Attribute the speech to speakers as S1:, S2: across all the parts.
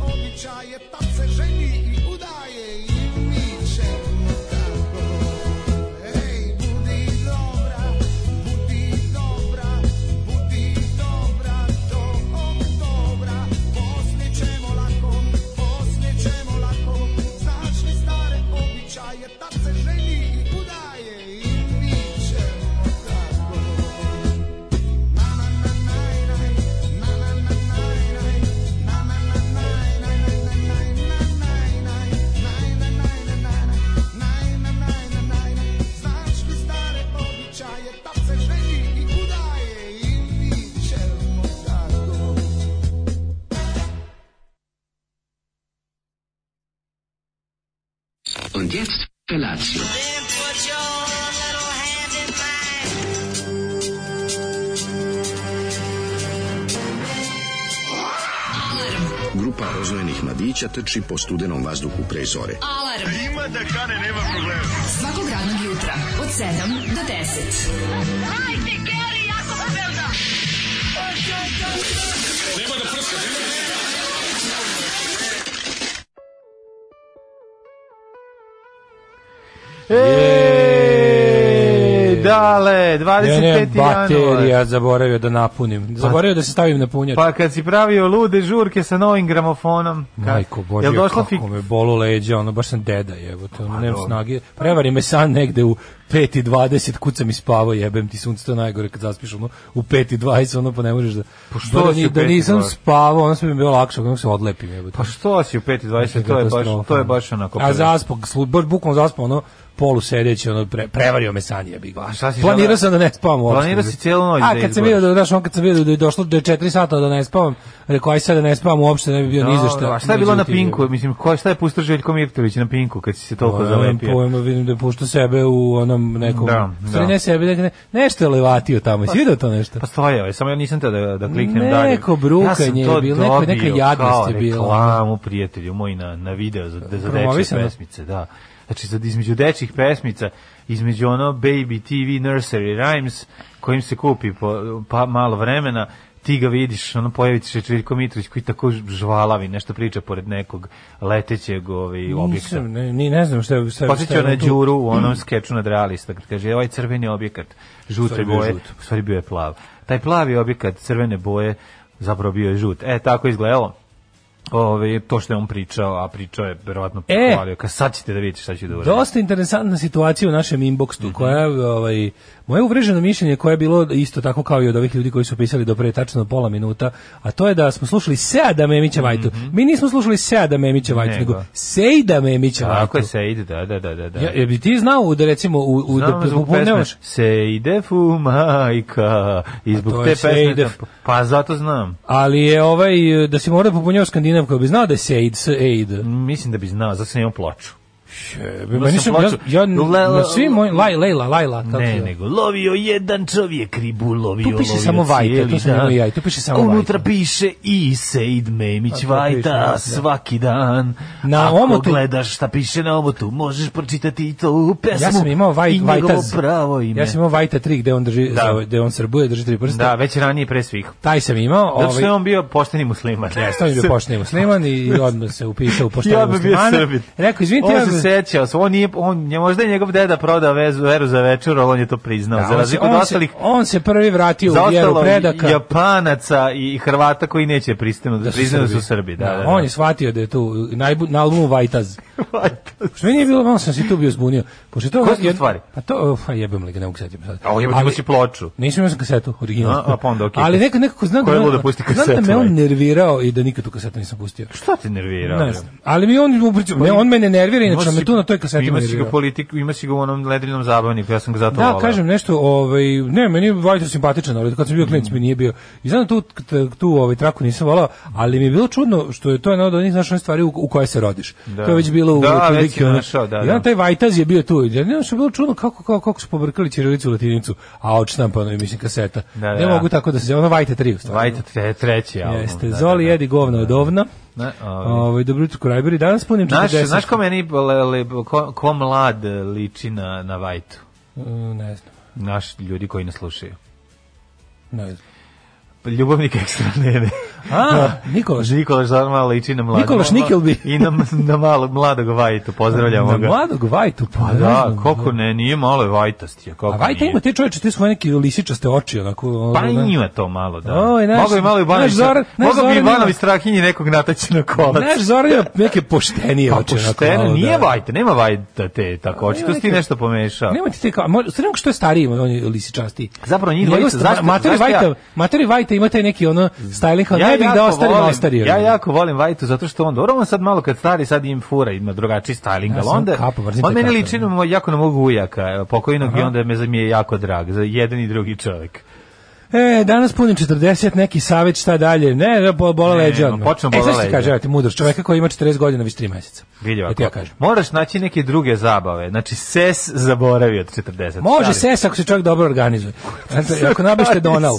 S1: Obyczaje papce żeni i udaje i milcze tako. Ej, budi dobra, budi dobra, budi dobra do oktobra. Posnićemo lako, posnićemo lako, znaczne stare obyczaje papce żeni i udaje i milcze tako.
S2: Und jetzt Felatio.
S3: Grupa rozvojenih mladića trči po studenom vazduhu pre zore.
S4: Alarm. A ima da kane, nema problema. Svakog radnog jutra, od 7 do 10. Hajde, Keri, jako se velda!
S5: Ej, da, dale, 25.
S6: Ja nemam
S5: januar.
S6: baterija, zaboravio da napunim. Zaboravio da se stavim na punjač.
S5: Pa kad si pravio lude žurke sa novim gramofonom, ka-
S6: Majko Božja,
S5: jel Pa došla
S6: kako
S5: fi...
S6: me bolu leđa, ono, baš sam deda jebote, ono, nemam snage. Prevari me san negde u 5.20, kucam i spavao, jebem ti sunce, to je najgore kad zaspiš, ono, u 5.20, ono, pa ne možeš da... Pa
S5: što
S6: da,
S5: si
S6: ni-
S5: u
S6: da
S5: 5:20?
S6: nisam spavao, ono sam mi bilo lakše, ono se odlepim, jebote.
S5: Pa što si u
S6: da
S5: 5.20, E, to je baš, to je baš onako.
S6: A zaspog, slu- baš bukvalno zaspao, ono, polu sedeći, ono, pre, prevario me san jebi ga.
S5: Pa šta si želeo?
S6: Planirao sam da ne spavam uopšte.
S5: Planirao si cijelu noć
S6: A
S5: da
S6: kad sam
S5: izgledaš.
S6: vidio da, znaš, on kad sam vidio da je došlo do 4 sata da ne spavam, rekao, aj sad da ne spavam uopšte, ne bi bio ni za šta.
S5: A šta je bilo na
S6: Međutim,
S5: Pinku? Mislim, ko, šta je pustio Željko Mirtović na Pinku kad si se toliko
S6: Pa, Nemam
S5: zalepio?
S6: pojma, vidim da pušta sebe u onom nekom...
S5: Da,
S6: Da, da.
S5: da.
S6: Ne sebe, ne, nešto je levatio tamo. Jesi vidio to nešto?
S5: Pa stojao je, samo ja nisam teo da, da kliknem dalje.
S6: Neko brukanje
S5: ja sam to
S6: je bilo, neko-
S5: dobio
S6: neka jadnost
S5: kao
S6: je bila.
S5: reklamu, prijatelju moj, na, na video za, za dečje
S6: Promovisano.
S5: pesmice, da. Znači, za, između dečjih pesmica, između ono Baby TV Nursery Rhymes, kojim se kupi po, pa malo vremena, ti ga vidiš, ono pojaviti se Čeljko Mitrović koji tako žvalavi, nešto priča pored nekog letećeg ovaj, objekta.
S6: Nisam, ne, ni ne znam šta je... šta je- šta
S5: Posjećao
S6: je
S5: na
S6: tu.
S5: Đuru u onom skeču nad realista, kad kaže, ovaj crveni objekat, žute
S6: stvari bio je
S5: boje,
S6: žut.
S5: u stvari bio je plav. Taj plavi objekat, crvene boje, zapravo bio je žut. E, tako je izgledalo. Ove, to što je on pričao, a pričao je verovatno
S6: E!
S5: pohvalio. Kad sad ćete da vidite šta će da uradi.
S6: Dosta interesantna situacija u našem inboxu
S5: Mhm.
S6: koja ovaj moje uvreženo mišljenje koje je bilo isto tako kao i od ovih ljudi koji su pisali do pre tačno pola minuta, a to je da smo slušali Seada Memića Vajtu. Mi nismo slušali Seada Memića Vajtu,
S5: Mhm. Nego.
S6: nego, Sejda Memića
S5: Tako je
S6: Vajtu.
S5: se ide, da, da, da, da. da.
S6: Ja, jel bi ti znao da recimo u, u
S5: Znam
S6: da
S5: zbog
S6: popodnevno-
S5: pesme Se ide fu majka i zbog
S6: to
S5: te
S6: je Se
S5: pesme
S6: ide
S5: sam-
S6: fu-
S5: pa zato znam
S6: ali je ovaj da si mora popunjao Skandinav koji bi znao da je Sejd, Sejd.
S5: mislim da bi znao, zato sam imao plaču
S6: Meni
S5: sam
S6: sam- ja,
S5: plaćao.
S6: ja,
S5: Le-
S6: na svim mojim, Laj, Lejla, Lajla, kako
S5: Ne,
S6: je?
S5: nego lovio jedan čovjek ribu, lovio,
S6: Tu piše
S5: lovio
S6: samo vajta,
S5: cijeli
S6: tu sam
S5: dan.
S6: imao i ja, i tu piše samo
S5: A
S6: vajta.
S5: Unutra piše i Seid Memić
S6: A to piše,
S5: vajta
S6: da.
S5: svaki dan.
S6: Na
S5: Ako
S6: omotu-
S5: gledaš šta piše na omotu, možeš pročitati i to u pesmu.
S6: Ja sam imao
S5: i
S6: vaj,
S5: njegovo
S6: Vajta
S5: pravo ime.
S6: Ja sam imao Vajta 3 gde on drži
S5: Da.
S6: gde on srbuje, drži tri prsta.
S5: Da, već ranije pre svih.
S6: Taj sam imao,
S5: Zato što je
S6: ovaj
S5: on bio pošteni musliman.
S6: Jeste, on je bio pošteni musliman i odmah se upisao u
S5: Ja
S6: pošteni
S5: bi bio
S6: musliman.
S5: Srbin.
S6: Rekao, izvinite, ja
S5: On
S6: bi...
S5: se sećao, on nije, on, nje- možda je njegov deda prodao vezu, veru za večer, ali on je to priznao.
S6: Da,
S5: za
S6: on, se,
S5: razliku od
S6: on, se,
S5: ostalih
S6: on se prvi vratio u vjeru
S5: zaostalo
S6: predaka. da
S5: Japanaca i Hrvata koji neće pristanu da, priznaju da su Srbi. Da, da, da.
S6: On je shvatio da je tu najbu, na albumu Vajtaz. Što mi nije bilo, malo sam se tu bio zbunio. Pošto je to,
S5: Koje su to
S6: jed-
S5: stvari?
S6: Pa to, uh, jebem li ga, ne mogu setim sad.
S5: A on je
S6: Ali-
S5: si ploču.
S6: Nisam imao sam kasetu, original.
S5: A, a pa onda okej.
S6: Ali nekako, nekako znam,
S5: Ko je
S6: da, me
S5: lud
S6: on-
S5: da pusti
S6: znam
S5: kasetu,
S6: da me on
S5: ajde.
S6: nervirao i da nikad tu kasetu nisam pustio.
S5: Šta te nervira?
S6: Ne znam. Ali mi on, u principu- ne, on me ne nervira, inače
S5: Ima
S6: me
S5: si-
S6: tu na toj kaseti
S5: Ima si
S6: nervirao.
S5: ga politik, ima si ga u onom ledrinom zabavniku, ja sam ga zato
S6: Da,
S5: volao.
S6: kažem nešto, ovaj, ne, meni je Vajter simpatičan, ali kad sam bio klinac mi nije bio. I znam da tu, tu ovaj, traku nisam volao, ali mi je bilo čudno što je to jedna od onih znaš, one stvari u, u koje se rodiš.
S5: Da.
S6: To je već bilo u
S5: Da, već
S6: otprilike,
S5: si
S6: ono.
S5: našao, da,
S6: I onda
S5: da.
S6: taj Vajtaz je bio tu. Ja ne znam što je bilo čudno kako, kako, kako su pobrkali ćirilicu i latinicu, a odštampano je, mislim, kaseta.
S5: Da, da,
S6: ne
S5: da.
S6: mogu tako da se, ono Vajte 3 u stvari.
S5: Vajte tre, treći album.
S6: Jeste,
S5: da, da,
S6: Zoli
S5: da.
S6: jedi govno od ovna.
S5: Ne, ovaj.
S6: Ovaj dobro jutro Krajberi. Danas punim 40.
S5: Znaš, znaš ko meni, le, le, ko, ko mlad liči na, na Vajtu?
S6: Mm, Ne znam.
S5: Naš ljudi koji nas slušaju.
S6: Ne znam. Da,
S5: Ljubavnik ekstra nene.
S6: A, Nikolaš.
S5: Nikolaš zar malo liči na mladog.
S6: Nikolaš Nikelbi.
S5: I na, na malo, mladog Vajtu, pozdravljamo
S6: Na
S5: ga.
S6: mladog Vajtu, pa
S5: Pa
S6: ne
S5: da,
S6: znam.
S5: koliko ne, nije malo je Vajtast. Je,
S6: A
S5: koliko
S6: Vajta
S5: nije.
S6: ima te čoveče, te svoje neke lisičaste oči, onako... ono,
S5: Pa
S6: ne-
S5: ima to malo, da.
S6: Oj, znaš-
S5: Mogu bi malo Ivanović,
S6: znaš, Zoran- znaš,
S5: mogu bi
S6: Zoran
S5: Ivanović
S6: ima-
S5: Strahinji nekog nataći na kolac.
S6: Pa Znaš, Zoran ima neke poštenije
S5: pa
S6: oči. onako
S5: pošteno,
S6: malo,
S5: nije
S6: da.
S5: Vajta, nema Vajta te tako, očito
S6: Ima
S5: si ti
S6: neke-
S5: nešto pomešao.
S6: Nemojte te kao, mo- sve nego što je stariji, on je lisičasti.
S5: Zapravo njih dvojica, zašto-
S6: Materi
S5: zašto ja-
S6: Vajta, Materi Vajta ima taj neki ono styling, ali ne bih da
S5: jako
S6: ostarim,
S5: volim-
S6: a ostario.
S5: Ja jako volim Vajtu zato što on dobro, on sad malo kad stari sad im fura, ima drugačiji styling,
S6: Ja
S5: ali
S6: sam
S5: onda
S6: kapo, mrzim
S5: on
S6: te
S5: meni
S6: kapo,
S5: liči
S6: da.
S5: na moj- jako na mog ujaka, evo, pokojnog i
S6: Aha.
S5: onda me za- mi je jako drag, za jedan i drugi čovjek.
S6: E, danas punim 40, neki savjet šta dalje. Ne, ne, bo, bola
S5: Ne,
S6: leđa.
S5: ma, počne
S6: e,
S5: bola
S6: sad ću ti
S5: leđa.
S6: kaže, evo ti mudrost čoveka koji ima 40 godina, već 3 meseca.
S5: Vidi
S6: Eto
S5: ovako,
S6: ja kažem.
S5: moraš naći neke druge zabave, znači ses zaboravi od 40.
S6: Može
S5: stari.
S6: ses ako se čovjek dobro organizuje. Znači, ako nabište Donal.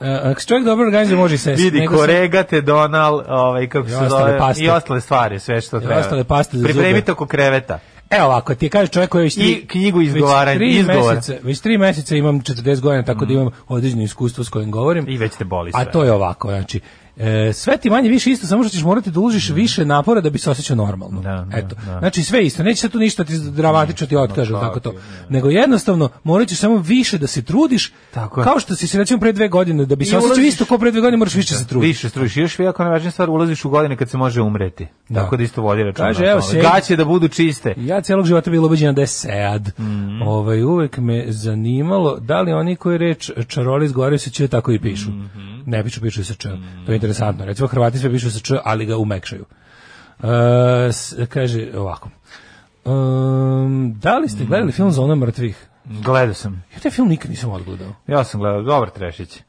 S6: E, Ako se čovjek dobro organizuje, može i ses.
S5: Vidi,
S6: Nego se-
S5: korega te donal, ovaj, kako se
S6: ostale
S5: zove,
S6: paste.
S5: i ostale stvari, sve što treba.
S6: ostale paste za
S5: Pripremite
S6: zube.
S5: oko kreveta.
S6: E ovako, ti kaže čovjek koji je već tri,
S5: I knjigu izgovaranja,
S6: već tri
S5: izgovora.
S6: Meseca, već tri meseca imam 40 godina, tako da imam određeno iskustvo s kojim govorim.
S5: I već te boli sve.
S6: A to je ovako, znači, e, sve ti manje više isto, samo što ćeš morati da uložiš više napora da bi se osjećao normalno.
S5: Mhm. Da, da,
S6: Eto.
S5: da.
S6: Znači sve isto, neće se tu ništa ti dramatično ti otkaže, tako to. Nego jednostavno morat ćeš samo više da se trudiš,
S5: Tako je.
S6: kao što si se recimo pre dve godine, da bi se osjećao
S5: ulaziš-
S6: isto kao pre dve godine, moraš više da se trudiš.
S5: Više strujiš, još vi ako najvažnija stvar, ulaziš u godine kad se može umreti.
S6: Da.
S5: Tako da isto vodi računa.
S6: Kaže,
S5: o
S6: evo,
S5: tome.
S6: sjedi-
S5: Gaće da budu čiste.
S6: Ja celog života bilo ubeđena da je sad.
S5: Mhm.
S6: Ovaj, uvek me zanimalo da li oni koji reč čaroli izgovaraju se č tako i pišu.
S5: Mhm.
S6: Ne pišu, pišu se č. To je interesantno. Recimo, Hrvati sve pišu se č, ali ga umekšaju. E, s- kaže ovako. Um, da li
S5: Mhm.
S6: ste gledali film Zona mrtvih?
S5: Gledao sam.
S6: Ja taj film nikad nisam odgledao.
S5: Ja sam gledao, dobar trešić.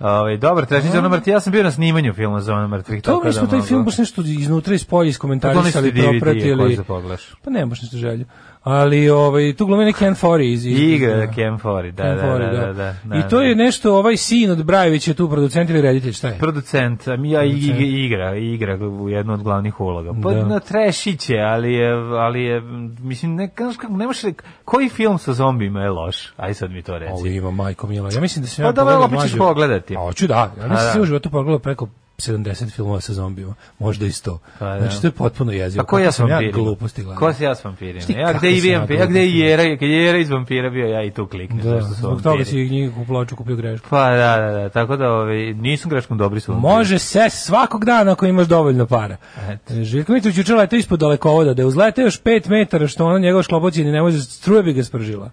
S5: Ovaj dobar trešić, ono mrtvi, ja sam bio na snimanju filma za ono mrtvih.
S6: To
S5: tako da
S6: mi
S5: Pa
S6: smo taj
S5: mogu.
S6: film baš nešto iznutra iz polja iskomentarisali,
S5: Donesti DVD, koji
S6: propratili.
S5: se pogledaš.
S6: Pa ne, baš nešto želju. Ali ovaj, tu glumi neki Anfori iz, iz,
S5: Igra
S6: iz-
S5: Kemfori, da,
S6: Ken
S5: da,
S6: Forey,
S5: da, da, da, da.
S6: I to je nešto, ovaj sin od Brajevića je tu producent ili reditelj, šta je?
S5: producent, a mi ja i- i- igra, igra u jednu od glavnih uloga. Pa
S6: Da.
S5: na trešić je, ali je, ali je, mislim, ne, znaš kako, ne možeš, re- koji film sa zombijima je loš? Aj sad mi to reci.
S6: Ovo ima Majko Mila. Ja mislim da
S5: Pa
S6: se ja
S5: dobro,
S6: pogledao
S5: opet ćeš
S6: mlađu-
S5: pogledati.
S6: A hoću da. Ja
S5: A,
S6: mislim
S5: da.
S6: da. u životu pogledao preko 70 filmova sa zombijima. Možda i 100.
S5: Pa, da.
S6: Znači to je potpuno jezivo.
S5: Pa ko ja s
S6: sam ja
S5: vampirima?
S6: gluposti gledao.
S5: Ko se ja s vampirima?
S6: Šti,
S5: Ja
S6: kakve
S5: gde i
S6: sam ja
S5: vampir, ja gde i
S6: gluposti?
S5: Jera, kad je Jera iz vampira bio, ja i tu kliknem.
S6: Da,
S5: zašto su
S6: zbog toga
S5: vampiri.
S6: si njih u ploču kupio grešku.
S5: Pa da, da, da, tako da ovi, nisu greškom dobri su vampiri.
S6: Može se svakog dana ako imaš dovoljno para. E,
S5: Eto.
S6: Željko Mitrović juče letao ispod dalekovoda, da je uzletao još 5 metara što ona njegova šklobocina ne može, struje bi ga spržila.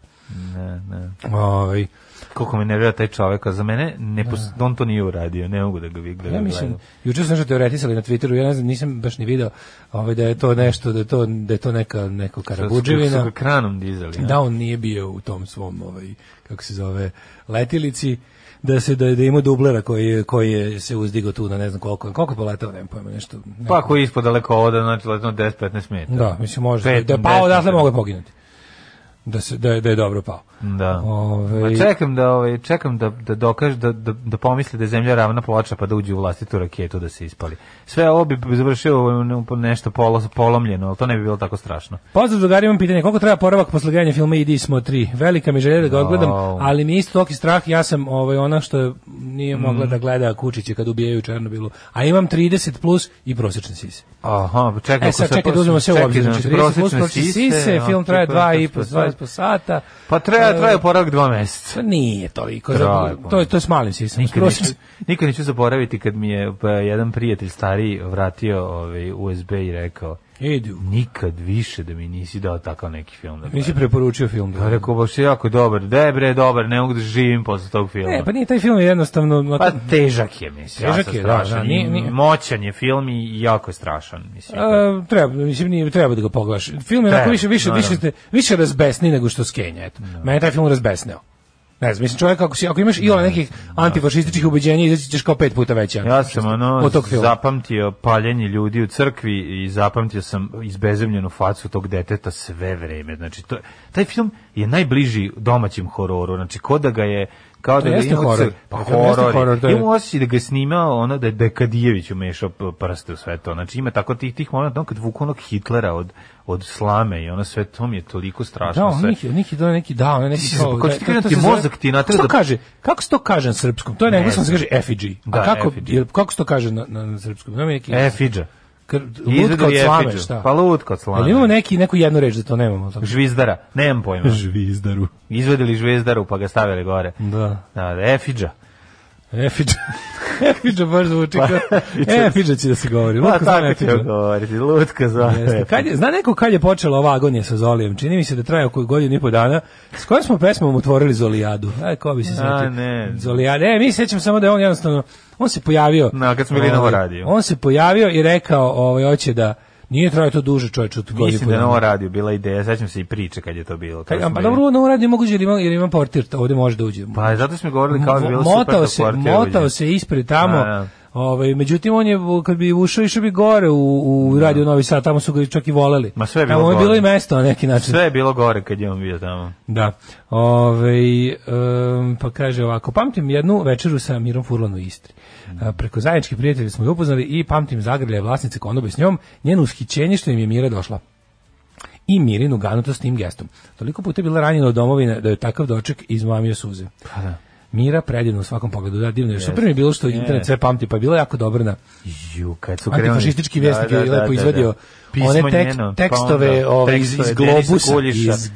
S5: Ne, ne.
S6: Ovaj.
S5: Koliko me nervira taj čovjek, a za mene ne pos- on to nije uradio, ne mogu da ga vi gledam.
S6: Da. Ja mislim, juče sam što teoretisali na Twitteru, ja ne znam, nisam baš ni video ovaj, da je to nešto, da je to, da je to neka, neko
S5: Su ga
S6: karabuđevina,
S5: kranom dizali. ja.
S6: da on nije bio u tom svom, ovaj, kako se zove, letilici, da se da, je- da ima dublera koji je, koji je se uzdigao tu na ne znam koliko, koliko je poletao, nemam pojma, nešto. neko-
S5: Pa ako je ispod daleko ovoda, znači letno 10-15 metara.
S6: da, mislim može,
S5: Pet,
S6: da je
S5: deset
S6: pao, odatle
S5: metara.
S6: mogu poginuti. Da, se, da, je, da je dobro pao.
S5: Da.
S6: Ovaj,
S5: Ma čekam da ovaj čekam da da dokaže da da da pomisli da je zemlja ravna ploča pa da uđe u vlastitu raketu da se ispali. Sve ovo bi završio u nešto polo, polomljeno, ali to ne bi bilo tako strašno.
S6: Pozdrav drugari, imam pitanje, koliko treba poravak posle gledanja filma Idi smo tri? Velika mi želja da ga odgledam,
S5: Au.
S6: ali mi je isto toki strah, ja sam ovaj, ona što nije mogla da gleda kučiće kad ubijaju u Černobilu, a imam 30 plus i prosječne sise.
S5: Aha, pa čekaj,
S6: E
S5: ako
S6: sad
S5: se
S6: čekaj
S5: pros-
S6: da uzmemo sve u
S5: čekaj,
S6: obzir, znači
S5: znači,
S6: 30 plus
S5: prosječne
S6: prosječne sise,
S5: a,
S6: film traje
S5: to je
S6: 2 i po,
S5: prosječno sve.
S6: 20 po sata.
S5: Pa traje,
S6: E,
S5: traje poravak dva meseca.
S6: To nije toliko,
S5: Traje,
S6: za-
S5: pa.
S6: to, je, to je s malim sisama. s
S5: Nikad neću,
S6: prosječnim-
S5: nikad neću zaboraviti kad mi je pa, jedan prijatelj stariji vratio ovaj USB i rekao
S6: Idi, u-
S5: nikad više da mi nisi dao takav neki film da
S6: nisi preporučio film. da.
S5: Ja rekao, baš je jako dobar. Da bre, dobar, ne mogu da živim posle tog filma.
S6: Ne, pa nije taj film je jednostavno...
S5: Pa težak je, mislim.
S6: Težak
S5: jako
S6: je, da,
S5: strašan.
S6: da, nije-
S5: I
S6: nije- E,
S5: Moćan je film i jako je strašan, mislim.
S6: A, treba, mislim, nije, treba da ga pogledaš. Film je onako
S5: Treba,
S6: više, više,
S5: naravno. Da.
S6: više, ste, više razbesni nego što skenja. Eto. Mene je taj film razbesneo. Ne znam, mislim, čovjek, ako, si, ako imaš i nekih antifašističkih ubeđenja, izaći ćeš kao pet puta veća.
S5: da. ja sam ono
S6: od tog filma.
S5: zapamtio paljenje ljudi u crkvi i zapamtio sam izbezemljenu facu tog deteta sve vreme. Znači, to, taj film je najbliži domaćim hororu. Znači, ko da ga je kao da
S6: To
S5: ga
S6: jeste
S5: ima
S6: horor.
S5: cr- Pa
S6: To jeste
S5: horor.
S6: horor, to
S5: je.
S6: je-
S5: Imam osjećaj da ga je snimao ono da je Dekadijević umešao p- prste u sve to. Znači ima tako tih tih momenta ono kad vuku onog Hitlera od od slame i ono sve to mi je toliko strašno
S6: Da, on
S5: sve.
S6: neki, on neki, da, neki, da, on je neki...
S5: si se-
S6: kao-
S5: kako
S6: da,
S5: ti
S6: to-
S5: kažem,
S6: to
S5: ti
S6: se zove-
S5: mozak ti natera
S6: Kako se to
S5: da-
S6: kaže? Kako se to kaže na srpskom? To je na
S5: Ne
S6: engleskom se
S5: znam.
S6: kaže effigy.
S5: Da,
S6: A kako,
S5: effigy.
S6: jel, kako se to kaže na, na, na srpskom? Ima neki...
S5: E, Fidža.
S6: kr,
S5: Izvedu
S6: lutka od
S5: je
S6: slame,
S5: Fidžu.
S6: šta?
S5: Pa lutka od slame.
S6: Jel imamo neki, neku jednu reč da to nemamo? Tako?
S5: Žvizdara, nemam pojma.
S6: Žvizdaru.
S5: Izvedeli žvezdaru pa ga stavili gore.
S6: Da.
S5: Da, da, Efidža.
S6: Efidža. Efidža baš zvuči kao... Efidža će da se govori.
S5: Pa
S6: Lutka zna
S5: tako ću
S6: Efidža.
S5: govoriti, lutka zove.
S6: Jeste. Kad je, zna neko kad je počela ova agonija sa Zolijem? Čini mi se da traje oko godinu i po dana. S kojom smo pesmom otvorili Zolijadu? Aj, ko bi se sjetio?
S5: ne.
S6: Zolijada. E, mi sećam samo da je on jednostavno, on se pojavio.
S5: Da, kad smo bili na
S6: ovaj,
S5: Novoradiju.
S6: On se pojavio i rekao, ovaj, hoće da, nije trajao to duže čovječ od godinu i
S5: Mislim
S6: po
S5: da je na
S6: dana.
S5: ovo radio bila ideja, sećam se i priče kad je to bilo.
S6: Kaj,
S5: Kada
S6: a,
S5: smo
S6: pa
S5: bili-
S6: dobro, ovo na Novoradiju je moguće jer ima, jer ima portir, t- ovde može da uđe.
S5: Pa zato smo govorili kao bi bilo super
S6: motao
S5: da
S6: se,
S5: portir
S6: motao
S5: uđe.
S6: se ispred tamo.
S5: Da, da.
S6: Ovaj međutim on je kad bi ušao išao bi gore u u radio Novi Sad, tamo su ga čak i voleli.
S5: Da. Ma sve je bilo
S6: Tamo
S5: gore.
S6: bilo i mesto na neki način.
S5: Sve je bilo gore kad je on bio tamo.
S6: Da. Ove, um, pa kaže ovako, pamtim jednu večeru sa Mirom Furlan u Istri. A, Preko zajedničke prijatelje smo ju upoznali i pamtim zagrlje vlasnice konobe s njom, njeno ushićenje što im je Mira došla i Mirinu ganuto s tim gestom. Toliko puta je bila ranjena od domovine da je takav doček izmamio suze.
S5: da.
S6: Mira predivna u svakom pogledu, da divno je. Super mi je bilo što internet
S5: Yes.
S6: sve pamti, pa je bila jako dobrna.
S5: Ju, kad su krenuli. Da,
S6: Antifašistički vjesnik je lepo izvadio
S5: Pismo
S6: one tek,
S5: njeno, pa
S6: tekstove
S5: onda
S6: ove, iz, iz
S5: tekstove Denisa
S6: globusa.
S5: Kuljiša.
S6: Iz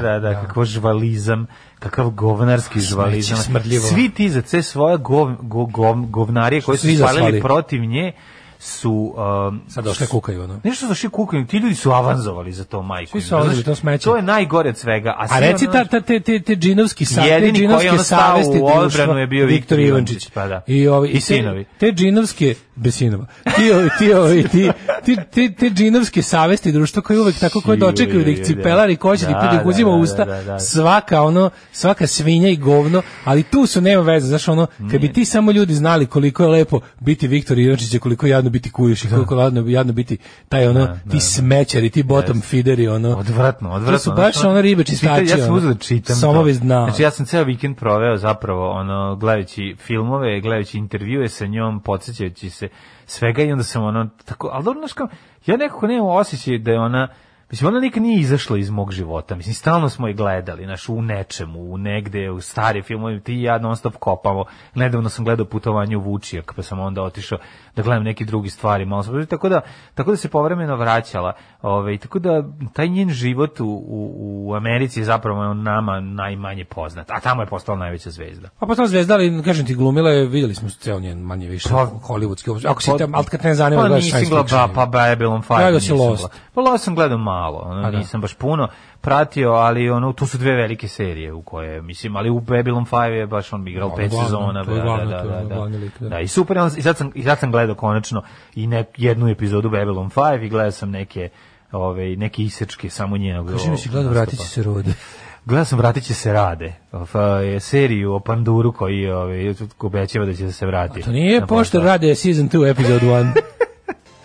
S5: Da, da, da, kako žvalizam, kakav govnarski žvalizam.
S6: smrdljivo.
S5: Svi ti za sve svoje gov, go, gov, govnarije koje su
S6: svi
S5: spalili
S6: zaslali.
S5: protiv nje su... Um,
S6: Sad došle kukaju, ono.
S5: Nešto su šli kukaju, ti ljudi su avanzovali za to majku.
S6: Svi su avanzovali, to smeće.
S5: To je najgore od svega. A,
S6: A
S5: svi
S6: reci
S5: ono-
S6: ta, ta, te, te, te džinovski sa, te
S5: Jedini koji je
S6: džinovske
S5: ono stao
S6: savesti
S5: u
S6: društva,
S5: odbranu je bio
S6: Viktor
S5: Viktor
S6: Ivančić.
S5: Ivančić, pa da.
S6: I, ovi,
S5: I
S6: te-
S5: sinovi.
S6: Te džinovske, bez sinova, ti, ovi- ti, ovi- ti, ti, ti, te džinovske savesti društva koje uvek tako koje dočekaju da ih
S5: Ju, ju, ju,
S6: cipelari koće,
S5: da,
S6: da, da ih
S5: da,
S6: uzima u
S5: da,
S6: usta,
S5: da, da.
S6: svaka ono, svaka svinja i govno, ali tu su nema veze, znaš ono, kad bi ti samo ljudi znali koliko je lepo biti Viktor Ivančić, a koliko je jadno biti Kujuš i
S5: Da.
S6: koliko je jadno, jadno biti taj ono, ti smećari, ti bottom feederi, ono.
S5: Odvratno, odvratno.
S6: To su baš
S5: Znači,
S6: ono ribe
S5: čita-
S6: čistači.
S5: Ja sam
S6: ono.
S5: uzeo da čitam
S6: Somovi
S5: to.
S6: dna.
S5: Znači ja sam ceo vikend proveo zapravo ono, gledajući filmove, gledajući intervjue sa njom, podsjećajući se svega i onda sam ono tako, ali dobro, znaš kao, ja nekako nemam osjećaj da je ona Mislim, ona nikad nije izašla iz mog života. Mislim, stalno smo je gledali, znaš, u nečemu, u negde, u stare filmove, ti i ja non stop kopamo. Nedavno sam gledao putovanje u Vučijak, pa sam onda otišao da gledam neke druge stvari, malo sam, tako da, tako da se povremeno vraćala. Ove, i tako da, taj njen život u, u, u Americi je zapravo nama najmanje poznat, a tamo je postala najveća zvezda.
S6: Pa postala zvezda, ali kažem ti, glumila je, vidjeli smo ceo njen manje više
S5: Pa-
S6: hollywoodski obzir. Ako si
S5: Pa-
S6: tam, ali kad te ne zanima,
S5: pa
S6: gledaš
S5: nisam
S6: science
S5: gledao
S6: fiction.
S5: ba, pa Babylon 5
S6: Gledao si
S5: nisam
S6: Lost.
S5: gledao. Pa Lost sam gledao malo, ono,
S6: A da.
S5: nisam baš puno pratio, ali ono, tu su dve velike serije u koje, mislim, ali u Babylon 5 je baš on igrao
S6: Da,
S5: pet
S6: glavno,
S5: sezona.
S6: to je
S5: da,
S6: glavno,
S5: da,
S6: to je
S5: da, da,
S6: glavni lik,
S5: da.
S6: da.
S5: i super, i sad, sam, i sad sam gledao konačno i ne, jednu epizodu Babylon 5 i gledao sam neke ove, neke isečke samo njenog.
S6: Kaži mi si Pa gledao,
S5: nastupa.
S6: vratit će se rode.
S5: pa- Gledao sam Vratit će se rade, Of, e, seriju o panduru koji ove, obećava da će se vratiti.
S6: To nije
S5: Na
S6: pošto
S5: posao.
S6: rade season 2, episode 1.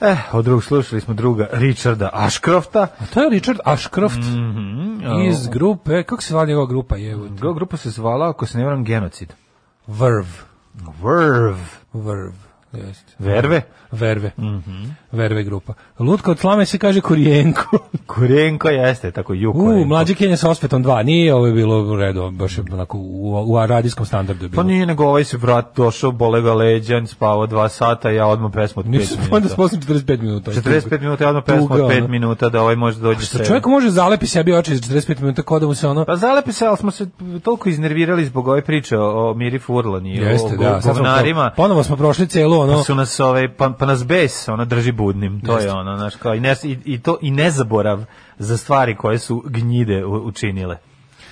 S5: Eh, od drugog slušali smo druga Richarda Ashcrofta.
S6: A to je Richard Ashcroft
S5: Mhm,
S6: iz grupe, kako se zvala njegova grupa? Je,
S5: Druga grupa se zvala, ako se ne varam, genocid.
S6: Verv.
S5: Verv.
S6: Verv. Jeste.
S5: Verve? Mhm.
S6: Verve. Verve grupa. Lutka od slame se kaže korijenko.
S5: Kurenko jeste, tako ju
S6: U, mlađi Kenja sa osvetom 2. Nije ovo je bilo u redu, baš je onako u, u radijskom standardu je
S5: Pa
S6: bilo.
S5: nije nego ovaj se vrat došao, bole ga leđan, spavao dva sata, ja odmah pesmu od pet
S6: Nisam, onda da
S5: minuta.
S6: posle 45 minuta.
S5: 45 minuta, ja odmah pesmu
S6: Tuga,
S5: od pet
S6: ono.
S5: minuta, da ovaj može dođe
S6: Što
S5: sebe.
S6: čovjek može zalepi sebi oči za 45 minuta, kao da mu se ono...
S5: Pa zalepi se, ali smo se toliko iznervirali zbog ove priče o, o Miri Furlan i o
S6: Jeste,
S5: go-
S6: da, sad smo
S5: govnarima.
S6: pro- ponovo smo prošli celo ono...
S5: Pa su nas ove pa, pa nas bes ona drži budnim to je
S6: Jeste.
S5: ono znaš kao i ne i, i to i nezaborav za stvari koje su gnjide u- učinile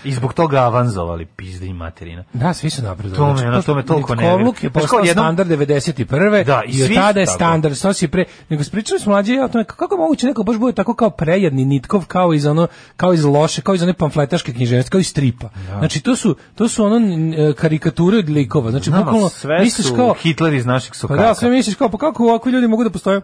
S5: i zbog toga avanzovali pizdi i materina
S6: Da, svi su napredovali.
S5: To me-
S6: Znači,
S5: na to me toliko
S6: Nitkovluk
S5: nervira.
S6: je
S5: Znaš, kao
S6: postao
S5: jednom-
S6: standard 91.
S5: Da, i
S6: i, od
S5: svi su
S6: tada je
S5: tako.
S6: standard. Što si pre... Nego spričali smo mlađe ja o tome ka- kako je moguće neko baš bude tako kao prejedni Nitkov, kao iz ono, kao iz loše, kao iz one pamfletaške književnosti, kao iz stripa.
S5: Da.
S6: Znači, to su, to su ono n- e, karikature od likova. Znači,
S5: Nama
S6: bukvalno,
S5: sve
S6: misliš
S5: su
S6: kao...
S5: Hitler iz naših
S6: Pa
S5: sokaka
S6: а da, sve misliš kao, pa kako ovakvi ljudi mogu da postoje?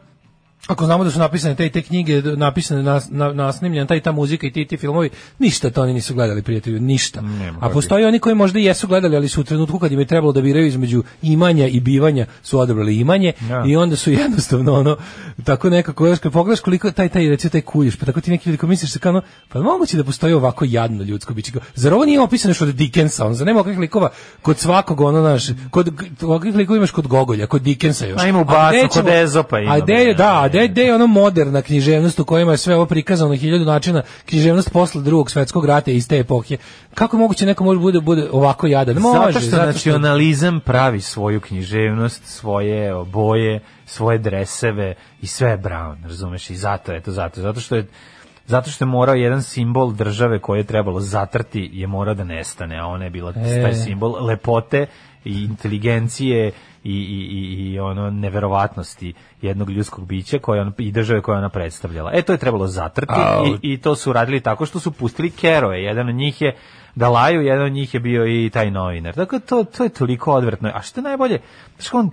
S6: Ako znamo da su napisane te i te knjige, da- napisane nas, na, nasnimljene, ta i ta muzika i ti i ti filmovi, ništa to oni nisu gledali, prijatelju, ništa.
S5: Nema
S6: A
S5: kako.
S6: postoje oni koji možda i jesu gledali, ali su u trenutku kad im je trebalo da biraju između imanja i bivanja, su odabrali imanje
S5: Ja.
S6: i onda su jednostavno ono, tako nekako, još kad pogledaš koliko taj, taj, recimo taj kuljiš, pa tako ti neki ljudi koji misliš se kao, ono, pa moguće da postoji ovako jadno ljudsko biće. Kao, Zar ovo nije opisano još od Dickensa, on, zar nema ovakvih likova kod svakog, ono, naš, kod, ovakvih likova imaš kod Gogolja, kod Dickensa još.
S5: A ima u
S6: gde
S5: Bacu,
S6: ćemo-
S5: kod Ezopa ima,
S6: A gde je,
S5: bre.
S6: da, a gde, gde je ono moderna književnost u kojima je sve ovo prikazano na hiljadu načina, književnost posle drugog svetskog rata iz te epohe. Kako je moguće neko može bude, bude ovako jadan? da Može,
S5: zato što znači nacionalizam pravi svoju književnost, svoje oboje, svoje dreseve i sve je brown, razumeš? I zato je to zato, zato što je Zato što je morao jedan simbol države koje je trebalo zatrti je morao da nestane, a ona je bila
S6: E.
S5: taj simbol lepote i inteligencije i, i, i, i ono neverovatnosti jednog ljudskog bića koje on, i države koje je ona predstavljala. E, to je trebalo zatrti i, i to su radili tako što su pustili keroje. Jedan od njih je da laju, jedan od njih je bio i taj novinar. Dakle, to, to je toliko odvratno. A što je najbolje, znaš, on,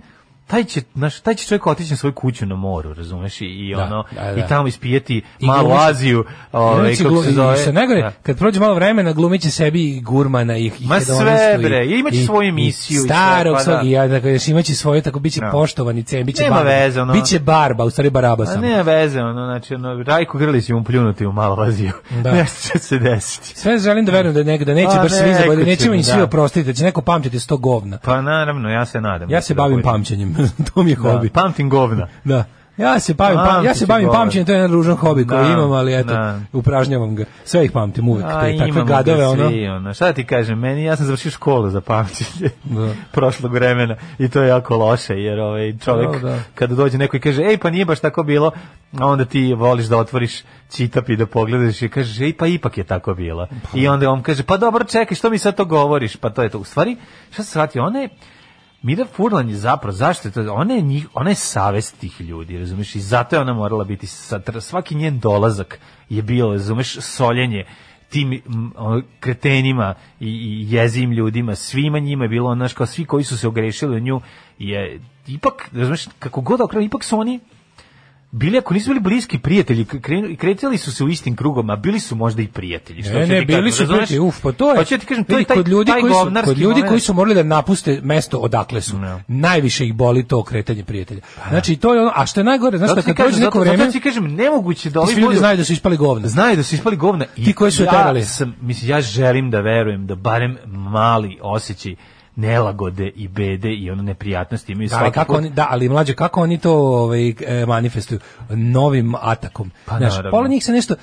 S5: taj će, znaš, taj će čovjek otići na svoju kuću na moru, razumeš, i, i
S6: Da,
S5: ono,
S6: da, da.
S5: i tamo ispijeti
S6: I
S5: malu
S6: glumiš-
S5: Aziju, ovaj,
S6: Glumiće
S5: kako se
S6: znači glu-
S5: zove.
S6: i Senegore,
S5: Da.
S6: kad prođe malo vremena, glumiće sebi i gurmana i i
S5: Ma sve,
S6: hedonistu i-
S5: bre, imaće
S6: i-
S5: svoju
S6: i
S5: emisiju i sve,
S6: Starog
S5: pa
S6: svog,
S5: da.
S6: i ja, dakle, još imaće svoje, tako biće
S5: Da.
S6: poštovan i cen, biće
S5: Nema
S6: barba.
S5: veze, ono. Pa
S6: Biće barba, u stvari baraba
S5: A
S6: sam.
S5: nema veze, ono, znači, ono, Rajko Grlić će mu pljunuti u malu Aziju.
S6: Da.
S5: Nešto će se desiti.
S6: Sve želim da verujem da, ne, da neće
S5: Pa
S6: baš svi
S5: neko
S6: zaboraviti,
S5: će
S6: nećemo
S5: mi,
S6: im svi
S5: da.
S6: oprostiti, da će neko pamtiti sto govna.
S5: Pa naravno, ja se nadam.
S6: Ja
S5: da
S6: se
S5: će da
S6: bavim
S5: bude.
S6: pamćenjem, to mi je hobi.
S5: Da, pamtim govna.
S6: Da. Ja se bavim, pam, ja
S5: Pamtit
S6: se
S5: ću
S6: bavim
S5: govor.
S6: pamćenjem, to je jedan ružan hobi koji
S5: Da,
S6: imam, ali eto,
S5: da.
S6: upražnjavam ga. Sve ih pamtim uvek,
S5: A,
S6: te, takve
S5: imamo ga
S6: gadove, ono.
S5: svi, ono. Šta da ti kažem, meni, ja sam završio školu za pamćenje
S6: Da.
S5: prošlog vremena i to je jako loše, jer ovaj, čovjek
S6: Da, da.
S5: kada dođe neko i kaže, ej, pa nije baš tako bilo, a onda ti voliš da otvoriš čitap i da pogledaš i kažeš, ej, pa ipak je tako bilo. I
S6: da.
S5: onda on kaže, pa dobro, čekaj, što mi sad to govoriš? Pa to je to. U stvari, šta se shvatio, ona je, Mira Furlan je zapravo, zašto je to, ona je, njih, ona je savest tih ljudi, razumeš, i zato je ona morala biti, satr- svaki njen dolazak je bilo, razumeš, soljenje tim m, o, kretenima i, i jezim ljudima, svima njima je bilo, ono, znaš, kao svi koji su se ogrešili u nju, je, ipak, razumeš, kako god okrenu, ipak su oni, bili ako nisu bili bliski prijatelji, k- krenu- kretali su se u istim krugama, bili su možda i prijatelji. što
S6: Ne,
S5: ću
S6: E, ne,
S5: ti
S6: bili
S5: kažem,
S6: su
S5: razumeš?
S6: prijatelji, uf, pa to je.
S5: Pa ću ti kažem, to
S6: vidi,
S5: je taj,
S6: kod ljudi
S5: taj
S6: koji su,
S5: govnarski
S6: kod ljudi koji
S5: moment. Da.
S6: su morali da napuste mesto odakle su.
S5: Ne.
S6: Najviše ih boli to kretanje prijatelja. Znači, to je ono, a što je najgore, znaš
S5: Pa da. Zato
S6: da
S5: ti
S6: kad
S5: kažem,
S6: prođe neko
S5: zato,
S6: vreme,
S5: zato ti kažem, nemoguće da
S6: ti
S5: ovi
S6: svi ljudi
S5: budu,
S6: znaju da su ispali govna.
S5: znaju da su ispali govna. I
S6: Ti koji su je
S5: ja
S6: terali.
S5: Sam, mislim, ja želim da verujem da barem mali osjećaj nelagode i bede i ono neprijatnosti imaju
S6: Da,
S5: svaki
S6: ali kako
S5: put.
S6: oni, da, ali mlađe, kako oni to ovaj, e, manifestuju? Novim atakom.
S5: Pa,
S6: Znaš,
S5: naravno.
S6: pola njih se nešto...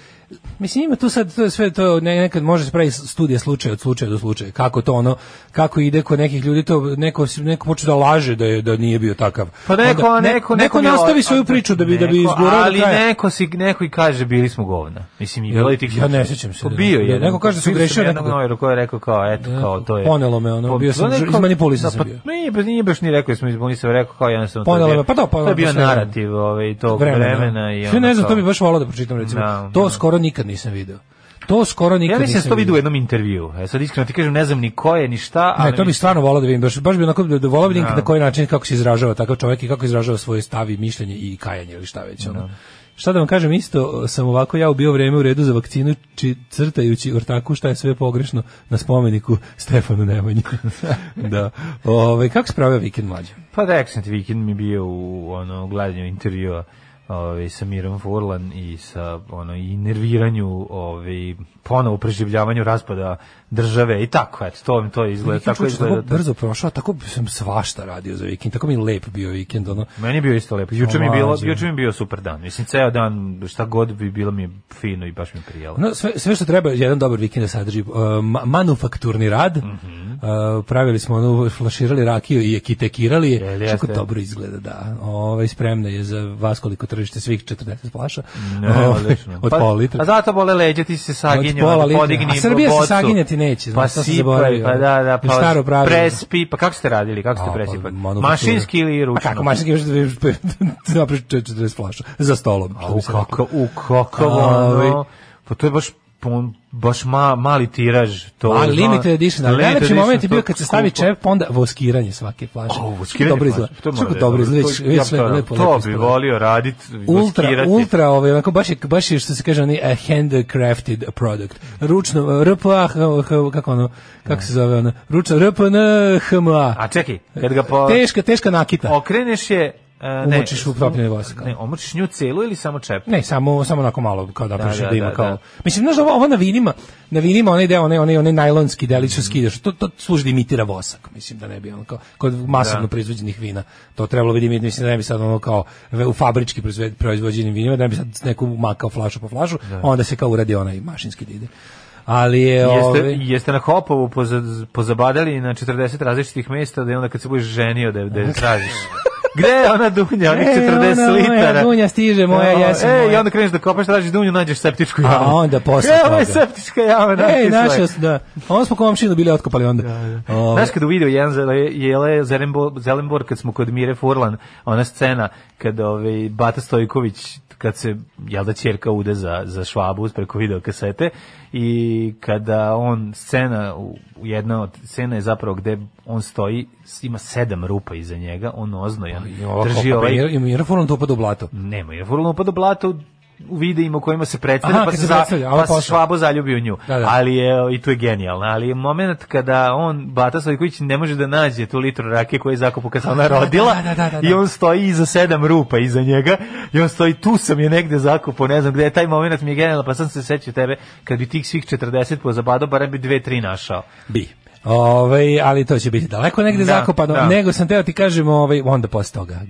S6: Mislim, ima tu sad to je sve to, ne, nekad može se pravi studija slučaja od slučaja do slučaja. Kako to ono, kako ide kod nekih ljudi, to neko, neko počne da laže da, je, da nije bio takav.
S5: Pa neko,
S6: Onda ne-
S5: neko,
S6: neko,
S5: mi je
S6: nastavi
S5: lo-
S6: svoju priču da bi, da bi
S5: neko,
S6: izgurao do
S5: Ali
S6: kraja.
S5: neko, si, neko i kaže, bili smo govna. Mislim, i
S6: Ja-
S5: bilo je tih
S6: ja
S5: slučajeva.
S6: ne sjećam se
S5: Ko
S6: da-
S5: bio
S6: da
S5: je.
S6: neko kaže da sam grešio
S5: jednog
S6: nekog-
S5: novinaru koji je rekao kao, eto, kao, to je.
S6: ponelo me ono,
S5: Pa,
S6: bio
S5: to
S6: sam
S5: neko-
S6: žr- izmanipulisan sam
S5: pa,
S6: bio.
S5: Nije, pa nije baš ni rekao, smo izmanipulisan, rekao kao jednostavno. to je
S6: Ponelo
S5: bio-
S6: me, pa da, ponelo
S5: To je bio
S6: me sve vreme.
S5: narativ ovaj, tog
S6: vremena. da.
S5: vremena. i
S6: Sve
S5: ono
S6: ne znam,
S5: kao-
S6: to bi baš volao da pročitam recimo.
S5: Da,
S6: to
S5: da.
S6: skoro nikad nisam video. To skoro nikad
S5: Ja mislim da sam
S6: nisam
S5: to
S6: video.
S5: vidio u jednom intervju. E sad iskreno ti kažem, ne znam ni ko je, ni šta, ali...
S6: Ne, to
S5: mi-
S6: bi stvarno volao da vidim, baš, baš bi onako da, da volao vidim na koji način kako se izražava takav čovjek i kako izražava svoje stavi, mišljenje i kajanje ili šta već. Ono. Šta da vam kažem, isto sam ovako ja ubio vreme u redu za vakcinu či, crtajući ortaku šta je sve pogrešno na spomeniku Stefanu Nemanji. da. Ove, kako se pravio vikend mlađe?
S5: Pa da, Accent Weekend mi je bio u ono, gledanju intervjua ovaj, sa Mirom Furlan i sa ono, i nerviranju, ovaj, ponovo preživljavanju raspada države i tako, eto, to, to izgleda,
S6: Vikend
S5: Pa tako da.
S6: čovječe,
S5: izgleda.
S6: tako
S5: to.
S6: brzo prošao, tako sam svašta radio za vikend, tako mi je lep bio vikend. Ono.
S5: Meni je bio isto lepo. Juče mi je bilo,
S6: Mlađe.
S5: juče mi je bio super dan. Mislim ceo dan šta god bi bilo mi je fino i baš mi je prijelo.
S6: No, sve, sve što treba jedan dobar vikend da sadrži uh, ma- manufakturni rad.
S5: Mhm.
S6: Uh, pravili smo onu flaširali rakiju i ekitekirali je.
S5: Jel,
S6: Kako
S5: jeste.
S6: dobro izgleda, da. Ovaj spremna je za vas koliko tržište svih 40 flaša.
S5: Ne,
S6: Ovaj,
S5: odlično.
S6: od
S5: Pa-
S6: pola litra.
S5: A zato bole leđa, ti si se saginje,
S6: pola
S5: onda
S6: litra.
S5: podigni
S6: A Srbija se
S5: bocu.
S6: saginjati neće,
S5: Pa
S6: znaš, to sam
S5: sipaj,
S6: zaboravio.
S5: pa da, da,
S6: Ili
S5: pa
S6: staro pravilo.
S5: prespi, pa kako ste radili, kako ste
S6: A, pa,
S5: presipali?
S6: manufaktura.
S5: Mašinski ili ručno?
S6: A kako mašinski imaš da vidiš da pe- napraviš 40 flaša za stolom. što
S5: U
S6: bi se reklo.
S5: kako, u kako,
S6: A,
S5: ono,
S6: ovi-
S5: pa to je baš pun, baš ma, mali tiraž. To
S6: Ali
S5: zna-
S6: limited edition,
S5: da.
S6: ali
S5: limited
S6: najveći
S5: edition
S6: moment je bio
S5: to Pa
S6: kad se stavi
S5: skupo.
S6: čep, pa onda voskiranje svake flaše.
S5: O, voskiranje
S6: Dobro
S5: flaše,
S6: izgleda.
S5: to mora
S6: Što
S5: da je
S6: dobro
S5: dobro.
S6: izgleda,
S5: To-
S6: već
S5: ja
S6: sve
S5: to-
S6: lepo, da.
S5: To bi
S6: lepo izgleda.
S5: volio raditi,
S6: Ultra,
S5: voskirati.
S6: ultra, ovaj, onako, baš je, baš je, što se kaže, onaj a handcrafted product. Ručno, eh, RPA, h- h- kako ono, kako se zove ono, ručno, RPN, HMA.
S5: A čekaj, kad ga po...
S6: Teška, teška nakita.
S5: okreneš je... e, ne,
S6: Umočiš u propljeni vosak.
S5: Ne, omočiš nju celu ili samo čep?
S6: Ne, samo samo onako malo kao da prošli da,
S5: da,
S6: ima
S5: da,
S6: kao.
S5: da.
S6: Mislim znaš ovo, ovo na vinima, na vinima onaj deo, onaj onaj onaj najlonski delić
S5: Mhm.
S6: što skidaš. To to služi da imitira vosak, mislim da ne bi ono kao kod masovno
S5: Da.
S6: proizvođenih vina. To trebalo bi da imiti, mislim da ne bi sad ono kao ve- u fabrički proizve- proizvođenim vinima, da ne bi sad neku makao flašu po flašu,
S5: Da.
S6: onda se kao uradi onaj mašinski da ide. Ali je
S5: Jeste,
S6: ovaj-
S5: jeste na Hopovu poza- pozabadali na 40 različitih mesta da je onda kad se budeš ženio da, je- da je tražiš. Gde je ona dunja, onih
S6: E,
S5: 40
S6: ona moja
S5: litara?
S6: dunja stiže, moja
S5: E,
S6: jesen
S5: E, i
S6: moja.
S5: onda kreneš da kopaš, tražiš dunju, nađeš septičku
S6: A
S5: jamu.
S6: onda posle
S5: E, ovo je
S6: toga.
S5: septička jama.
S6: Ej,
S5: naši
S6: našao
S5: svoje.
S6: sam, da. Ono smo komšinu bili otkopali onda. Ovaj,
S5: Da, Znaš kada u video jedan zele, jele Zelenbor, Zelenbor kad smo kod Mire Furlan, ona scena kad ovaj, Bata Stojković kad se, jel da čerka ude za, za švabu preko video kasete i kada on scena, u- u jedna od scena je zapravo gde on stoji, s- ima sedam rupa iza njega, on oznojan, drži ovaj,
S6: pa I Mirfon to upada u blato.
S5: nema, jer Furlan upada u da blato u videima u kojima se predstavlja,
S6: Aha,
S5: pa
S6: kad
S5: se,
S6: se
S5: za,
S6: predstavlja, a on
S5: pa se
S6: posle.
S5: Švabo zaljubi u nju.
S6: Da, da.
S5: Ali je, i tu je genijalno, ali je moment kada on, Bata Stojković, ne može da nađe tu litru rake koju je zakupu kad se ona rodila
S6: da, da, da, da, da.
S5: i on stoji iza sedam rupa iza njega i on stoji, tu sam je negde zakupu, ne znam gde je taj moment mi je genijalno, pa sam se sećao tebe, kad bi tih svih 40 pozabadao, barem bi dve, tri našao.
S6: Bi. Ovaj, ali to će biti daleko negde
S5: Da,
S6: zakopano,
S5: da.
S6: nego sam teo ti kažem, ovaj, onda posle toga,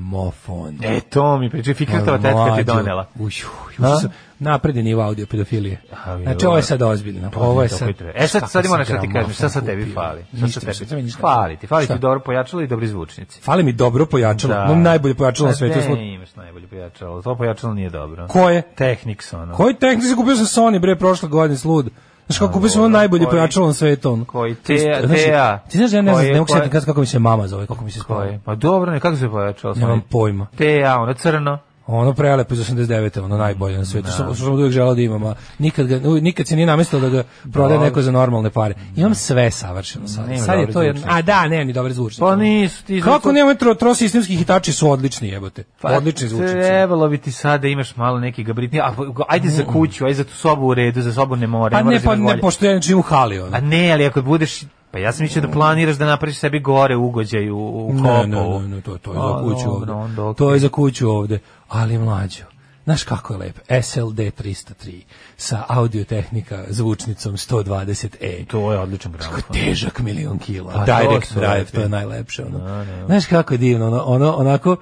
S6: gramofon.
S5: E, to mi priča, Fikretova
S6: Evo,
S5: tetka ti
S6: mlađo.
S5: donela.
S6: Uj, uj, uj,
S5: A?
S6: sam- napredni nivo audio pedofilije.
S5: A,
S6: Znači,
S5: dobro.
S6: ovo je sad ozbiljno.
S5: To
S6: Ovo je
S5: ti to
S6: sad...
S5: koji treba. E sad,
S6: kako
S5: sad ima
S6: sam
S5: nešto ti kažem, šta sad
S6: gramofon
S5: tebi
S6: kupio?
S5: fali? Šta
S6: Ništa
S5: sad
S6: mi se- sad mi
S5: tebi?
S6: ništa.
S5: Fali ti, fali
S6: Šta?
S5: ti dobro pojačalo i dobri zvučnici.
S6: Fali mi dobro pojačalo,
S5: Da.
S6: imam najbolje pojačalo na
S5: Pa
S6: svetu.
S5: ne,
S6: smo-
S5: imaš najbolje pojačalo. To pojačalo nije dobro.
S6: Ko je?
S5: Technics, ono.
S6: Pa Koji tehnici kupio sam Sony bre prošle godine slud. Znaš kako kupio sam ono
S5: dobro,
S6: najbolje
S5: koji-
S6: pojačalo na svetu. ono.
S5: koji
S6: To je-
S5: Tea-
S6: znaš,
S5: Tea.
S6: Ti znaš da ja ne znam,
S5: Koji-
S6: ne mogu
S5: koji-
S6: sjetiti kako mi se mama zove, kako mi se
S5: Ko
S6: spava.
S5: je? Pa dobro, ne, kako se pojačalo?
S6: Nemam pojma.
S5: Te ja, ono crno.
S6: Ono prelepo iz 89. ono najbolje na svetu. Što sam uvijek želao da imam, a nikad, ga, u- nikad se nije namestilo da ga prodaje neko za normalne pare. Imam sve savršeno sad.
S5: Nema
S6: sad je
S5: dobri
S6: to jedno.
S5: zvučnik.
S6: A da, nemam ni dobar zvučnik.
S5: Pa nisu ti Pa
S6: Kako nema tro, tro sistemski hitači su odlični jebote. odlični zvučnici.
S5: Trebalo bi ti sad da imaš malo neki gabritni. A, ajde za kuću, ajde za tu sobu u redu, za sobu ne mora.
S6: Mm. Pa
S5: mora
S6: ne,
S5: da
S6: pa
S5: imaš
S6: ne,
S5: bolje.
S6: pošto ja ne živim u hali. Ono.
S5: A Pa ne, ali ako budeš... Pa ja sam mislio da planiraš da napraviš sebi gore ugođaj u, u
S6: Mm. Ne,
S5: kopu.
S6: ne, ne, ne, to, to je za
S5: A,
S6: kuću
S5: dobro,
S6: ovde.
S5: onda okej.
S6: To je za kuću ovde. Ali mlađo, znaš kako je lepo? SLD 303 sa audiotehnika zvučnicom 120E.
S5: To je odličan gramofon.
S6: Kako težak milion kila.
S5: Pa to
S6: Direct
S5: su
S6: drive,
S5: lepi. Da,
S6: to je najlepše. Ono. Znaš kako je divno, ono, ono onako,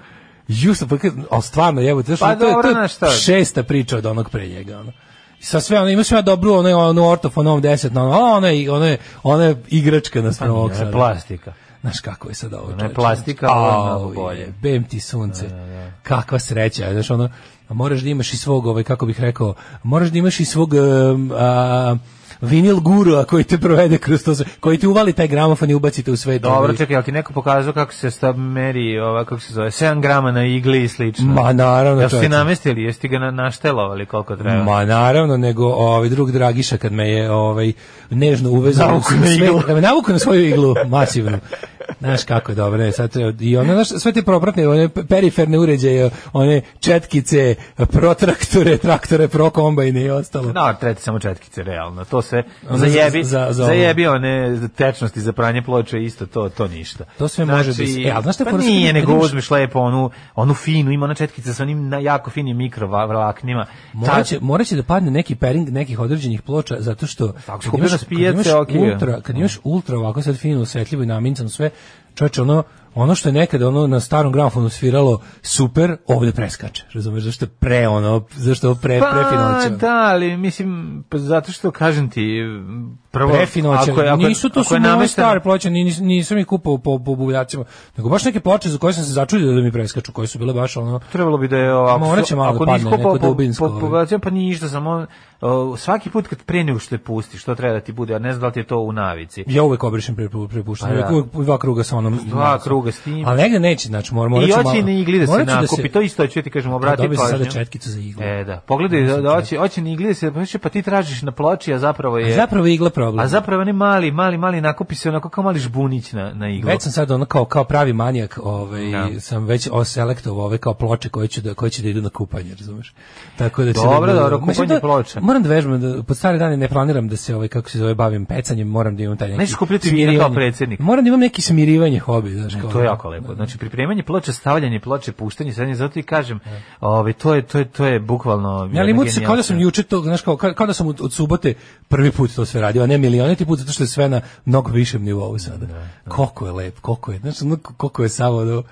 S6: Justo, pa, kad- ali stvarno, evo, znaš,
S5: Pa
S6: ono, to, je,
S5: dobro,
S6: to je
S5: znaš šta.
S6: šesta priča od onog pre njega, ono. Sa sve, ono, ima sve dobru, ono, ono, ortofonom 10, ono, ono, je- ono, je- ono, je igračka na stranu ovog
S5: Pa Ne,
S6: sada.
S5: E, plastika.
S6: Znaš kako je sad ovo
S5: je
S6: čovječe.
S5: plastika, ovo je mnogo
S6: Au,
S5: bolje. Da,
S6: Jebem ti sunce. Kakva sreća. Znaš, ono, a moraš da imaš i svog, ovaj, kako bih rekao, moraš da imaš i svog um, a, vinil gurua koji te provede kroz to sve, koji ti uvali taj gramofon i ubacite u svet.
S5: Dobro,
S6: ovaj.
S5: čekaj, jel ti neko pokazao kako se stav meri, ova, kako se zove, 7 grama na igli i slično?
S6: Ma naravno,
S5: Jel ste
S6: čovječe.
S5: namestili, jeste ti ga na, naštelovali koliko treba?
S6: Ma naravno, nego ovaj drug Dragiša kad me je ovaj nežno uvezao
S5: Navuku
S6: u
S5: na
S6: sve-
S5: iglu.
S6: da me navuku na svoju iglu masivnu. Znaš kako je dobro, ne, sad treba, i ono, znaš, sve te propratne, one pe- periferne uređaje, one četkice, protraktore, traktore, prokombajne i ostalo.
S5: No, treti Da, samo četkice, realno. To se
S6: Ono za-
S5: zajebi,
S6: za-
S5: za,
S6: za
S5: zajebi one tečnosti za pranje ploče, isto to, to ništa.
S6: To sve može da se- e, ali znaš šta je
S5: pa
S6: fora?
S5: nije,
S6: Kad
S5: nego
S6: imaš-
S5: uzmeš lepo onu, onu finu, ima ona četkica sa onim na- jako finim mikrovlaknima. Ta-
S6: Moraće, moraće da padne neki pering nekih određenih ploča zato što
S5: Tako,
S6: kad
S5: kupio
S6: imaš-
S5: na
S6: kad
S5: pijaci,
S6: imaš
S5: okej. Da.
S6: ultra, kad imaš ultra ovako sad fino osvetljivo i namincano sve, čoveče ono ono što je nekada ono na starom gramofonu sviralo super, ovde preskače. Razumeš zašto je pre ono, zašto je ovo pre
S5: Pa,
S6: prefinoće.
S5: da, ali mislim, pa zato što kažem ti, prvo,
S6: Prefinoće.
S5: ako je, ako, je-
S6: nisu to
S5: ako
S6: su
S5: je
S6: moje
S5: namešteno-
S6: stare ploče, ni- nis- nisam ih kupao po, po buvljacima, nego baš neke ploče za koje sam se začudio da mi preskaču, koje su bile baš ono
S5: Trebalo bi da je ovako.
S6: Morat će malo da
S5: ako
S6: padne
S5: nisi
S6: neko
S5: kopao po-
S6: dubinsko,
S5: po-
S6: ali.
S5: po- bacio, pa nije ništa, samo uh, svaki put kad pre nego što je pustiš, to treba da ti bude, ja ne znam da li ti je to u navici.
S6: Ja uvek obrišem pre, pre, prepuštanje.
S5: Pa da.
S6: Uvek, uvek dva kruga sa onom
S5: Dva kruga s tim.
S6: Ali negde neće, znači mora
S5: I
S6: moraće
S5: hoće i na igli da se
S6: morat ću Pa
S5: nakupi, to isto ću ti kažem, obrati
S6: Dobio
S5: pažnju.
S6: sam sada četkicu za iglu.
S5: E, da. Pogledaj, da, da hoće, hoće na igli da se nakupi, pa ti tražiš na ploči, a zapravo je...
S6: A zapravo je igla problem.
S5: A zapravo oni mali, mali, mali nakupi se onako kao mali žbunić na, na iglu.
S6: Već sam sad ono kao, kao pravi manijak, ovaj,
S5: Da.
S6: sam već oselektovao ove kao ploče koje će da, koje će da idu na kupanje, razumeš? Tako da će
S5: Dobro,
S6: da,
S5: dobro,
S6: Mislim
S5: kupanje
S6: da-
S5: ploča.
S6: Moram da vežbam, da, pod stare dane ne planiram da se, ovaj, kako se zove, bavim pecanjem, moram da imam taj neki
S5: Nećeš kupljati vina kao
S6: smirivanje.
S5: predsjednik.
S6: Moram da imam neki smirivanje hobi, znaš. Kao,
S5: To je jako lepo. Znači pripremanje ploče, stavljanje ploče, puštanje, sad zato i kažem, ovaj to je to je to je bukvalno
S6: Da. Ne, ali ima utisak kao da sam juče to, znaš, kao, kao da sam od, od subote prvi put to sve radio, a ne milioneti put, zato što je sve na mnogo višem nivou sada.
S5: Da,
S6: Koliko je lep, koliko je, znaš, ono, koliko je samo ono,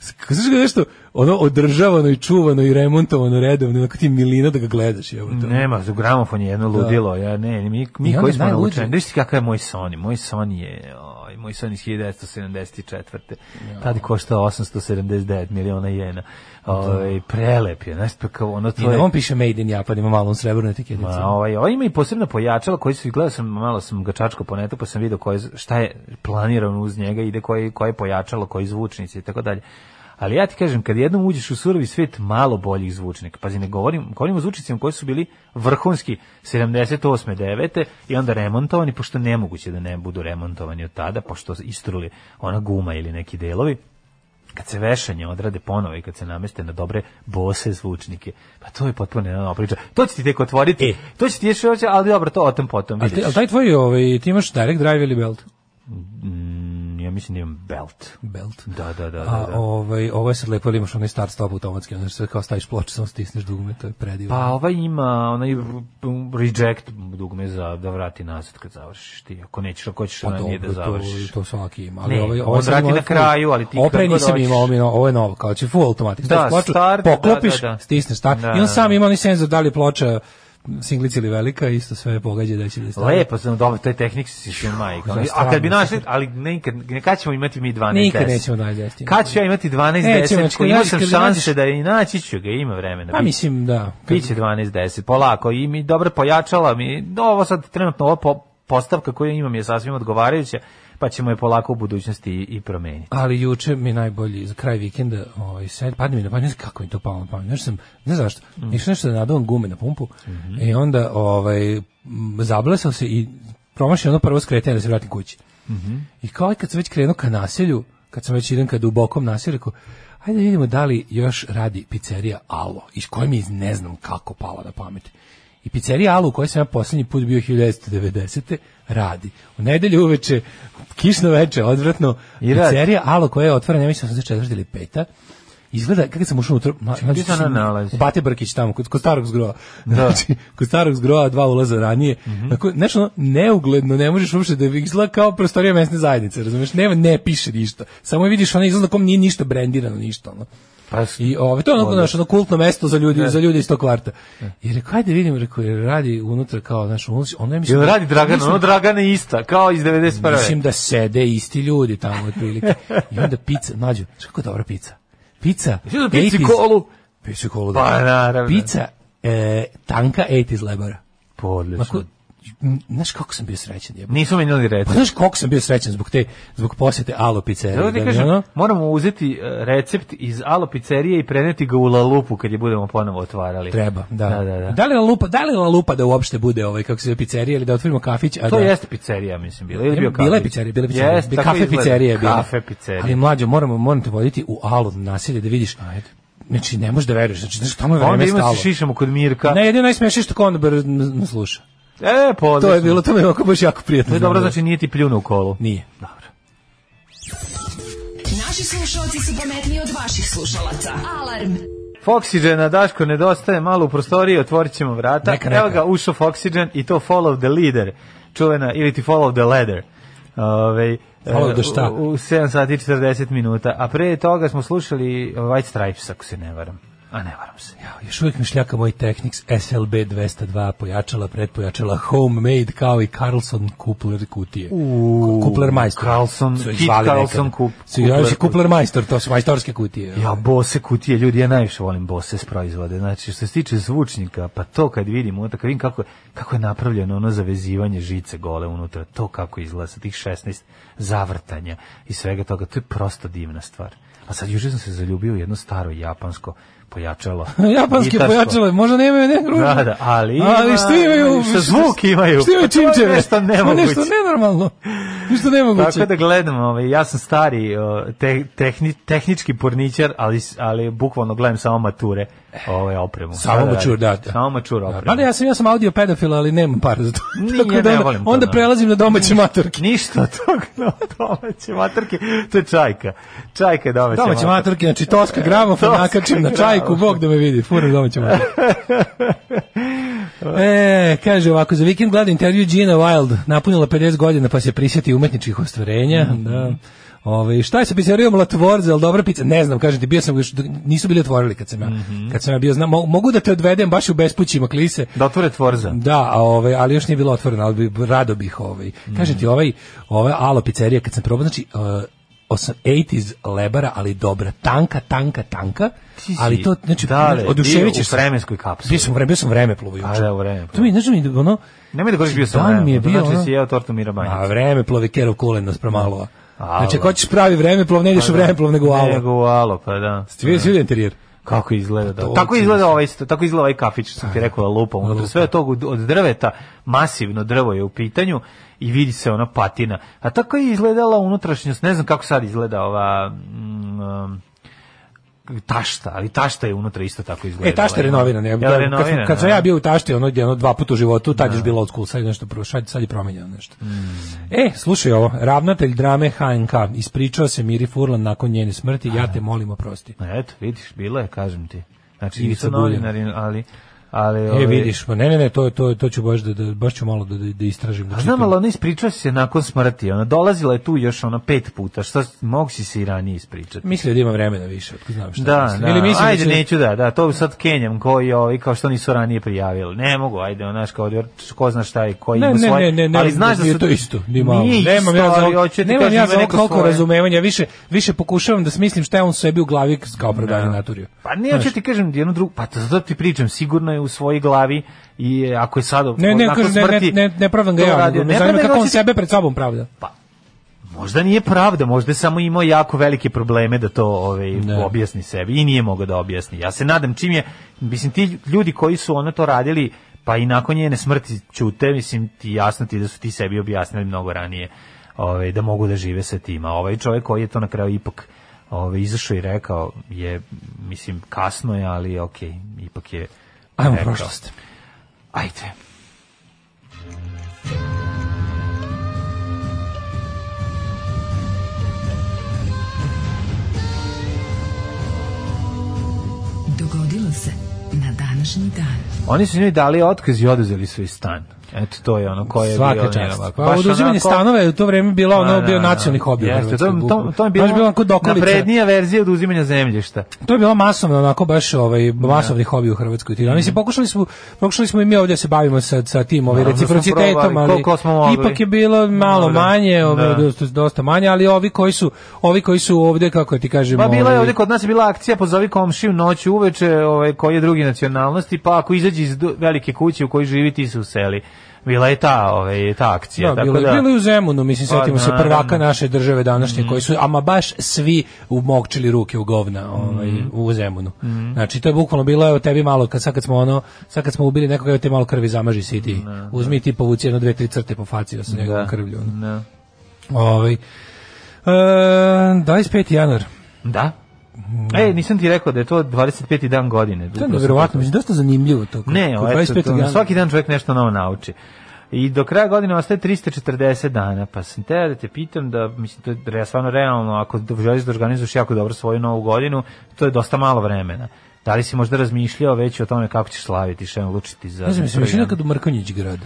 S6: sk- znaš kao nešto, ono, održavano i čuvano i remontovano redovno, onako ti milina da ga gledaš, evo to. Da.
S5: Nema, u gramofon je jedno ludilo, ja ne, mi, mi
S6: I onda
S5: koji smo
S6: najluđe-
S5: naučeni, vidiš ti kakav je moj Sony, moj Sony je, oj, moj Sony iz 1974. Tad je koštao 879 miliona jena. Ovaj prelep je, znači pa kao ono to
S6: Da. I na
S5: je.
S6: ovom piše Made in Japan, ima malo srebrnu etiketicu.
S5: Ma, ovaj, ovaj ima i posebno pojačala koji su, gledao sam, malo sam ga čačko po netu, pa sam vidio koje, šta je planirano uz njega, ide koje, koje pojačalo, koji zvučnici i tako dalje. Ali ja ti kažem, kad jednom uđeš u surovi svet malo boljih zvučnika, pazi, ne govorim, govorim o zvučnicima koji su bili vrhunski 78. 9. i onda remontovani, pošto nemoguće da ne budu remontovani od tada, pošto su istruli ona guma ili neki delovi, kad se vešanje odrade ponovo i kad se nameste na dobre bose zvučnike, pa to je potpuno jedna nova priča. To će ti tek otvoriti,
S6: E.
S5: to će ti još hoće, ali dobro, to o tom potom
S6: A, ti,
S5: vidiš.
S6: a taj tvoj, ovaj, ti imaš direct drive ili belt?
S5: Mm, ja mislim da imam belt.
S6: Belt.
S5: Da, da, da. da,
S6: A
S5: da.
S6: ovaj, ovo je sad lepo, ili imaš onaj start stop automatski, ono sve kao staviš ploče, samo stisneš dugme, to je predivno.
S5: Pa ovaj ima onaj reject dugme za da vrati nazad kad završiš ti, ako nećeš, ako ćeš
S6: Pa
S5: ranije da
S6: dobro,
S5: završiš.
S6: to, to svaki ima. Ali
S5: Ne,
S6: ovaj,
S5: ovo
S6: ovaj sad
S5: vrati
S6: ima
S5: na
S6: ovaj full.
S5: kraju, ali ti
S6: Ovo
S5: kad
S6: pre
S5: god
S6: nisam
S5: hoćeš.
S6: imao, ovo je no- ovo je novo, kao će full automatic.
S5: Da,
S6: Da, ploču,
S5: start,
S6: poklopiš,
S5: da, da, da.
S6: stisneš start
S5: Da,
S6: i
S5: da.
S6: on sam ima onaj senzor da li je ploča singlica ili velika, isto sve pogađa da će da stane.
S5: Lepo sam dobro, to je tehnik sistem majka.
S6: za
S5: A kad bi
S6: stranu.
S5: našli, ali nikad, kad ćemo imati mi 12
S6: Nikad nećemo naći destin.
S5: Kad ću ja imati 12
S6: Nećemo,
S5: 10?
S6: znači,
S5: Ko imao
S6: nađeš
S5: sam
S6: kad
S5: šanse
S6: nađeš-
S5: da i naći ću ga, ima vremena.
S6: Pa
S5: biće.
S6: mislim da. Kad-
S5: Biće 12-10, polako, i mi dobro pojačala mi, no, ovo sad trenutno ova po- postavka koju imam je sasvim odgovarajuća, pa ćemo je polako u budućnosti i, i promeniti.
S6: Ali juče mi je najbolji za kraj vikenda, ovaj sad padne mi na pamet, ne znam kako mi to palo na pamet. Znaš sam, ne znam zašto.
S5: Mm.
S6: Išao nešto da nadovam gume na pumpu
S5: Mhm.
S6: i onda ovaj m, zablesao se i promašio ono prvo skretanje da se vratim kući.
S5: Mhm.
S6: I kao aj kad sam već krenuo ka naselju, kad sam već idem ka dubokom naselju, rekao, ajde da vidimo da li još radi pizzerija Alo, iz koje mi je iz ne znam kako pala na pamet. I pizzerija Alo u kojoj sam ja posljednji put bio 1990. radi. U nedelju uveče, kišno veče, odvratno,
S5: I radi.
S6: pizzerija Alo koja je otvorena, ja mislim da sam za četvrti ili peta, izgleda, kako sam ušao unutra, ma,
S5: Gdje se ona nalazi? Da.
S6: u Bate Brkić tamo, kod, kod starog zgrova. Znači, kod starog zgrova dva ulaza ranije.
S5: Mhm.
S6: Tako, nešto ono, neugledno, ne možeš uopšte da izgleda kao prostorija mesne zajednice, razumeš? Ne, ne piše ništa. Samo je vidiš ona izgleda kom nije ništa brendirano, ništa. Ono.
S5: Pa,
S6: I ove, to je onako, znaš, ono kultno mesto za
S5: Da.
S6: ljudi, za ljudi iz tog kvarta. I rekao, ajde da vidim, rekao, jer radi unutra kao, znaš, ulaz, ono je mislim... da-
S5: Jel radi Dragan,
S6: mislim-
S5: ono Dragan je ista, kao iz 91.
S6: Mislim da sede isti ljudi tamo otprilike. I onda pizza, mlađo, znaš kako je dobra pizza? Pizza,
S5: Mislim da pici
S6: 80s.
S5: kolu.
S6: Picu kolu.
S5: Pa,
S6: da.
S5: naravno.
S6: Pizza, e, tanka 80 lebara.
S5: Pa, odlično.
S6: Mako, m, znaš kako sam bio srećan, jebote.
S5: Nisu menjali recept.
S6: Pa znaš kako sam bio srećan zbog te, zbog posjete Alo pizzerije. da
S5: Evo ti
S6: mi
S5: kažem,
S6: ono-
S5: moramo uzeti e, recept iz alo pizzerije i preneti ga u lalupu kad je budemo ponovo otvarali.
S6: Treba, da.
S5: Da, da, da.
S6: li La Lupa, da li La Lupa da uopšte bude ovaj kako se zove pizzerija ili da otvorimo kafić, a
S5: To
S6: da,
S5: jeste pizzerija, mislim, bila. Ili bio
S6: Bila je
S5: kafić?
S6: pizzerija, bila je pizzerija.
S5: Jeste, tako
S6: kafe
S5: izgleda.
S6: pizzerija je bila.
S5: Kafe pizzerija.
S6: Ali mlađo, moramo, moram te voditi u Alu naselje da vidiš. Znači, ne možeš da veruješ. Znači, znaš, tamo je
S5: Onda
S6: vreme
S5: ima
S6: stalo.
S5: se šišamo kod Mirka.
S6: Ne, jedino najsmešnije što Konobar n- n- sluša.
S5: E, pa
S6: To je
S5: odlično.
S6: bilo, to mi je ovako baš jako prijatno.
S5: To je dobro, znači nije ti pljuno u kolu.
S6: Nije.
S5: Dobro.
S4: Naši slušalci su pametniji od vaših slušalaca. Alarm.
S5: Foxygen, Daško, nedostaje malo u prostoriji, otvorit ćemo vrata.
S6: Neka, neka.
S5: Evo ga, ušao Foxygen i to follow the leader, čuvena, ili ti follow the ladder. Ove, e,
S6: Follow the šta?
S5: U, u 7 sati i 40 minuta. A pre toga smo slušali White Stripes, ako se ne varam. A ne varam se.
S6: Ja, još uvijek mi šljaka moj Technics SLB 202 pojačala, predpojačala, homemade kao i Carlson kupler kutije.
S5: Uuu,
S6: kupler majstor.
S5: Carlson,
S6: Su ih
S5: Kit
S6: zvali
S5: Carlson
S6: nekada.
S5: kup-
S6: Su ih zvali
S5: kupler-
S6: kupler majstor, to su majstorske kutije.
S5: Ja, Bose kutije, ljudi, ja najviše volim Bose s proizvode. Znači, što se tiče zvučnika, pa to kad vidim, ono, kad vidim kako, kako je napravljeno ono zavezivanje žice gole unutra, to kako izgleda sa tih 16 zavrtanja i svega toga, to je prosto divna stvar. A sad, juče sam se zaljubio u jedno staro japansko pojačalo.
S6: Japanski
S5: Gitarsko.
S6: pojačale, možda nemaju ne ružno.
S5: Da, da, ali ima-
S6: ali što imaju,
S5: šta zvuk imaju.
S6: Što
S5: Pa
S6: imaju
S5: to je
S6: čimčeve.
S5: nešto
S6: Ma
S5: nemoguće.
S6: Nešto nenormalno. Nešto nemoguće.
S5: Tako da gledam, ovaj, ja sam stari o, te, tehni, tehnički porničar, ali, s- ali bukvalno gledam samo mature ovaj, opremu.
S6: Samo
S5: Šta da
S6: mature,
S5: radim?
S6: da, da.
S5: Samo mature opremu.
S6: Mada ja sam ja sam audio pedofil, ali nemam para za to.
S5: Ni,
S6: Tako
S5: ja
S6: da
S5: ne
S6: onda,
S5: volim to,
S6: onda
S5: da.
S6: prelazim na domaće matorke.
S5: Ništa od toga na domaće matorke, to je čajka. Čajka je domaća, matorka.
S6: Domaće matorke, znači Toska Gramof,
S5: Toska
S6: nakačim na
S5: Gramof.
S6: čajku, Bog da me vidi, furam domaće matorke. e, kaže ovako, za vikend gledam intervju Gina Wild, napunila 50 godina pa se prisjeti umetničkih ostvarenja, da. Ove, šta je sa pizzerijom La Tvorza, jel dobra pizza? Ne znam, kažete, bio sam, još- nisu bili otvorili kad sam ja, kad sam ja bio, znam, mo- mogu da te odvedem baš u bespućima klise,
S5: Da otvore tvorza.
S6: Da, a ovaj, ali još nije bilo otvoreno, ali bi, rado bih ovaj. Kažem ti, ovaj, ova alo pizzerija, kad sam probao, znači, uh, osam- 80s lebara, ali dobra, tanka, tanka, tanka,
S5: Ti si,
S6: ali to, znači,
S5: dale,
S6: oduševit
S5: bio
S6: ćeš
S5: u
S6: se.
S5: vremenskoj kapsuli.
S6: Bio sam u vreme, bio sam u vremeplovu juče.
S5: A, da, u vremeplovu.
S6: To mi, znači, mi, ono,
S5: Nemoj da govoriš bio sam
S6: dan
S5: vremena.
S6: mi je bio,
S5: znači da
S6: ono-
S5: si jeo tortu Mirabanjica.
S6: a vremeplov je kerov kulen nas promalova.
S5: Alo.
S6: Znači, ako hoćeš pravi vremeplov, ne ideš u vremeplov, nego u
S5: Pa da. Nego
S6: alo.
S5: u alo, pa da.
S6: Ti vidio si vidio interijer?
S5: Kako izgleda,
S6: Pa
S5: da.
S6: to
S5: Tako
S6: hoću
S5: izgleda ovaj, sto- tako izgleda ovaj kafić, što sam ti rekao, lupa unutra.
S6: Da. Lupa.
S5: Sve je to od od drveta, masivno drvo je u pitanju i vidi se ona patina. A tako je izgledala unutrašnjost, ne znam kako sad izgleda ova... mm, um, tašta, ali tašta je unutra isto tako
S6: E,
S5: izgledala.
S6: tašta je renovirana. Ja,
S5: Jel
S6: kad,
S5: renovirana,
S6: kad, kad sam
S5: da?
S6: ja bio u tašti, ono, jedno, dva puta u životu, tad još bilo old school, sad je nešto prvo, sad, sad je promenjeno nešto.
S5: Mm.
S6: E, slušaj ovo, ravnatelj drame HNK, ispričao se Miri Furlan nakon njene smrti, ja te molim oprosti.
S5: Eto, vidiš, bilo je, kažem ti. Znači,
S6: Ivica
S5: nisu
S6: Buljan.
S5: novinari, ali... ali
S6: E,
S5: ovaj,
S6: vidiš, pa ne, ne, ne, to, to, to ću baš da, da, baš ću malo da, da, da istražim. Da
S5: A znam,
S6: čitam.
S5: ali ona ispričala se nakon smrti. Ona dolazila je tu još ona pet puta. Šta, mog si se i ranije ispričati.
S6: Mislio da ima vremena više, otko znam šta.
S5: Da,
S6: mislim.
S5: da.
S6: Ili mislim
S5: ajde,
S6: da će-
S5: neću da, da, to sad Kenjam koji ovi kao što nisu ranije prijavili. Ne mogu, ajde, onaš kao jer ko zna šta je, ko
S6: Ne,
S5: ima
S6: ne,
S5: svoje.
S6: ne, ne, ne,
S5: ali znaš da
S6: nije
S5: su
S6: to isto, ni malo.
S5: Nije isto,
S6: nemam ja za
S5: ali
S6: ovo-
S5: hoću ti
S6: nemam
S5: kažem,
S6: ja
S5: ima
S6: za ovo
S5: neko
S6: toliko
S5: svoje.
S6: razumevanja, više, više pokušavam da smislim šta je on sebi u glavi kao prodavni naturio.
S5: Pa ne, hoću
S6: Znaš.
S5: ti kažem jednu drugu, pa zato ti pričam, sigurno je u svojoj glavi i e, ako je sad
S6: Ne, ne,
S5: nakon
S6: kažem, ne,
S5: smrti
S6: ne, ne, ne pravdam ga
S5: to
S6: ja,
S5: radio.
S6: nego me
S5: Ne
S6: zanima
S5: pravdam,
S6: kako on
S5: hoću ti-
S6: sebe pred sobom pravda.
S5: Možda nije pravda, možda je samo imao jako velike probleme da to ovaj,
S6: Da.
S5: objasni sebi i nije mogao da objasni. Ja se nadam čim je, mislim ti ljudi koji su ono to radili, pa i nakon njene smrti ćute, mislim ti jasno ti je da su ti sebi objasnili mnogo ranije ovaj, da mogu da žive sa tima. Ovaj čovjek koji je to na kraju ipak ovaj, izašao i rekao je, mislim, kasno je, ali ok, ipak je
S6: Ajmo
S5: rekao.
S6: prošlost.
S5: Ajde.
S4: Dogodilo se na današnji dan.
S5: Oni su njoj dali otkaz i oduzeli su i stan. Eto, to je ono koje je
S6: Svaka
S5: bio...
S6: čast.
S5: njeno, ovako,
S6: Pa
S5: baš
S6: oduzimanje
S5: onako-
S6: stanova je u to vreme bilo ono
S5: Da, da,
S6: bio
S5: da.
S6: nacionalni hobi. u
S5: Jeste, to,
S6: Hrvatskoj,
S5: to,
S6: bukvalno.
S5: to je bilo,
S6: baš bilo onako dokolica.
S5: naprednija verzija oduzimanja zemljišta.
S6: To je bilo masovno onako baš ovaj
S5: Da.
S6: masovni hobi u Hrvatskoj. Ti mislim pokušali smo pokušali smo i mi ovdje da se bavimo sa sa tim ovaj
S5: Da, da smo
S6: reciprocitetom,
S5: probali,
S6: ali
S5: koliko smo mogli.
S6: ipak je bilo malo
S5: Dobro.
S6: manje, ovaj
S5: Da.
S6: dosta, dosta manje, ali ovi koji su ovi koji su ovdje kako ti kažem,
S5: Pa bila je
S6: ovaj,
S5: ovdje kod nas je bila akcija pozovi komšiju noću uveče, ovaj koji je drugi nacionalnosti, pa ako izađe iz du- velike kuće u kojoj živi ti se useli. Bila je ta, ovaj ta akcija,
S6: Da,
S5: tako
S6: bilo,
S5: da.
S6: bilo je u Zemunu, mislim,
S5: Pa,
S6: setimo se
S5: naravno.
S6: prvaka naše države današnje, koji su, ama baš svi umokčili ruke u
S5: Mm.
S6: govna ovaj, u Zemunu. Znači, to je bukvalno bilo, evo tebi malo, kad, sad kad smo ono, sad kad smo ubili nekoga, evo te malo krvi zamaži si i ti. Uzmi ti povuci jedno, dve, tri crte po faci sa njegovom
S5: Da.
S6: krvlju. ono.
S5: Da.
S6: Ovaj. E, 25. januar.
S5: Da? E, nisam ti rekao da je to 25. dan godine. da
S6: To je nevjerovatno, mislim, dosta zanimljivo to. kod-
S5: Ne,
S6: kod
S5: eto,
S6: 25.
S5: to,
S6: januara.
S5: svaki dan čovjek nešto novo nauči. I do kraja godine ostaje 340 dana, pa sam te da te pitam da, mislim, to je re- stvarno realno, ako do- želiš da organizuješ jako dobro svoju novu godinu, to je dosta malo vremena. Da li si možda razmišljao već o tome kako ćeš slaviti, šta odlučiti za...
S6: Ne znam, mislim, da
S5: prvi
S6: još
S5: dan?
S6: nekad u Mrkonjić grad.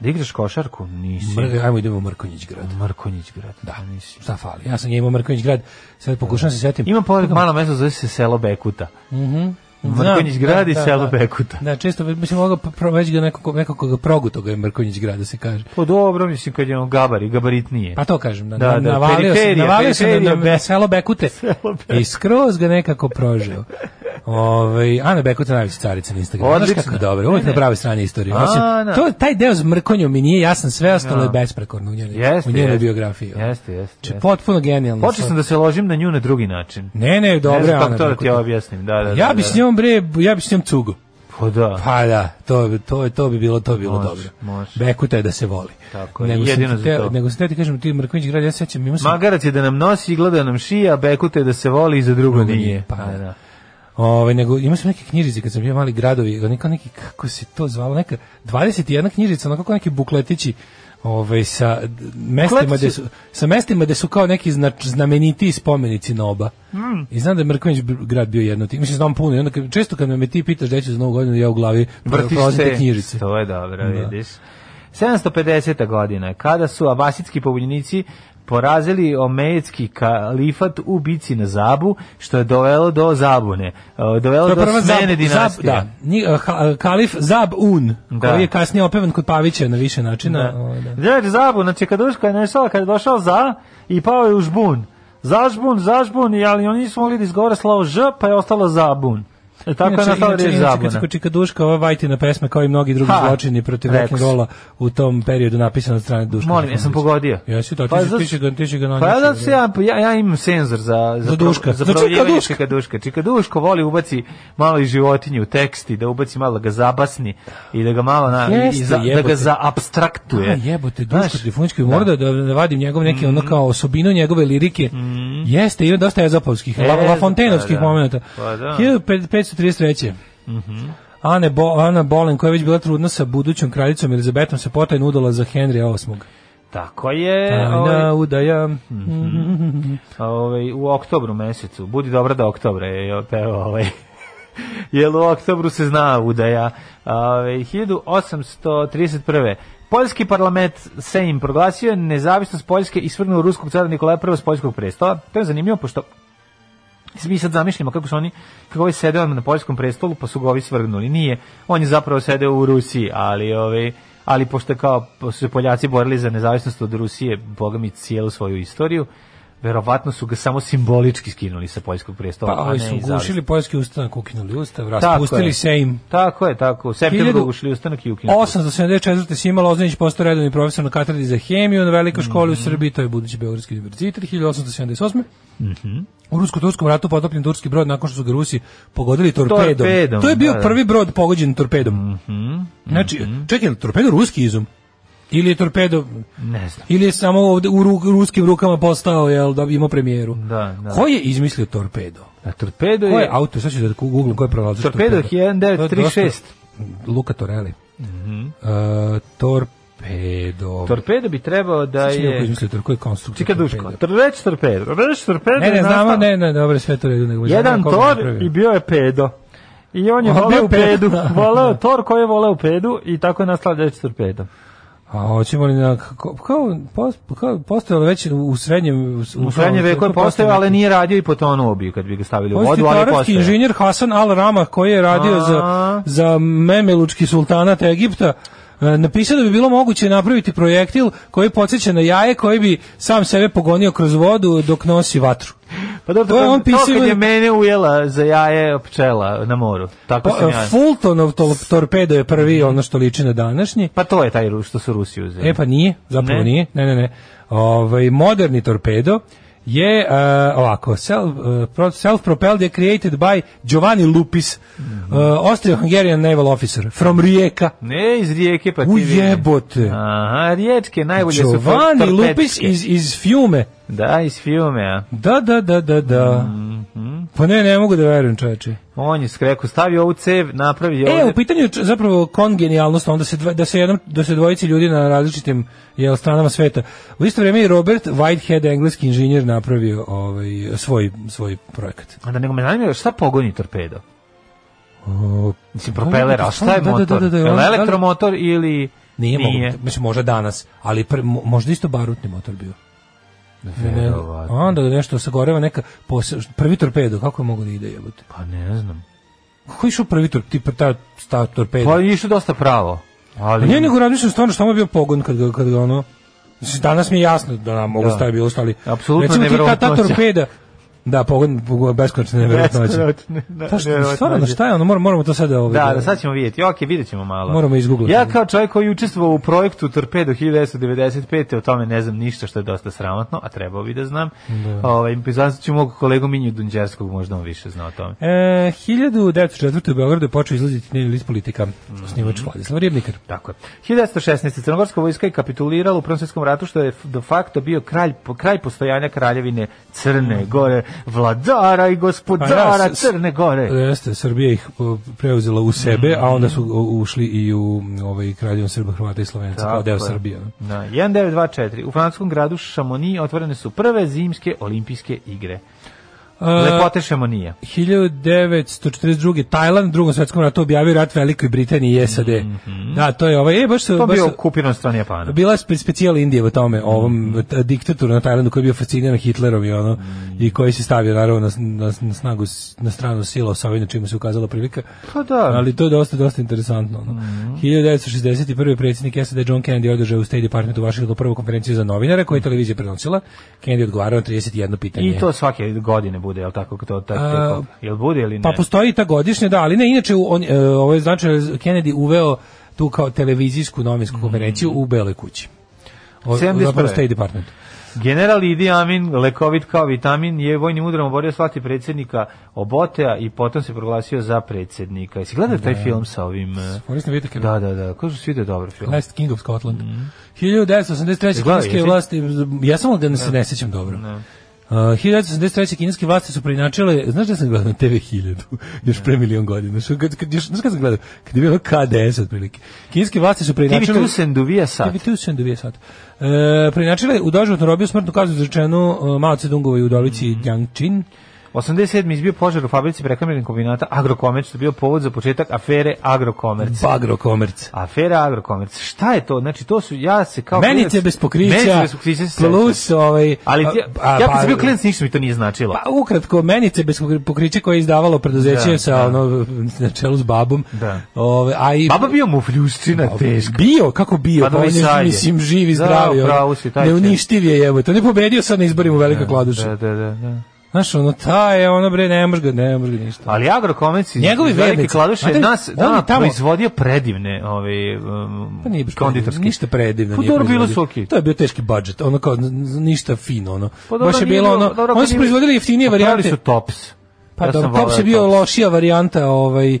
S5: Da igraš košarku? Nisi.
S6: Mr- Ajmo idemo u Mrkonjić grad.
S5: Mrkonjić grad. Da. Nisi.
S6: Šta fali? Ja sam ga imao Mrkonjić grad, sad pokušam se setim.
S5: Ima pored malo mesto, zove se selo Bekuta. Mrkonjić grad i selo Bekuta.
S6: Da, često, mislim, mogu već ga nekako, nekako ga proguto ga je Mrkonjić grad, da se kaže.
S5: Pa dobro, mislim, kad je on gabari, gabaritnije.
S6: Pa to kažem, da,
S5: Da,
S6: da,
S5: da,
S6: navalio se,
S5: periferija,
S6: navalio se na,
S5: periferija,
S6: na
S5: be-
S6: selo Bekute i skroz ga nekako prožeo. Ove, Ana Bekuta najveća carica na Instagramu. Znaš
S5: Odlično.
S6: kako je dobro, uvijek na pravoj strani istorije. Osim,
S5: Ana.
S6: to, taj deo s Mrkonjom mi nije jasan, sve ostalo je besprekorno u njenoj,
S5: Da. Jeste,
S6: u njenoj
S5: jeste.
S6: biografiji.
S5: Jeste, jeste,
S6: Znači,
S5: jeste.
S6: potpuno genijalno.
S5: Počeo sam da se ložim na nju na drugi način.
S6: Ne, ne,
S5: ne
S6: dobro,
S5: znam
S6: Ana
S5: kako to da ti
S6: Bekuta.
S5: ja objasnim. Da, da,
S6: Ja
S5: da,
S6: bi
S5: da.
S6: s njom bre, ja bi s njom cugo.
S5: Pa da.
S6: Pa da, to, bi- to, je- to bi bilo, to bi bilo
S5: Može,
S6: dobro.
S5: može.
S6: Bekuta je da se voli.
S5: Tako je,
S6: Nego sam
S5: jedino
S6: ti
S5: za
S6: teo-
S5: to.
S6: Nego sam teo ti kažem, ti Mrkonjić grad, ja se sećam, imao sam
S5: Magarac je da nam nosi, gleda da nam šija, bekute da se voli i za drugo,
S6: Drugo
S5: nije.
S6: nije, pa
S5: Pa,
S6: da.
S5: da.
S6: Ovaj nego imao sam neke knjižice kad sam bio mali gradovi, neka neki kako se to zvalo, neka 21 knjižica, onako kako neki bukletići ovaj sa d- mestima
S5: Bukletići?
S6: gde su sa mestima gde su kao neki znač, znameniti spomenici noba.
S5: Mm.
S6: I znam da je Mrkonjić b- grad bio jedno od tih. Mislim znam puno i onda kad, često kad me ti pitaš gde ću za novu godinu ja u glavi
S5: Vrtiš
S6: prolazim te
S5: se.
S6: knjižice. Da.
S5: To je dobro, vidiš. 750. godina, kada su abasitski pobunjenici porazili omejetski kalifat u bici na Zabu, što je dovelo do zabune. e, Dovelo
S6: To je
S5: do
S6: prva Zab-
S5: smene
S6: Zab-
S5: dinastije.
S6: da, Ni- a, ha- Kalif Zab Un,
S5: Da.
S6: koji je kasnije opevan kod Pavića na više načina. Ovaj, da.
S5: Đorđe Zabun, znači kad Duško je nešao, kad je došao za i pao je u žbun. Zažbun, zažbun, i- ali oni nisu mogli da izgovore slovo ž, pa je ostalo zabun. E, tako je nastala reč
S6: Kad se
S5: zabuna.
S6: kod Čika Duška, ova Vajtina pesma kao i mnogi drugi
S5: Ha,
S6: zločini protiv
S5: reks.
S6: rock'n'rolla u tom periodu napisana od strane Duška.
S5: Molim, jesam
S6: Mitrovića.
S5: pogodio.
S6: znači. Jesi, to ti
S5: Pa
S6: ćeš-
S5: zato-
S6: ti ćeš ga- ti ćeš ga
S5: Pa ja,
S6: nanijeti.
S5: zato što ja, ja, ja imam senzor za,
S6: Za
S5: pro-
S6: Duška.
S5: Za
S6: Za Čika
S5: provjerivanje
S6: Duška.
S5: Čika Duška. Čika Duško voli ubaci malo i životinju u tekst i da ubaci malo da ga zabasni i da ga malo na,
S6: Jeste,
S5: i za, da
S6: jebote.
S5: ga zaabstraktuje.
S6: A, jebote, Duško
S5: Znaš, Mm.
S6: Trifunički, mora da, da, da vadim njegov neki ono kao osobinu njegove lirike. Jeste, ima dosta ezopovskih, La,
S5: E,
S6: Lafontainovskih
S5: pa Mm. da.
S6: momenta.
S5: Pa da. Mhm.
S6: 1533. Ana, Bo, Ana Bolen, koja je već bila trudna sa budućom kraljicom Elizabetom, se potajno udala za Henrija VIII.
S5: Tako je. ovaj,
S6: Tajna udaja.
S5: ovaj, u oktobru mesecu. Budi dobra da oktobra je pevao ovaj. Jel u oktobru se zna udaja. Ovaj, 1831. Poljski parlament se im proglasio nezavisnost Poljske i svrnuo ruskog cara Nikolaja I s poljskog prestola. To je zanimljivo, pošto mi sad zamišljamo kako su oni, kako ovaj sede odmah na poljskom prestolu, pa su ga ovi svrgnuli. Nije, on je zapravo sedeo u Rusiji, ali ovaj, ali pošto kao su se Poljaci borili za nezavisnost od Rusije, boga mi cijelu svoju istoriju, verovatno su ga samo simbolički skinuli sa poljskog prestola,
S6: Pa
S5: a ne
S6: ovi su
S5: i
S6: gušili
S5: zavisno.
S6: poljski ustanak, ukinuli ustav,
S5: Tako
S6: raspustili
S5: je.
S6: se im.
S5: Tako je, tako. U septembru
S6: Hiljadu-
S5: ušli ustanak i ukinuli.
S6: 874. Sima Lozanić postao redovni profesor na katedri za hemiju na velikoj školi
S5: Mhm.
S6: u Srbiji, to je budući Beogradski univerzitet, 1878.
S5: Mhm.
S6: U Rusko-Turskom ratu potopljen turski brod nakon što su ga Rusi pogodili torpedom.
S5: Torpedom,
S6: to je bio
S5: da, Mhm, da.
S6: prvi brod pogođen torpedom. Znači, čekaj, je li torpedo ruski izum? Ili je torpedo...
S5: Ne znam.
S6: Ili je samo ovde u ru- ruskim rukama postao, jel, da imao premijeru.
S5: Da, da.
S6: Ko je izmislio torpedo?
S5: A torpedo
S6: Ko je
S5: je...
S6: auto, sad ću da googlim ko je pronalazač
S5: Torpedo je 1936.
S6: Luka Torelli. Uh, torpedo.
S5: Torpedo bi trebao da
S6: Čini mi se ko je
S5: je...
S6: izmislio tor- ko je konstruktor
S5: Čika Duško,
S6: torpeda?
S5: tor- reč torpedo. Reč torpedo
S6: Ne, ne,
S5: je
S6: znamo,
S5: nastao-
S6: ne, ne, dobro, sve to u redu. Nego
S5: Jedan
S6: znamo ko ga
S5: tor
S6: da napravio.
S5: i bio je pedo. I on je
S6: A, bio
S5: voleo
S6: je pedo.
S5: pedu.
S6: Da.
S5: Voleo tor koji je voleo pedu i tako je nastala reč torpedo.
S6: A hoćemo li na... Kao, kao, pos- kao postojalo već u srednjem... U,
S5: U srednje veku je postojao, ali nije radio i potonuo bi kad bi ga stavili u vodu, ali je
S6: Konstitutorski
S5: postojao.
S6: inženjer Hasan Al Ramah koji je radio za,
S5: A.
S6: za Memelučki sultanat Egipta e, napisao da bi bilo moguće napraviti projektil koji podsjeća na jaje koji bi sam sebe pogonio kroz vodu dok nosi vatru.
S5: Pa dobro,
S6: To je
S5: to,
S6: on
S5: to
S6: pisao-
S5: kad je mene ujela za jaje pčela na moru. Tako
S6: Pa,
S5: sam ja. Mhm.
S6: e, Fultonov to- torpedo je prvi ono što liči na današnji.
S5: Pa to je taj Ru- što su Rusi uzeli.
S6: E pa nije, zapravo
S5: Ne.
S6: nije. Ne, ne, ne. Ovaj moderni torpedo je e, ovako self self propelled je created by Giovanni Lupis, mm
S5: Mhm.
S6: Austro-Hungarian naval officer from Rijeka.
S5: Ne iz rijeke, pa ti
S6: U
S5: vidi.
S6: jebote.
S5: Aha, riječke najbolje su
S6: Giovanni
S5: tor-
S6: Lupis
S5: torpedičke.
S6: iz, iz Fiume.
S5: Da, iz fiume, a.
S6: Da, da, da, da, da. Pa ne, ne mogu da verujem, čoveče.
S5: On je skreku stavio ovu cev, napravio
S6: E, u
S5: ovde-
S6: pitanju je č- zapravo kongenijalnost, onda se dva- da se jednom da se dvojici ljudi na različitim jel stranama sveta. U isto vrijeme i Robert Whitehead, engleski inženjer, napravio ovaj svoj svoj projekat.
S5: A da nego me zanima šta pogoni torpedo?
S6: O,
S5: Mislim, propeler, a šta je
S6: Da, da, da,
S5: motor?
S6: da, da, da,
S5: Je li
S6: da, da.
S5: elektromotor ili...
S6: Nije, mogu, mislim možda danas, ali pre- mo- možda isto barutni motor bio. Ne, ne,
S5: Verovatno.
S6: onda nešto sagoreva neka pose- prvi torpedo, kako je mogu da ide jebote?
S5: Pa ne znam.
S6: Kako je išao prvi tur, ti ta, ta torpeda?
S5: Pa je išao dosta pravo. Ali...
S6: Ne, nego razmišljam stvarno što mu je bio pogon kad ga, kad ga ono... Mislim, danas mi je jasno da nam mogu
S5: Da.
S6: staviti bilo stali.
S5: Apsolutno
S6: Recimo ti ta, ta
S5: nevjerovatnoća.
S6: torpeda, Da, pogon, pogon beskonačne nevjerojatnoće. Pa što, stvarno, šta je ono, moramo, moramo to sada... Ovaj,
S5: Da, da, sad ćemo vidjeti. Ok, vidjet ćemo malo.
S6: Moramo izgooglati.
S5: Ja kao čovjek koji je učestvovao u projektu Torpedo 1995. O tome ne znam ništa što je dosta sramotno, a trebao bi da znam. Ovaj, Zazvat ću mog kolegu Minju Dunđerskog, možda on više zna o tome.
S6: E, 1904. u Beogradu je počeo izlaziti dnevni list politika, osnivač Vladislav Ribnikar.
S5: Tako je. 1916. Crnogorska vojska je kapitulirala u Prvom svjetskom ratu, što je de facto bio kralj, po- kraj postojanja kraljevine Crne Gore, vladara i gospodara
S6: Mhm. Pa ja, s- s-
S5: Crne Gore.
S6: Jeste, Srbija ih o, preuzela u sebe,
S5: Mm.
S6: a onda su o, ušli i u ovaj kraljevom Srba, Hrvata i Slovenaca kao
S5: Tako
S6: deo
S5: je.
S6: Srbije. no.
S5: Da, 1924. U francuskom gradu Chamonix otvorene su prve zimske olimpijske igre.
S6: E,
S5: Lepote Chamonix.
S6: 1942. Tajland u drugom svetskom ratu objavio rat Velikoj Britaniji i SAD. Da, to je ovaj, e, baš se...
S5: Mhm. To je
S6: baš
S5: bio
S6: se-
S5: okupiran od strane Japana.
S6: Bila je spe- specijal Indije u tome,
S5: Mm.
S6: ovom t- diktatoru na Tajlandu koji je bio fasciniran Hitlerom i ono i koji se stavio naravno na, s- na, s- na snagu s- na stranu sila sa ovim čime se ukazala prilika.
S5: Pa da. Mm.
S6: Ali to je dosta dosta interesantno. ono. 1961. predsjednik SAD John Kennedy održao u State Departmentu u Washingtonu prvu konferenciju za novinare koju je televizija prenosila. Kennedy odgovarao na 31
S5: Mm.
S6: pitanje.
S5: I to svake godine bude, jel tako? To, ta,
S6: A,
S5: ta, jel bude ili ne?
S6: E, Pa postoji i ta godišnja, da, ali ne, inače u- on, e, ovo je znači Kennedy uveo tu kao televizijsku novinsku
S5: Mm.
S6: konferenciju u Beloj kući. O,
S5: 71..
S6: zapravo State Department.
S5: General Idi Amin, lekovit kao vitamin, je vojnim udarom oborio slati predsjednika Obotea i potom se proglasio za predsjednika. Jesi gledali taj
S6: Da.
S5: film sa ovim... eh,
S6: Korisno vidite
S5: Da, da, da. Kažu svi da je dobar film.
S6: Last King of Scotland. 1983.
S5: Gledaj,
S6: kineske
S5: jesi?
S6: vlasti, ja samo da ne se ne sećam dobro. Uh, 1983. kineske vlasti su preinačile, znaš da sam gledao na TV 1000,
S5: Da.
S6: još pre milion godina, što kad, kad, još, znaš kad sam gledao, kad je bilo KDS otprilike. Kineske vlasti su preinačile...
S5: TV2 Senduvija sad.
S6: TV2 se dovije sad. E, preinačile u doživotnu robiju smrtnu kaznu izrečenu uh, Mao Cedungovoj u Dolici
S5: Mhm.
S6: mm Jiangqin.
S5: 87. izbio požar u fabrici prehrambenih kombinata Agrokomerc, što je bio povod za početak afere Agrokomerc.
S6: Bagro komerc.
S5: Afera Agrokomerc. Šta je to? Znači, to su, ja se kao...
S6: Menice bez pokrića,
S5: Menice bez pokrića se sećam.
S6: plus ovaj...
S5: Ali ti,
S6: a- a-
S5: ja kad sam
S6: pa-
S5: bio klinac ništa mi to nije značilo.
S6: Pa ukratko, menice bez pokrića koje je izdavalo preduzeće
S5: Da,
S6: sa
S5: da.
S6: ono, na čelu s babom.
S5: Da.
S6: Ove, a i,
S5: Baba bio mu fljuščina teška.
S6: Bio, kako bio,
S5: Pa
S6: pa,
S5: da
S6: on je,
S5: sad je.
S6: mislim, živ i
S5: Da,
S6: zdrav. je, ono.
S5: pravo si, taj će.
S6: Neuništiv je, jebote. On je pobedio sad na izborima u Velikoj Kladuši.
S5: Da, da, da, da.
S6: Znaš, ono, taj je, ono, bre, ne može ga, ne može ga ništa.
S5: Pa, Ali Agrokomec iz
S6: Njegovi
S5: iz Velike
S6: vernici.
S5: Kladuše
S6: Znate,
S5: nas
S6: on
S5: da,
S6: je tamo-
S5: proizvodio predivne ove um,
S6: Pa nije baš
S5: konditorske.
S6: predivno, ništa predivno.
S5: Pa
S6: nije
S5: dobro, bilo su
S6: proizvodio.
S5: okej.
S6: To je bio teški budžet, ono kao n- n- ništa fino, ono.
S5: Pa dobro,
S6: Baš je
S5: nije
S6: bilo ono,
S5: dobro,
S6: oni
S5: kad
S6: su
S5: nije-
S6: proizvodili
S5: Pa
S6: jeftinije
S5: pravili
S6: varijante.
S5: su tops.
S6: Pa
S5: ja
S6: dobro,
S5: sam
S6: Tops
S5: voleo
S6: je bio
S5: Tops.
S6: lošija varijanta ovaj, uh,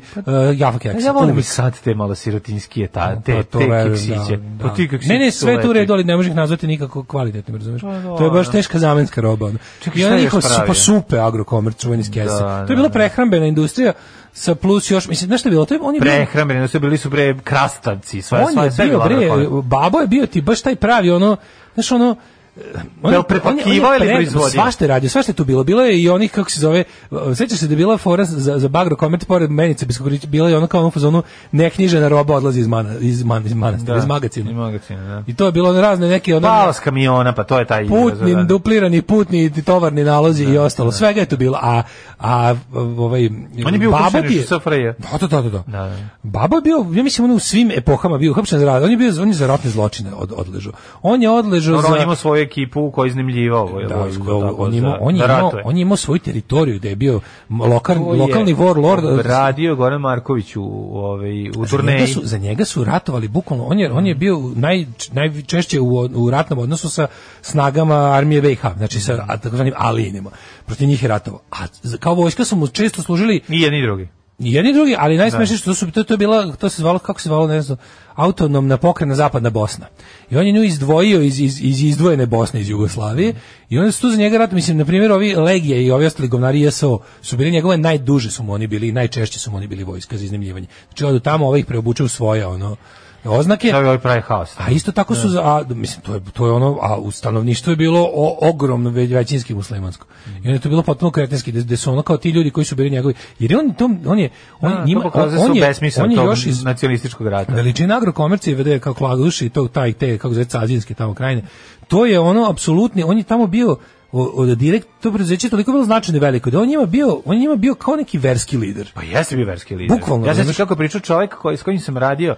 S6: Jaffa Keksa.
S5: Ja volim i
S6: uvek.
S5: sad te malo sirotinskije, ta, te,
S6: Pa
S5: te
S6: verujem,
S5: keksiće.
S6: da,
S5: Pa
S6: da.
S5: ti keksići
S6: Ne, ne,
S5: su
S6: sve je tu u redu,
S5: lepi.
S6: ali ne možeš ih nazvati nikako kvalitetnim, razumeš?
S5: da,
S6: to je baš teška zamenska roba. Ono.
S5: Čekaj,
S6: I
S5: šta
S6: onda
S5: je
S6: njihov
S5: još pravio?
S6: pa supe agrokomer čuveni iz kese.
S5: Da,
S6: to je
S5: da,
S6: bila
S5: da.
S6: prehrambena industrija sa plus još, mislim, znaš šta je bilo? To je, on je bio-
S5: Prehrambeni, su bili su bre krastavci, sve
S6: on
S5: sve
S6: je
S5: sve
S6: bio, bre,
S5: Agrokomec.
S6: babo je bio ti baš taj pravi, ono, znaš, ono, eh, on,
S5: Jel prepakivao ili
S6: pre-
S5: proizvodio?
S6: Svašta je radio, svašta je tu bilo. Bilo je i onih, kako se zove, eh, sećaš se da je bila fora za, za bagro komerc pored menice, bez kukurića, bila je ono kao ono u fazonu neknjižena roba odlazi iz, mana, iz, man,
S5: Pa
S6: iz manastira, iz magacina.
S5: Da, Iz magacina, da.
S6: I to je bilo ono razne neke ono
S5: Pala s kamiona, pa to je taj
S6: putni,
S5: izraz, da.
S6: duplirani putni i tovarni nalozi i ostalo. Svega je to bilo. A, a ovaj,
S5: On je bio
S6: baba
S5: uhapšen
S6: ti
S5: još u SFRJ.
S6: Da, da, da, da, da.
S5: da.
S6: Baba je bio, ja mislim, ono u svim epohama bio uhapšen za rad. On je bio, on je za ratne zločine od, odležao. On je odležao
S5: Dobro,
S6: za...
S5: on je imao svoju ekipu koja je iznemljivao ovaj
S6: Da,
S5: vojsku.
S6: on,
S5: tako,
S6: je imao,
S5: za-
S6: on, je
S5: da
S6: imao,
S5: ratuje.
S6: on je imao svoju teritoriju gde je bio
S5: To
S6: lokalni,
S5: je
S6: lokalni warlord.
S5: Radio Goran Marković u, u, ovaj, u
S6: Za njega
S5: turneji.
S6: su, za njega su ratovali bukvalno on je on je bio naj najčešće u, u ratnom odnosu sa snagama armije BiH, znači sa a, takozvanim alijenima. Protiv njih je ratovao. A za- kao vojska su mu često služili
S5: I jedni i drugi.
S6: i jedni i drugi, ali najsmešnije što su to, to je bila to se zvalo kako se zvalo ne znam autonomna pokrajina zapadna Bosna. I on je nju izdvojio iz, iz, iz izdvojene Bosne iz Jugoslavije i onda su tu za njega rat, mislim, na primjer, ovi Legije i ovi ostali govnari JSO su bili njegove najduže su mu oni bili i najčešće su mu oni bili vojska za iznemljivanje. Znači, odu tamo, ovaj ih preobuče u svoje, ono, oznake.
S5: Da je ovaj pravi haos.
S6: A isto tako
S5: Da.
S6: su, za, a, mislim, to je, to je ono, a u stanovništvu je bilo o, ogromno ve- većinski muslimansko. I onda je to bilo potpuno kretenski, gde, gde su ono kao ti ljudi koji su bili njegovi, jer je on, tom, on je, on,
S5: A,
S6: njima,
S5: Da, to
S6: on,
S5: pokazuje
S6: on
S5: su
S6: je,
S5: besmisao
S6: on je
S5: tog
S6: još iz
S5: nacionalističkog rata.
S6: veličina agrokomercije vede kao kladuši, to, taj, te, kako zove, cazinske tamo krajine, to je ono, apsolutni, on je tamo bio, o- od direkt to preduzeće je toliko bilo značajno i veliko da on je njima bio on je njima bio kao neki verski lider.
S5: Pa jeste bio verski lider.
S6: Bukvalno,
S5: Ja
S6: razumeš?
S5: znači kako je pričao čovjek koji, s kojim sam radio,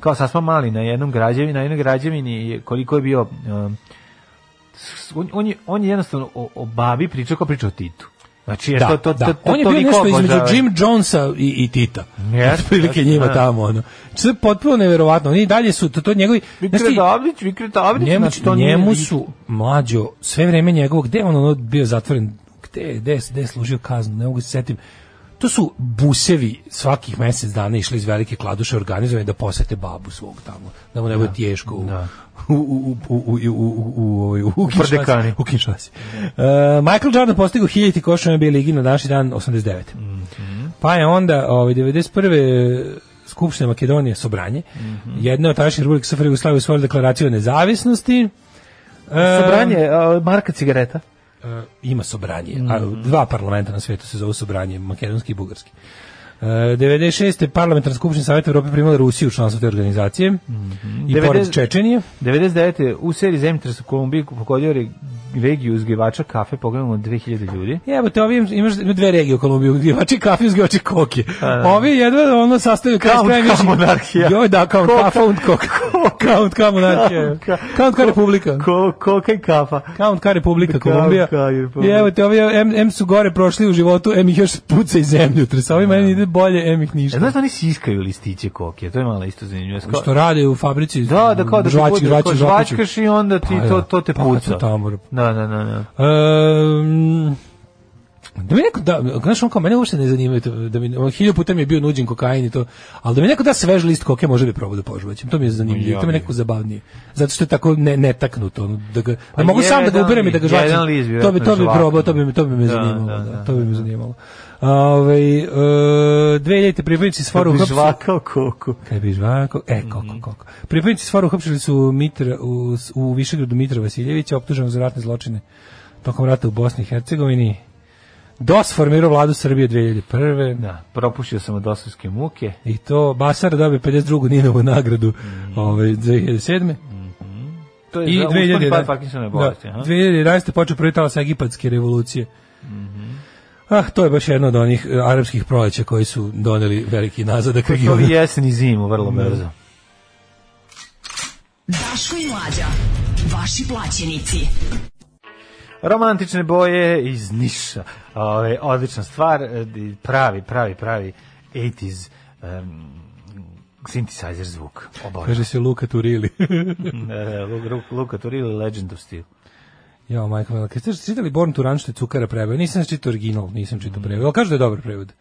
S5: kao sad smo mali na jednom građevini, na jednoj građevini je- koliko je bio... um, s- on, on, je, on je jednostavno o, o babi pričao kao pričao o Titu. Znači, jer
S6: Da,
S5: to, to,
S6: da.
S5: to, to,
S6: on je bio
S5: toliko
S6: nešto između
S5: obožavaju.
S6: Jim Jonesa i, i Tita.
S5: Jeste,
S6: Otprilike
S5: jeste,
S6: njima
S5: da.
S6: tamo ono. Sve potpuno neverovatno. Oni i dalje su to, to njegovi znaš
S5: Viktor
S6: ti,
S5: Dablić, Viktor Dablić,
S6: njemu,
S5: znači to nije-
S6: njemu su mlađo sve vreme njegovog gde je on ono bio zatvoren gde gde gde je služio kaznu ne mogu se setim to su busevi svakih mesec dana išli iz velike kladuše organizovani da posete babu svog tamo da mu ne bude teško u,
S5: Da.
S6: u, u, u, u, u, u, u, ovaj, u, u, Kinshasi.
S5: Prdekani.
S6: u Kinshasi. E, Michael Jordan postigao 1000 koševa NBA ligi na današnji dan 89. Pa je onda ovaj 91. Skupština Makedonije Sobranje, jedna od tadašnjih republika SFRJ Jugoslavije usvojila deklaraciju o nezavisnosti. E,
S5: Sobranje, a, marka cigareta.
S6: e, ima Sobranje. A, dva parlamenta na svetu se zovu Sobranje, makedonski i bugarski. E, 96. parlamentarna skupština Savjeta Evrope primala Rusiju u članstvo te organizacije i
S5: 90
S6: pored Čečenije.
S5: 99. u seriji Zemljotres u Kolumbiji pokodio re- regiju uzgivača kafe, pogledamo 2000 ljudi.
S6: Evo te ovi imaš ima dve regije u Kolumbiji, uzgivači kafe, uzgivači koke. Ovi jedva ono sastavljaju kraj
S5: da. Count
S6: s krajem
S5: ka
S6: više-
S5: monarhija.
S6: Joj da, count
S5: Koka.
S6: ka, count koka. Count ka monarhija.
S5: Ka-
S6: Count ka republika.
S5: Ko, koka i kafa.
S6: Count ka republika
S5: Count
S6: Kolumbija.
S5: ka
S6: I
S5: Republika.
S6: evo te ovi, em, em su gore prošli u životu, em ih još puca i zemlju. Tresa ovima em ide bolje, em ih
S5: Da. E,
S6: ništa.
S5: znaš da oni siskaju listiće koke, to je malo isto zanimljivo. Sko-
S6: Što rade u fabrici?
S5: Da, da kao da
S6: žvači,
S5: bude,
S6: žvači,
S5: kao
S6: žvači.
S5: žvačkaš i onda ti
S6: Pa
S5: to,
S6: da,
S5: to te
S6: pa kad
S5: puca.
S6: su tamo,
S5: Da, da, da, da.
S6: Ehm Da mi neko da, znaš, on kao, mene uopšte ne zanima, to, da mi, on hilju puta mi je bio nuđen kokain i to, ali da mi neko da svež list koke, može bi probao da požuvaćem, to mi je zanimljivo,
S5: Ja
S6: to mi
S5: bi.
S6: je neko zabavnije, zato što je tako ne, netaknuto, ono, da, ga,
S5: Pa
S6: da mogu sam da ga
S5: jedan
S6: uberem i da ga
S5: list,
S6: žvačem,
S5: jedan list bi
S6: to bi, to bi
S5: vjerojatno
S6: probao, to bi, me- to bi me
S5: Da,
S6: zanimalo,
S5: da,
S6: da,
S5: da,
S6: to bi me zanimalo. Ove, e, 2000 pripadnici
S5: Kad
S6: stvara
S5: Da bi
S6: uhapsili-
S5: žvakao koku.
S6: Kad bi žvako, e,
S5: Mhm.
S6: koliko, koliko. Pripadnici stvara uhapšili su Mitra, u, u Višegradu Mitra Vasiljevića, optuženog za ratne zločine tokom rata u Bosni i Hercegovini. DOS formirao vladu Srbije 2001.
S5: Da, propušio sam od osovske muke.
S6: I to Basara dobio 52. Ninovu nagradu ovaj, 2007.
S5: Mhm. To je
S6: I
S5: za uspon pad
S6: 2011.
S5: Parkinsonove bolesti. aha.
S6: Da, 2011. počeo prvi talas egipatske revolucije.
S5: Mhm.
S6: Ah, to je baš jedno od onih e, arapskih proleća koji su doneli veliki nazadak
S5: To
S6: regionu.
S5: je jesen i zimu, vrlo
S6: Da.
S5: brzo.
S4: Daško i Mlađa. Vaši plaćenici.
S5: Romantične boje iz Niša. Ove, odlična stvar, e, di- pravi, pravi, pravi 80s um, synthesizer zvuk. Obožavam.
S6: Kaže se Luka Turili.
S5: E, Lu- Lu- Luka Turili, Legend of Steel.
S6: Jo, Michael Miller. Jeste čitali Born to Run što je Cukara preveo? Nisam čitao original, nisam
S5: Mm.
S6: čitao preveo. Ali kažu da je dobar prevod.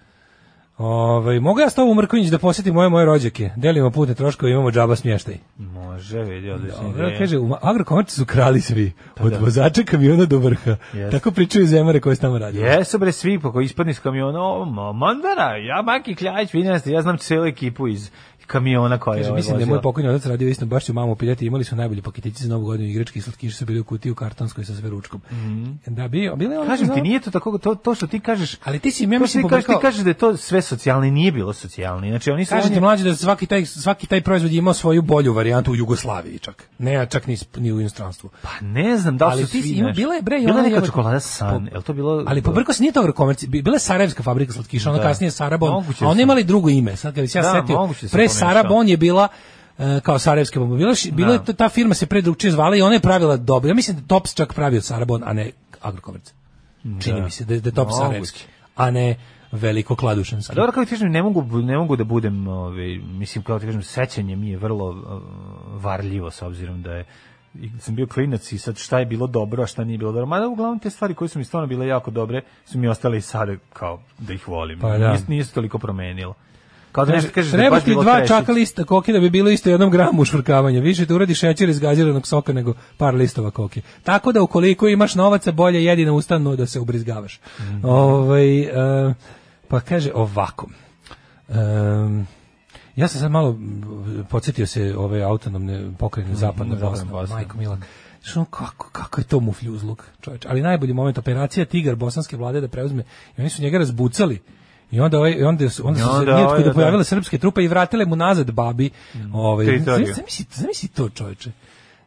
S6: Ovaj, mogu ja s tobom u Mrkonjić da posjetim moje moje rođake? Delimo putne troškove, imamo džaba smještaj.
S5: Može, vidi, odlično.
S6: Dobro, kaže, u agrokomerci su krali svi. Od vozača kamiona do vrha.
S5: Pa da. Jeste.
S6: Tako pričaju zemare koje su tamo radili.
S5: Jesu bre svi po koji ispadne iz kamiona, o, ma- Mandara, ja Maki Kljajić, vi ne znate, ja znam celu ekipu iz kamiona koja je
S6: Kaže,
S5: ovaj
S6: mislim da je
S5: vozila.
S6: moj pokojni otac radio isto baš ću mamu piljati, imali su najbolji paketići za novu godinu igrački i slatkiši su bili u kutiji u kartonskoj sa sve ručkom. Da bi, bili ono,
S5: Mhm. Kažem ti,
S6: znao-
S5: nije to tako, to, to što ti kažeš,
S6: Ali ti si, im, ja
S5: to što
S6: mislim,
S5: ti kažeš, ti
S6: pobrkao-
S5: kažeš da je to sve socijalni, nije bilo socijalni. Znači, oni su...
S6: Kažete
S5: oni-
S6: mlađi da svaki taj svaki taj proizvod je imao svoju bolju varijantu u Jugoslaviji čak. Ne, a čak ni s- ni u inostranstvu.
S5: Pa ne znam da li
S6: Ali
S5: su
S6: ti si
S5: svi...
S6: ima-
S5: znaš,
S6: bila je, bre, i
S5: bila
S6: ona
S5: neka
S6: jebote-
S5: čokolada san, je li to bilo...
S6: Ali pobrko se nije to komerci, bila je sarajevska fabrika slatkiša, ona
S5: Da.
S6: kasnije Sarabon,
S5: Moguće da
S6: a ona
S5: sam-
S6: imala i drugo ime. Sad kad bi se ja
S5: Da,
S6: setio,
S5: moguće da Da. sam
S6: pre
S5: pomešao.
S6: Sarabon je bila e, kao sarajevska bomba. Bila, š- bila je to- ta firma se pre drugčije zvala i ona je pravila dobro. Ja mislim da Tops čak pravio Sarabon, a ne Agrokomerc. Čini mi se da, je- da je Tops
S5: Moguće.
S6: sarajevski, a ne veliko kladušanski.
S5: A Dobro, kako ti kažem, ne mogu, ne mogu da budem, ovaj, mislim, kao ti kažem, sećanje mi je vrlo uh, varljivo s obzirom da je i kad sam bio klinac i sad šta je bilo dobro, a šta nije bilo dobro. Mada uglavnom te stvari koje su mi stvarno bile jako dobre su mi ostale i sada kao da ih volim.
S6: Pa da.
S5: Nije, nije se toliko promenilo. Kao da
S6: Kaže,
S5: nešto kažeš da je
S6: treba
S5: baš
S6: ti
S5: bilo
S6: dva
S5: trešić.
S6: čaka lista koke da bi bilo isto jednom gramu ušvrkavanja. Više te uradi šećer iz gaziranog soka nego par listova koke. Tako da ukoliko imaš novaca, bolje jedi na ustanu da se ubrizgavaš.
S5: Mhm.
S6: Ovaj, e, pa kaže ovako. Em, ja sam sad malo m, podsjetio se ove autonomne
S5: Mhm,
S6: pokrajine zapadne Bosne,
S5: Bosna.
S6: majko Milak. Znaš, ono, kako, kako je to mufljuzluk, čovječ. Ali najbolji moment, operacija Tigar bosanske vlade da preuzme, i oni su njega razbucali. I onda, ovaj, i onda, su, onda
S5: I
S6: su se
S5: onda
S6: nijetko
S5: ovaj,
S6: da
S5: da. Mhm.
S6: pojavile srpske trupe i vratile mu nazad babi. Ovaj,
S5: Teritoriju.
S6: zamisli, zamisli to čovječe.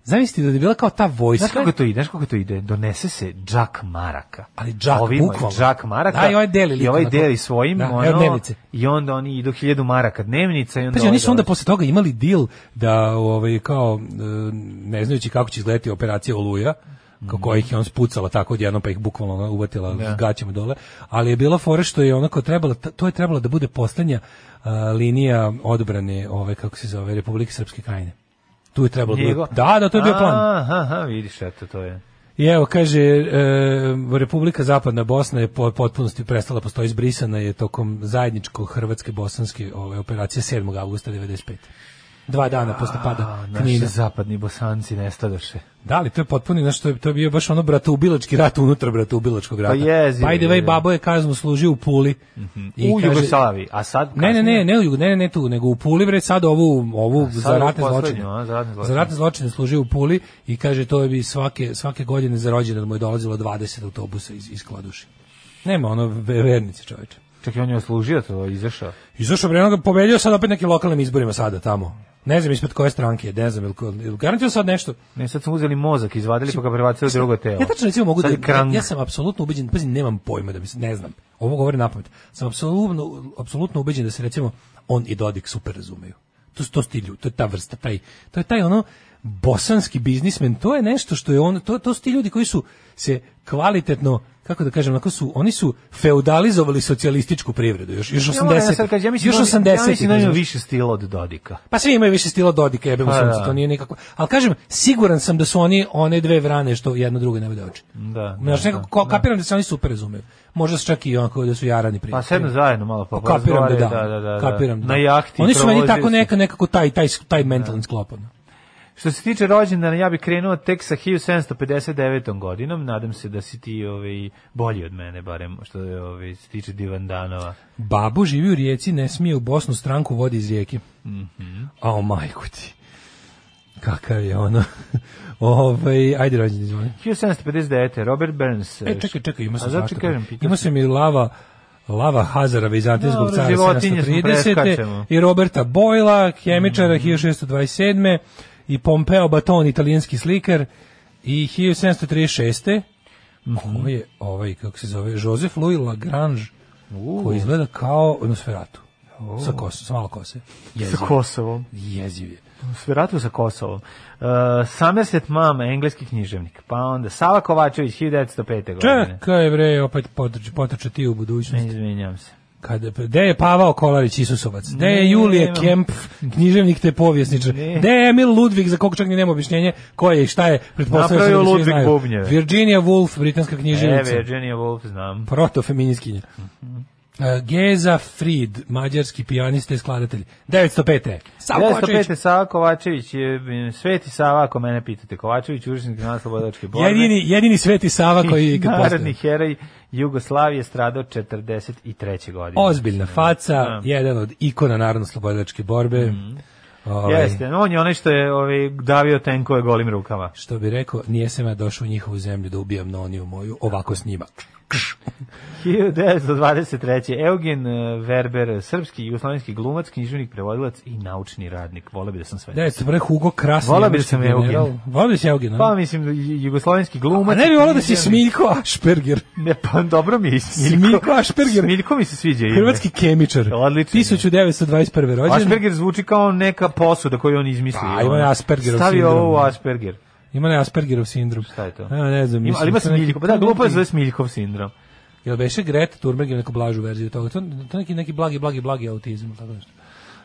S6: Zamislite da je bila kao ta vojska.
S5: Znaš kako to ide? Znaš kako to ide? Donese se džak maraka.
S6: Ali džak,
S5: Ovima je
S6: bukvalno.
S5: Džak maraka.
S6: Da, i ovaj deli
S5: I
S6: liku
S5: ovaj
S6: na to.
S5: deli svojim.
S6: Da, evo
S5: ono,
S6: dnevnice.
S5: I onda oni idu hiljadu maraka dnevnica. I onda
S6: Pazi,
S5: ovaj
S6: oni su onda
S5: dolazi.
S6: posle toga imali deal da ovaj kao e, ne znajući kako će izgledati operacija Oluja, kako kojih je on spucala tako odjednom pa ih bukvalno ono, uvatila gaćama dole, ali je bila fora što je onako trebalo to je trebalo da bude poslednja a, linija odbrane ove kako se zove Republike Srpske krajine. Tu je trebalo da bude-
S5: Njegov-
S6: Da, da, to je bio plan.
S5: Aha, aha, vidiš, eto, to je.
S6: I evo, kaže, e, Republika Zapadna Bosna je po potpunosti prestala postoji izbrisana je tokom zajedničko-hrvatske bosanske ove, operacije 7. augusta 95. Dva dana posle pada
S5: A, naši
S6: Knina.
S5: zapadni bosanci nestadoše.
S6: Da li, to je potpuno, znaš, to je, to je bio baš ono bratoubilački rat unutar bratoubilačkog rata.
S5: Pa jezivo
S6: By the
S5: je. Mhm.
S6: way, babo je kaznu služio u Puli. I
S5: U
S6: kaže-
S5: Jugoslaviji. A sad
S6: Ne, ne,
S5: kasnije-
S6: ne, ne, u Jugo- ne, ne, ne tu, nego u Puli, bre, sad ovu, ovu
S5: sad
S6: za
S5: ovu
S6: ratne
S5: poslednju,
S6: zločine.
S5: a, za ratne zločine.
S6: Za ratne zločine služio u Puli i kaže, to je bi svake, svake godine za rođendan mu je dolazilo 20 autobusa iz, iz Kladuše. Nema ono ve- vernice, čoveče.
S5: Čekaj, on je oslužio to, izašao.
S6: Izašao bre, ono ga pobedio sad opet nekim lokalnim izborima sada tamo. Ne znam ispred koje stranke, je, ne znam, ili, ko- ili garantio sad nešto.
S5: Ne, sad su mu uzeli mozak, izvadili pa ga prebacili u drugo telo.
S6: Ja tačno recimo mogu da,
S5: Sad je krang.
S6: ja sam apsolutno ubeđen, pazi, nemam pojma da mi se, ne znam, ovo govori na pamet, sam apsolutno, apsolutno ubeđen da se recimo on i Dodik super razumeju. To, su- to su ti ljudi, to je ta vrsta, taj, to je taj ono bosanski biznismen, to je nešto što je on, to, to su ti ljudi koji su se kvalitetno, kako da kažem, onako su, oni su feudalizovali socijalističku privredu, još, još 80.
S5: Ja, da sad kažem, ja mislim,
S6: još
S5: da on-
S6: 80.
S5: ja mislim da on ima više stila od Dodika.
S6: Pa svi imaju više stila Dodika, jebe mu
S5: Pa,
S6: sunce,
S5: da.
S6: to nije nikako. Ali kažem, siguran sam da su oni one dve vrane što jedno drugo ne vode oči.
S5: Da,
S6: Znaš,
S5: da,
S6: nekako, ko- kapiram da se oni super razumeju. Možda su čak i onako da su jarani prije.
S5: Pa sedno zajedno malo pa
S6: Kapiram da da,
S5: porazgovaraju, da, da, da.
S6: kapiram da.
S5: Na jahti.
S6: Oni su meni
S5: provozili
S6: tako
S5: se. Da.
S6: neka, nekako taj, taj, taj mentalni sklop. ono.
S5: Što se tiče rođendana, ja bih krenuo tek sa 1759. godinom. Nadam se da si ti ovaj, bolji od mene, barem što je, ovaj, se tiče divandanova.
S6: Babu živi u rijeci, ne smije u Bosnu stranku vodi iz rijeke.
S5: Mhm.
S6: A o majku ti. Kakav je ono. Ovaj, ajde rođen, izvoli.
S5: 1759. Robert Burns.
S6: E, čekaj, čekaj, ima
S5: A
S6: sam
S5: zato
S6: svašta.
S5: kažem, pitam
S6: Ima sam i lava Lava Hazara Vizantijskog
S5: Dobro,
S6: cara
S5: životinje smo
S6: 730.
S5: preskačemo.
S6: i Roberta Bojla, kemičara 1627. i Pompeo Baton, italijanski slikar i 1736.
S5: Mhm.
S6: Ovo je ovaj, kako se zove, Joseph Louis Lagrange koji izgleda kao Nosferatu. Sa kosom, sa malo kose.
S5: Sa
S6: Jeziv,
S5: Kosovom.
S6: jeziv je.
S5: Sveratu sa Kosovom. Uh, Somerset Mama, engleski književnik. Pa onda Sava Kovačević, 1905. godine.
S6: Čekaj bre, opet potrče, potrče ti u budućnost.
S5: Izvinjam se.
S6: Kada, gde je Pavao Kolarić Isusovac? Gde je
S5: Ne,
S6: Julije
S5: nemam.
S6: Kemp, književnik te povjesničar?
S5: Ne.
S6: Gde je Emil Ludvig, za kog čak ni nema objašnjenje, ko je i šta je, pretpostavljam se
S5: Napravio
S6: da svi
S5: Ludvig
S6: znaju.
S5: bubnjeve.
S6: Virginia Woolf, britanska
S5: E,
S6: književnica.
S5: Virginia Woolf, znam.
S6: Protofeminiskinja.
S5: Mhm.
S6: E, Geza Fried, mađarski pijanista i skladatelj. 905. Samo Kovačević.
S5: 205. Sava Kovačević, je, m, Sveti Sava, ako mene pitate, Kovačević, učesnik na slobodačke borbe.
S6: Jedini, jedini sveti Sava koji je ikad
S5: Narodni
S6: postoji.
S5: heroj Jugoslavije stradao 43. godine.
S6: Ozbiljna faca,
S5: Da. Mhm.
S6: jedan od ikona narodno-slobodačke borbe. Ovaj,
S5: Jeste, on je onaj što je ovaj, davio tenkove golim rukama.
S6: što bi rekao, nije sam ja došao u njihovu zemlju da ubijam noniju moju, ovako s njima.
S5: 1923. Eugen eh, Werber, srpski i jugoslovenski glumac, književnik, prevodilac i naučni radnik. Vole bi da sam sve.
S6: Da, se pre Hugo Krasni.
S5: Volao bi
S6: američki
S5: da sam Eugen.
S6: general. Volao bi da si Eugen, a?
S5: Pa mislim, ju- jugoslovenski glumac.
S6: A ne bi volao da si
S5: književnik.
S6: Smiljko Ašperger.
S5: Ne, pa dobro mi je i Smiljko.
S6: Smiljko Ašperger.
S5: Smiljko mi se sviđa ime.
S6: Hrvatski kemičar.
S5: Odlično.
S6: 1921. rođen.
S5: Asperger zvuči kao neka posuda koju on izmislio.
S6: A, Pa, ima
S5: Ono,
S6: Aspergerov
S5: Stavi
S6: sindrom. da.
S5: ovo u Asperger.
S6: Ima ne Aspergerov sindrom.
S5: Šta je to?
S6: A, ne znam.
S5: Ima,
S6: mislim,
S5: ali ima
S6: to neki-
S5: Smiljko. Pa da, glupo je zove Smiljkov sindrom.
S6: Jel beše Greta Thunberg ili neku blažu verziju toga? To, to neki, neki blagi, blagi, blagi autizam. ili Tako nešto.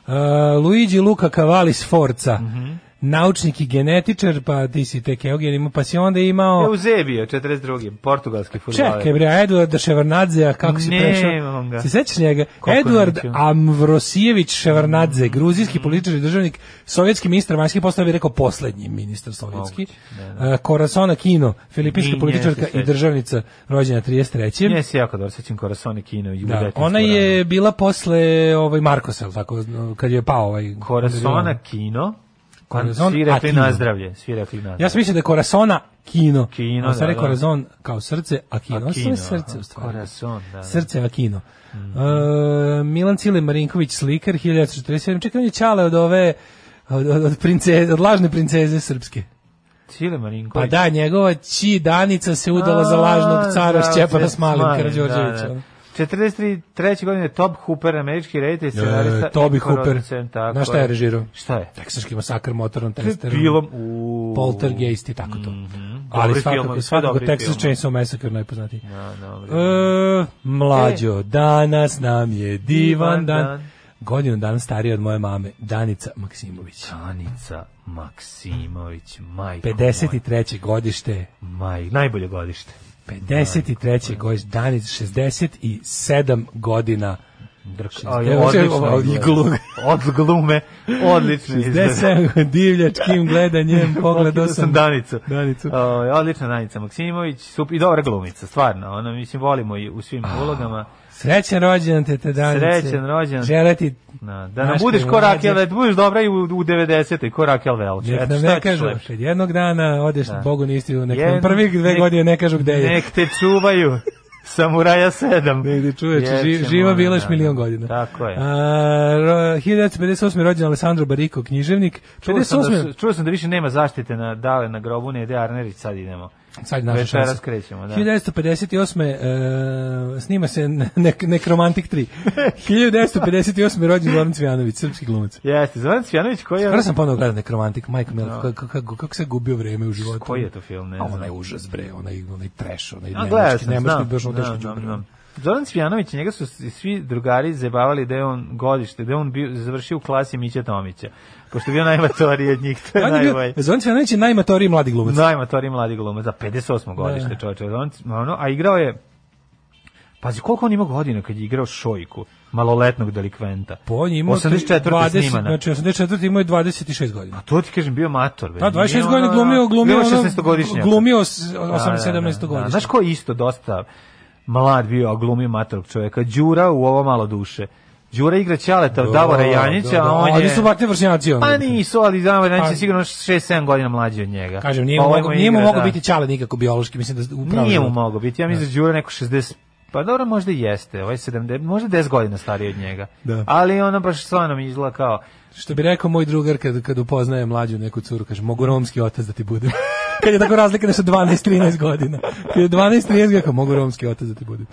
S6: Uh, Luigi Luca Cavalli Sforza.
S5: Mhm.
S6: Naučnik i genetičar, pa ti si tek Eugen ima, pa si onda imao...
S5: Eusebio, 42. Portugalski futbaler.
S6: Čekaj bre, a Eduarda Ševarnadzea, kako si
S5: Nemam
S6: prešao?
S5: ga.
S6: Se sećaš njega?
S5: Kako
S6: Eduard
S5: neću.
S6: Amvrosijević Ševarnadze, gruzijski političar i državnik, sovjetski ministar vanjskih poslova, bi rekao poslednji ministar sovjetski. Uh, Korasona Kino, filipinska
S5: I nje se
S6: političarka i
S5: sećam.
S6: državnica rođena 33.
S5: Nije se jako dobro sećam Korasoni Kino i
S6: Da, ona je bila posle ovaj Markosa, jel tako, kad je pao ovaj
S5: Korasona Kino.
S6: Corazon,
S5: Svi
S6: a
S5: rekli
S6: Kino.
S5: na zdravlje. Svi rekli na
S6: Ja sam mislio da je Korasona kino.
S5: Kino,
S6: a sad
S5: da,
S6: je
S5: da.
S6: Korazon kao srce, a kino.
S5: A
S6: Ovo se
S5: kino,
S6: zove srce,
S5: aha,
S6: u stvari.
S5: Korazon, da, Mhm. da.
S6: Srce, a kino. E, Milan Cile Marinković, slikar, 1947. Čekaj, on je čale od ove, od, od, od, prince- od lažne princeze srpske.
S5: Cile Marinković.
S6: Pa da, njegova ći Danica se udala za lažnog cara Šćepana Smalin Karađorđevića.
S5: Da, da. 43. treće godine Top Hooper, američki reditelj, scenarista.
S6: E, Toby
S5: i
S6: Hooper.
S5: producent, tako
S6: Znaš šta je režirao?
S5: Šta je?
S6: Teksaški masakr motornom testerom.
S5: Pilom u...
S6: Poltergeist i tako to.
S5: Mhm. Dobri
S6: Ali
S5: filmovi,
S6: svakako,
S5: sve
S6: svakako
S5: dobri
S6: Texas
S5: filmovi.
S6: Chainsaw Massacre najpoznatiji.
S5: Da, dobro.
S6: E, mlađo, danas nam je
S5: Divan
S6: divan dan.
S5: dan.
S6: Godinu dana starija od moje mame, Danica Maksimović.
S5: Danica Maksimović, majko
S6: 53. godište,
S5: Maj, najbolje godište.
S6: 53. godište, Danica 67 godina.
S5: A,
S6: Evo,
S5: odlično
S6: ovo- ovo-
S5: izgleda.
S6: glume.
S5: Od glume, odlično izgleda.
S6: 67 divljačkim gledanjem pogledao
S5: Pogledao sam
S6: sam
S5: Danicu.
S6: Danicu.
S5: O, odlična Danica Maksimović, sup, i dobra glumica, stvarno. Ona, mislim, volimo i u svim ulogama.
S6: Srećan rođendan tete Danice.
S5: Srećan rođendan.
S6: Žele ti
S5: Na, da nam
S6: Znaš
S5: budeš
S6: kaj,
S5: ko
S6: mlađe-
S5: Rakel, da budeš dobra i u, u 90. ko Rakel Velč.
S6: Nek
S5: Eto,
S6: nam
S5: šta
S6: ne
S5: ćeš
S6: kažu,
S5: lepše?
S6: kad jednog dana odeš Bogu na istinu, nek
S5: Jedno-
S6: nam prvih dve
S5: nek-
S6: godine ne kažu gde je.
S5: Nek te čuvaju. Samuraja 7.
S6: Negde čuješ,
S5: Jer
S6: ži,
S5: ćemo,
S6: živa bilaš
S5: da,
S6: milion
S5: da.
S6: godina.
S5: Tako je.
S6: A, ro- 1958. rođen Alessandro Barico, književnik.
S5: Čuo sam, da, su-
S6: 58.
S5: čuo sam da više nema zaštite na dale na grobu, ne ide Arnerić, sad idemo.
S6: Sad naša
S5: Večeras
S6: šansa.
S5: krećemo, da.
S6: 1958. e, snima se ne, ne, Nekromantik 3. 1958. rođen Zoran Cvijanović, srpski glumac.
S5: Jeste, Zoran Cvjanović koji je...
S6: Kada sam ponovno gledao Nekromantik, majko Mila, kako, kako, kako se gubio vreme u životu.
S5: Da. Koji je to film, ne
S6: A
S5: znam.
S6: onaj užas, bre, onaj, onaj trash, onaj
S5: A, gledao
S6: nemački,
S5: sam, znam,
S6: nemački, baš ono
S5: znam,
S6: teško
S5: znam,
S6: đubre.
S5: znam. Zoran Cvjanović, njega su s- svi drugari zajebavali da je on godište, da je on bio, završio u klasi Mića Tomića, pošto je bio najmatoriji od njih, to je
S6: On je bio,
S5: najbolje.
S6: Zoran Cvijanović je najmatoriji mladi glumac.
S5: Najmatoriji mladi glumac, za 58.
S6: Da.
S5: godište čovječe. On, ono, a igrao je, pazi koliko on ima godina kad je igrao Šojku, maloletnog delikventa.
S6: Po Pa on je imao
S5: 84.
S6: 20,
S5: snimana.
S6: Znači 84. imao je 26 godina.
S5: To ti kažem, bio mator.
S6: Pa 26 godina glumio, glumio, ono,
S5: 16 godišnjak.
S6: glumio 18 17
S5: Da,
S6: godina.
S5: znaš ko je isto dosta mlad bio, a glumio matorog čovjeka? Đura u ovo malo duše. Đura igra
S6: Da,
S5: Ćaleta od Davora Janjića, a on je...
S6: Ali su batne vršnjaci ono.
S5: Pa nisu, ali Davor Janjić je
S6: Pa-
S5: sigurno 6-7 godina mlađi od njega.
S6: Kažem, nije
S5: Pa
S6: mu
S5: ovaj
S6: mogao, nije mu
S5: igra,
S6: mogao
S5: da.
S6: biti ćale nikako biološki, mislim da upravo.
S5: Nije mu mogao biti, ja mislim da Đura neko 60... Pa dobro, možda i jeste, ovaj 70, možda 10 godina stariji od njega.
S6: Da.
S5: Ali ono baš stvarno mi izgleda kao...
S6: Što bi rekao moj drugar kad, kad upoznaje mlađu neku curu, kaže, mogu romski otac da ti budem. kad je tako razlika nešto 12-13 godina. Kad je 12-13 godina, kao, mogu romski otac da ti budem.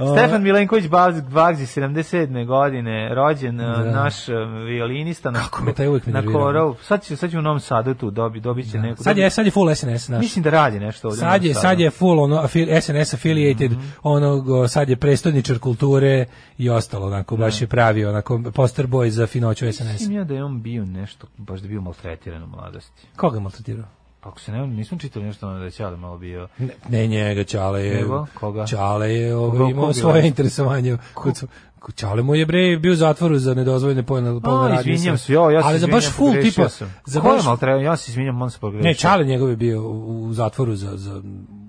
S6: O,
S5: Stefan Milenković Bavz- Bagzi 77. godine rođen eh, naš eh, violinista na
S6: Da. Kako me taj uvijek
S5: na
S6: nervira.
S5: korov. Sad će sad će u Novom Sadu tu dobi dobiće neku.
S6: Sad je, sad je full SNS naš.
S5: mislim da Mhm. radi nešto ovdje. u
S6: Sad je,
S5: Novom
S6: sad
S5: Sadu.
S6: je full ono, afil- SNS affiliated, onog, o, sad je prestodničar kulture i ostalo, onako, baš je pravi, onako, poster boy za finoću SNS.
S5: Da. Mislim ja da je on bio nešto, baš da je bio maltretiran u mladosti.
S6: Koga je maltretirao?
S5: Pa Ako se ne, nisam čitao nešto ono da je Ćale malo bio.
S6: Ne, ne njega, Čale je...
S5: Nego, koga?
S6: Čale je ovaj,
S5: Koga,
S6: imao
S5: koga?
S6: svoje interesovanje. Kod, su- ko- Čale mu je bre bio u zatvoru za nedozvoljene polne polne
S5: Pa,
S6: radnje
S5: izvinjam
S6: sa-
S5: se, jo, ja se
S6: Ali za
S5: izvinjam,
S6: baš full
S5: pogrešio
S6: tipa,
S5: sam.
S6: za
S5: Ko je
S6: baš
S5: maltretiran? Ja se izvinjam, on se pogrešio.
S6: Ne, Čale njegov je bio u u zatvoru za, za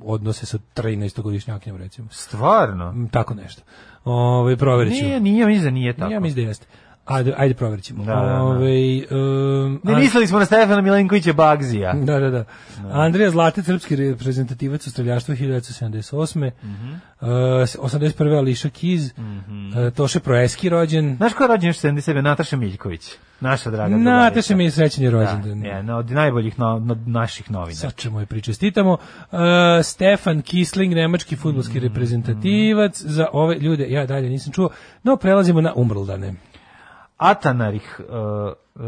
S6: odnose sa 13-godišnjakinjom, recimo.
S5: Stvarno?
S6: Mm, Tako nešto. Ovaj proverit ću.
S5: Nije, nije, mislim da nije tako.
S6: Ja mislim da jeste. Ajde, ajde proverit ćemo.
S5: Da, da, da.
S6: Ovaj, um,
S5: Ne mislili smo na Stefana Milenkovića Bagzija.
S6: Da, da, da. Andrija Zlate, srpski reprezentativac u streljaštvu 1978.
S5: Mhm.
S6: Uh, 81. Ališa Kiz. uh, Toše Proeski rođen.
S5: Znaš ko je rođen još 77? Nataša Miljković. Naša draga
S6: Na,
S5: drugarica.
S6: se mi je srećen je rođendan.
S5: Da, jedna od najboljih no, no, naših novina.
S6: Sad ćemo je pričestitamo. Uh, Stefan Kisling, nemački futbolski
S5: Mhm,
S6: reprezentativac. Za ove ljude ja dalje nisam čuo. No, prelazimo na umrldane.
S5: Atanarih, uh,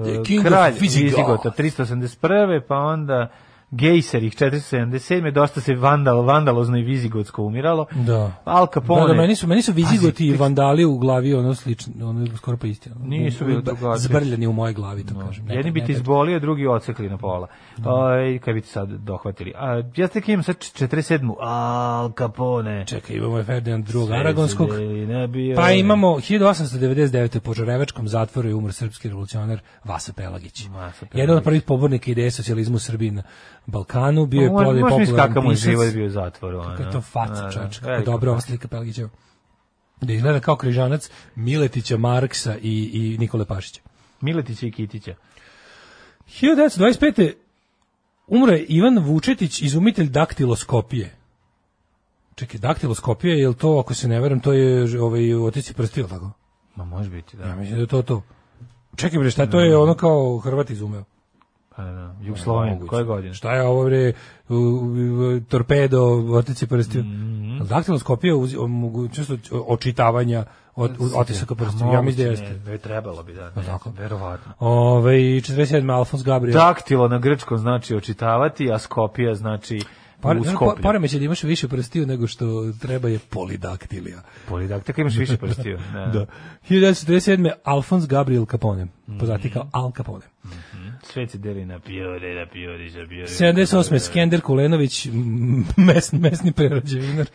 S6: The
S5: uh,
S6: King of
S5: kralj
S6: Visigoth.
S5: Vizigota, 381. pa onda Gejserih 477. Dosta se vandal, vandalozno i vizigotsko umiralo.
S6: Da.
S5: Al Capone.
S6: Da, da, meni su, meni su vizigoti i
S5: Pazi,
S6: vandali u glavi ono slično, ono skoro pa isti. Ono,
S5: Nisu bili
S6: Ba-
S5: drugačiji.
S6: Zbrljani u mojoj glavi, to kažem.
S5: Jedni
S6: Nekad-
S5: bi te
S6: nekad.
S5: izbolio, drugi ocekli na pola.
S6: Da.
S5: Oj, kaj bi ti sad dohvatili. A, ja tek imam sad 47. Al Capone.
S6: Čekaj, imamo je Ferdinand II. Aragonskog.
S5: Ne bio.
S6: Pa imamo 1899. u Požarevačkom zatvoru je umr srpski revolucionar Vasa Pelagić.
S5: Vasa Pelagić.
S6: Jedan od prvih pobornika ideje socijalizma u Srbiji na Balkanu. Bio je
S5: Mo-
S6: plod i
S5: Možeš misliti kakav mu
S6: popularan
S5: je
S6: pisac.
S5: život bio u zatvoru. ono.
S6: Kako je to
S5: Da, da,
S6: faca, čovječ, kako
S5: velika
S6: dobra ova slika Pelagićeva. Da izgleda kao križanac Miletića, Marksa i, i Nikole Pašića.
S5: Miletića i Kitića.
S6: 1925. umre Ivan Vučetić, izumitelj daktiloskopije. Čekaj, daktiloskopija, je li to, ako se ne veram, to je ovaj, otici prsti, je li tako?
S5: Ma može biti, da.
S6: Ja mislim da je to to. Čekaj bre, šta je to je ono kao Hrvat izumeo?
S5: Pa da, Jugoslovenija,
S6: Moguće.
S5: koje godine?
S6: Šta je ovo bre u- u- u- torpedo, otici prstiju?
S5: Mhm.
S6: Mm -hmm. Daktiloskopija uz- omogućnost o- očitavanja od, od otisaka prstiju. Ja mislim da jeste.
S5: pa Ne, ne, trebalo bi da, ne,
S6: tako?
S5: verovatno.
S6: Ove, 47. Alfons Gabriel.
S5: Daktilo na grčkom znači očitavati, a skopija znači
S6: Pare,
S5: u
S6: znaš, po-
S5: skoplju.
S6: poremeć je da imaš više prstiju nego što treba je polidaktilija.
S5: Polidaktika imaš više prstiju. Da.
S6: Da. 1947. Alfons Gabriel Capone.
S5: Mm.
S6: Poznati kao Al Capone.
S5: Sve se deli na pijore, na pijori, za pijori. Da,
S6: 78. Skender Kulenović, m, mesni, mesni prerađevinar,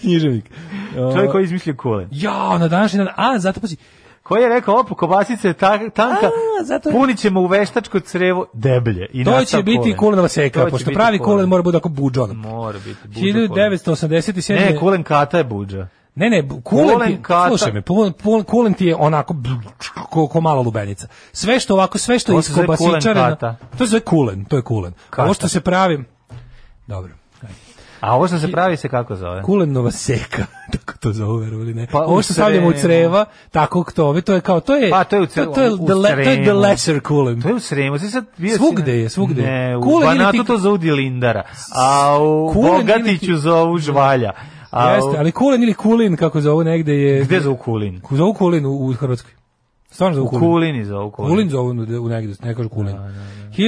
S6: književnik.
S5: da. Čovjek koji je izmislio kulen.
S6: Ja, na današnji dan, a, zato pazi,
S5: Koji je rekao, opo, kobasica je ta, tanka,
S6: A, zato je-
S5: punit ćemo u veštačko crevo deblje. I
S6: to
S5: nastao
S6: će biti
S5: kulen.
S6: kulenova
S5: To
S6: seka,
S5: će
S6: pošto
S5: biti
S6: pravi kulen mora biti ako buđo. ono.
S5: Mora biti. buđa kulen.
S6: 1987.
S5: Ne, kulen kata je buđa.
S6: Ne, ne, bu- kulen,
S5: Kulen
S6: ti,
S5: kata.
S6: slušaj me, pul- pul- kulen ti je onako bl- ko, ko mala lubenica. Sve što ovako, sve što
S5: To
S6: je
S5: se zove kulen
S6: iskobasičareno,
S5: kata.
S6: to se zove kulen, to je kulen.
S5: Kata.
S6: Ovo što se pravi, dobro,
S5: A ovo što se pravi se kako zove?
S6: kulenova seka, tako to zove, verovali ne.
S5: Pa, u
S6: Ovo što stavljamo u
S5: crevu.
S6: creva, tako to, to je kao, to je,
S5: Pa, to je u
S6: to,
S5: crevu,
S6: to je,
S5: u
S6: the, le- to je the
S5: crevu.
S6: lesser kulen.
S5: To je u Sremu, si sad bio si
S6: Svugde
S5: na-
S6: je, svugde je.
S5: Ne, u
S6: Kulen ili
S5: Banatu
S6: ti-
S5: to zovu Lindara, a u
S6: Kulen ili ti-
S5: Bogatiću zovu Žvalja. A
S6: Jeste,
S5: u-
S6: ali kulen ili kulin, kako zovu negde je...
S5: Gde zovu Kulin?
S6: Ku- Zovu kulin u, u Hrvatskoj. Stvarno zovu
S5: U
S6: kulin.
S5: Kulini zovu Kulin. Da,
S6: Kulin zovu u negde, ne kažu kulin.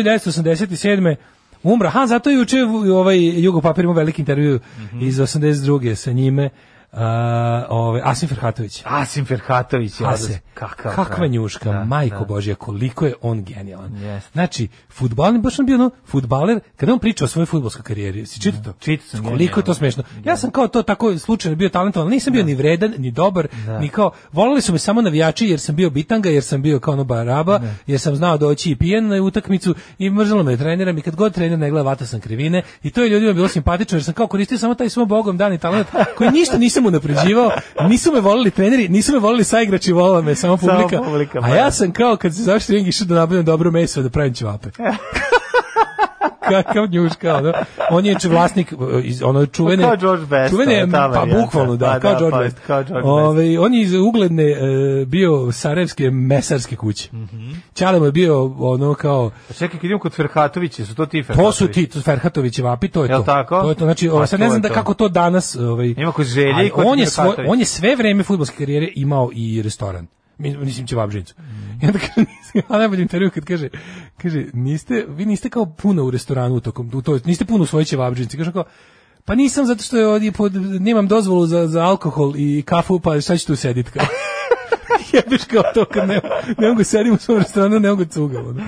S6: 1987. Umra, ha, zato je juče u- ovaj Jugo Papir imao veliki intervju
S5: Mhm.
S6: iz 82. sa njime. A, ovaj, Asim Ferhatović.
S5: Asim Ferhatović je
S6: Ase,
S5: odaz- kakav.
S6: kakva
S5: frajer.
S6: njuška,
S5: Da,
S6: majko
S5: da.
S6: Božja, koliko je on genijalan.
S5: Jeste.
S6: Znači, fudbaler baš on bio ono, fudbaler, kada on priča o svojoj fudbalskoj karijeri, si čitao to?
S5: čitao sam,
S6: Koliko je to
S5: genijalno. Da.
S6: smešno. Ja sam kao to tako slučajno bio talentovan, ali nisam bio ni vredan, ni dobar, ni kao, voleli su me samo navijači jer sam bio bitanga, jer sam bio kao ono baraba,
S5: Da.
S6: jer sam znao doći i pijen na utakmicu i mrzelo me trenera i kad god trener ne gleda, vata sam krivine i to je ljudima bilo simpatično jer sam kao koristio samo taj svoj bogom dani talent koji ništa nisam unapređivao, nisu me voleli treneri, nisu me voleli saigrači, volala me samo
S5: Samo
S6: publika.
S5: publika,
S6: a
S5: pa
S6: ja
S5: da.
S6: sam kao kad se završi ring išao da nabavim dobro meso da pravim ćevape. Kakav njuška, ono. On je inače vlasnik, e, iz, ono, čuvene...
S5: Pa Kao George Best,
S6: Čuvene,
S5: ono, ta
S6: pa
S5: varijanta.
S6: bukvalno, da,
S5: Pa
S6: kao
S5: da,
S6: George
S5: pa,
S6: Best.
S5: kao George Best.
S6: Ove, on je iz ugledne e, bio sarajevske mesarske kuće. Mm
S5: Mhm.
S6: mu je bio, ono, kao...
S5: Pa Čekaj, kad idemo kod Ferhatovića, su to ti
S6: To
S5: Ferhatović?
S6: su ti Ferhatovići vapi, to je
S5: Jel
S6: to.
S5: tako?
S6: To je to, znači,
S5: Pa
S6: ovo, sad
S5: to
S6: ne
S5: je
S6: znam da
S5: to.
S6: kako to danas... Ovaj,
S5: Ima kod želje
S6: ali
S5: i kod
S6: on je, svoj,
S5: Ferhatovića.
S6: on je sve vreme fudbalske karijere imao i restoran. Mi- Mislim, će vabžinicu.
S5: Mm.
S6: I onda kaže, niste- a najbolji intervju kad kaže, kaže, niste, vi niste kao puno u restoranu u tokom, u toj, niste puno u svojoj ćevabžinici. Kaže kao, pa nisam zato što je ovdje pod, nemam dozvolu za, za alkohol i kafu, pa šta ću tu sedit kao? Jebiš kao to kad ne, ne mogu da sedim u svom restoranu, ne mogu cugam. ono.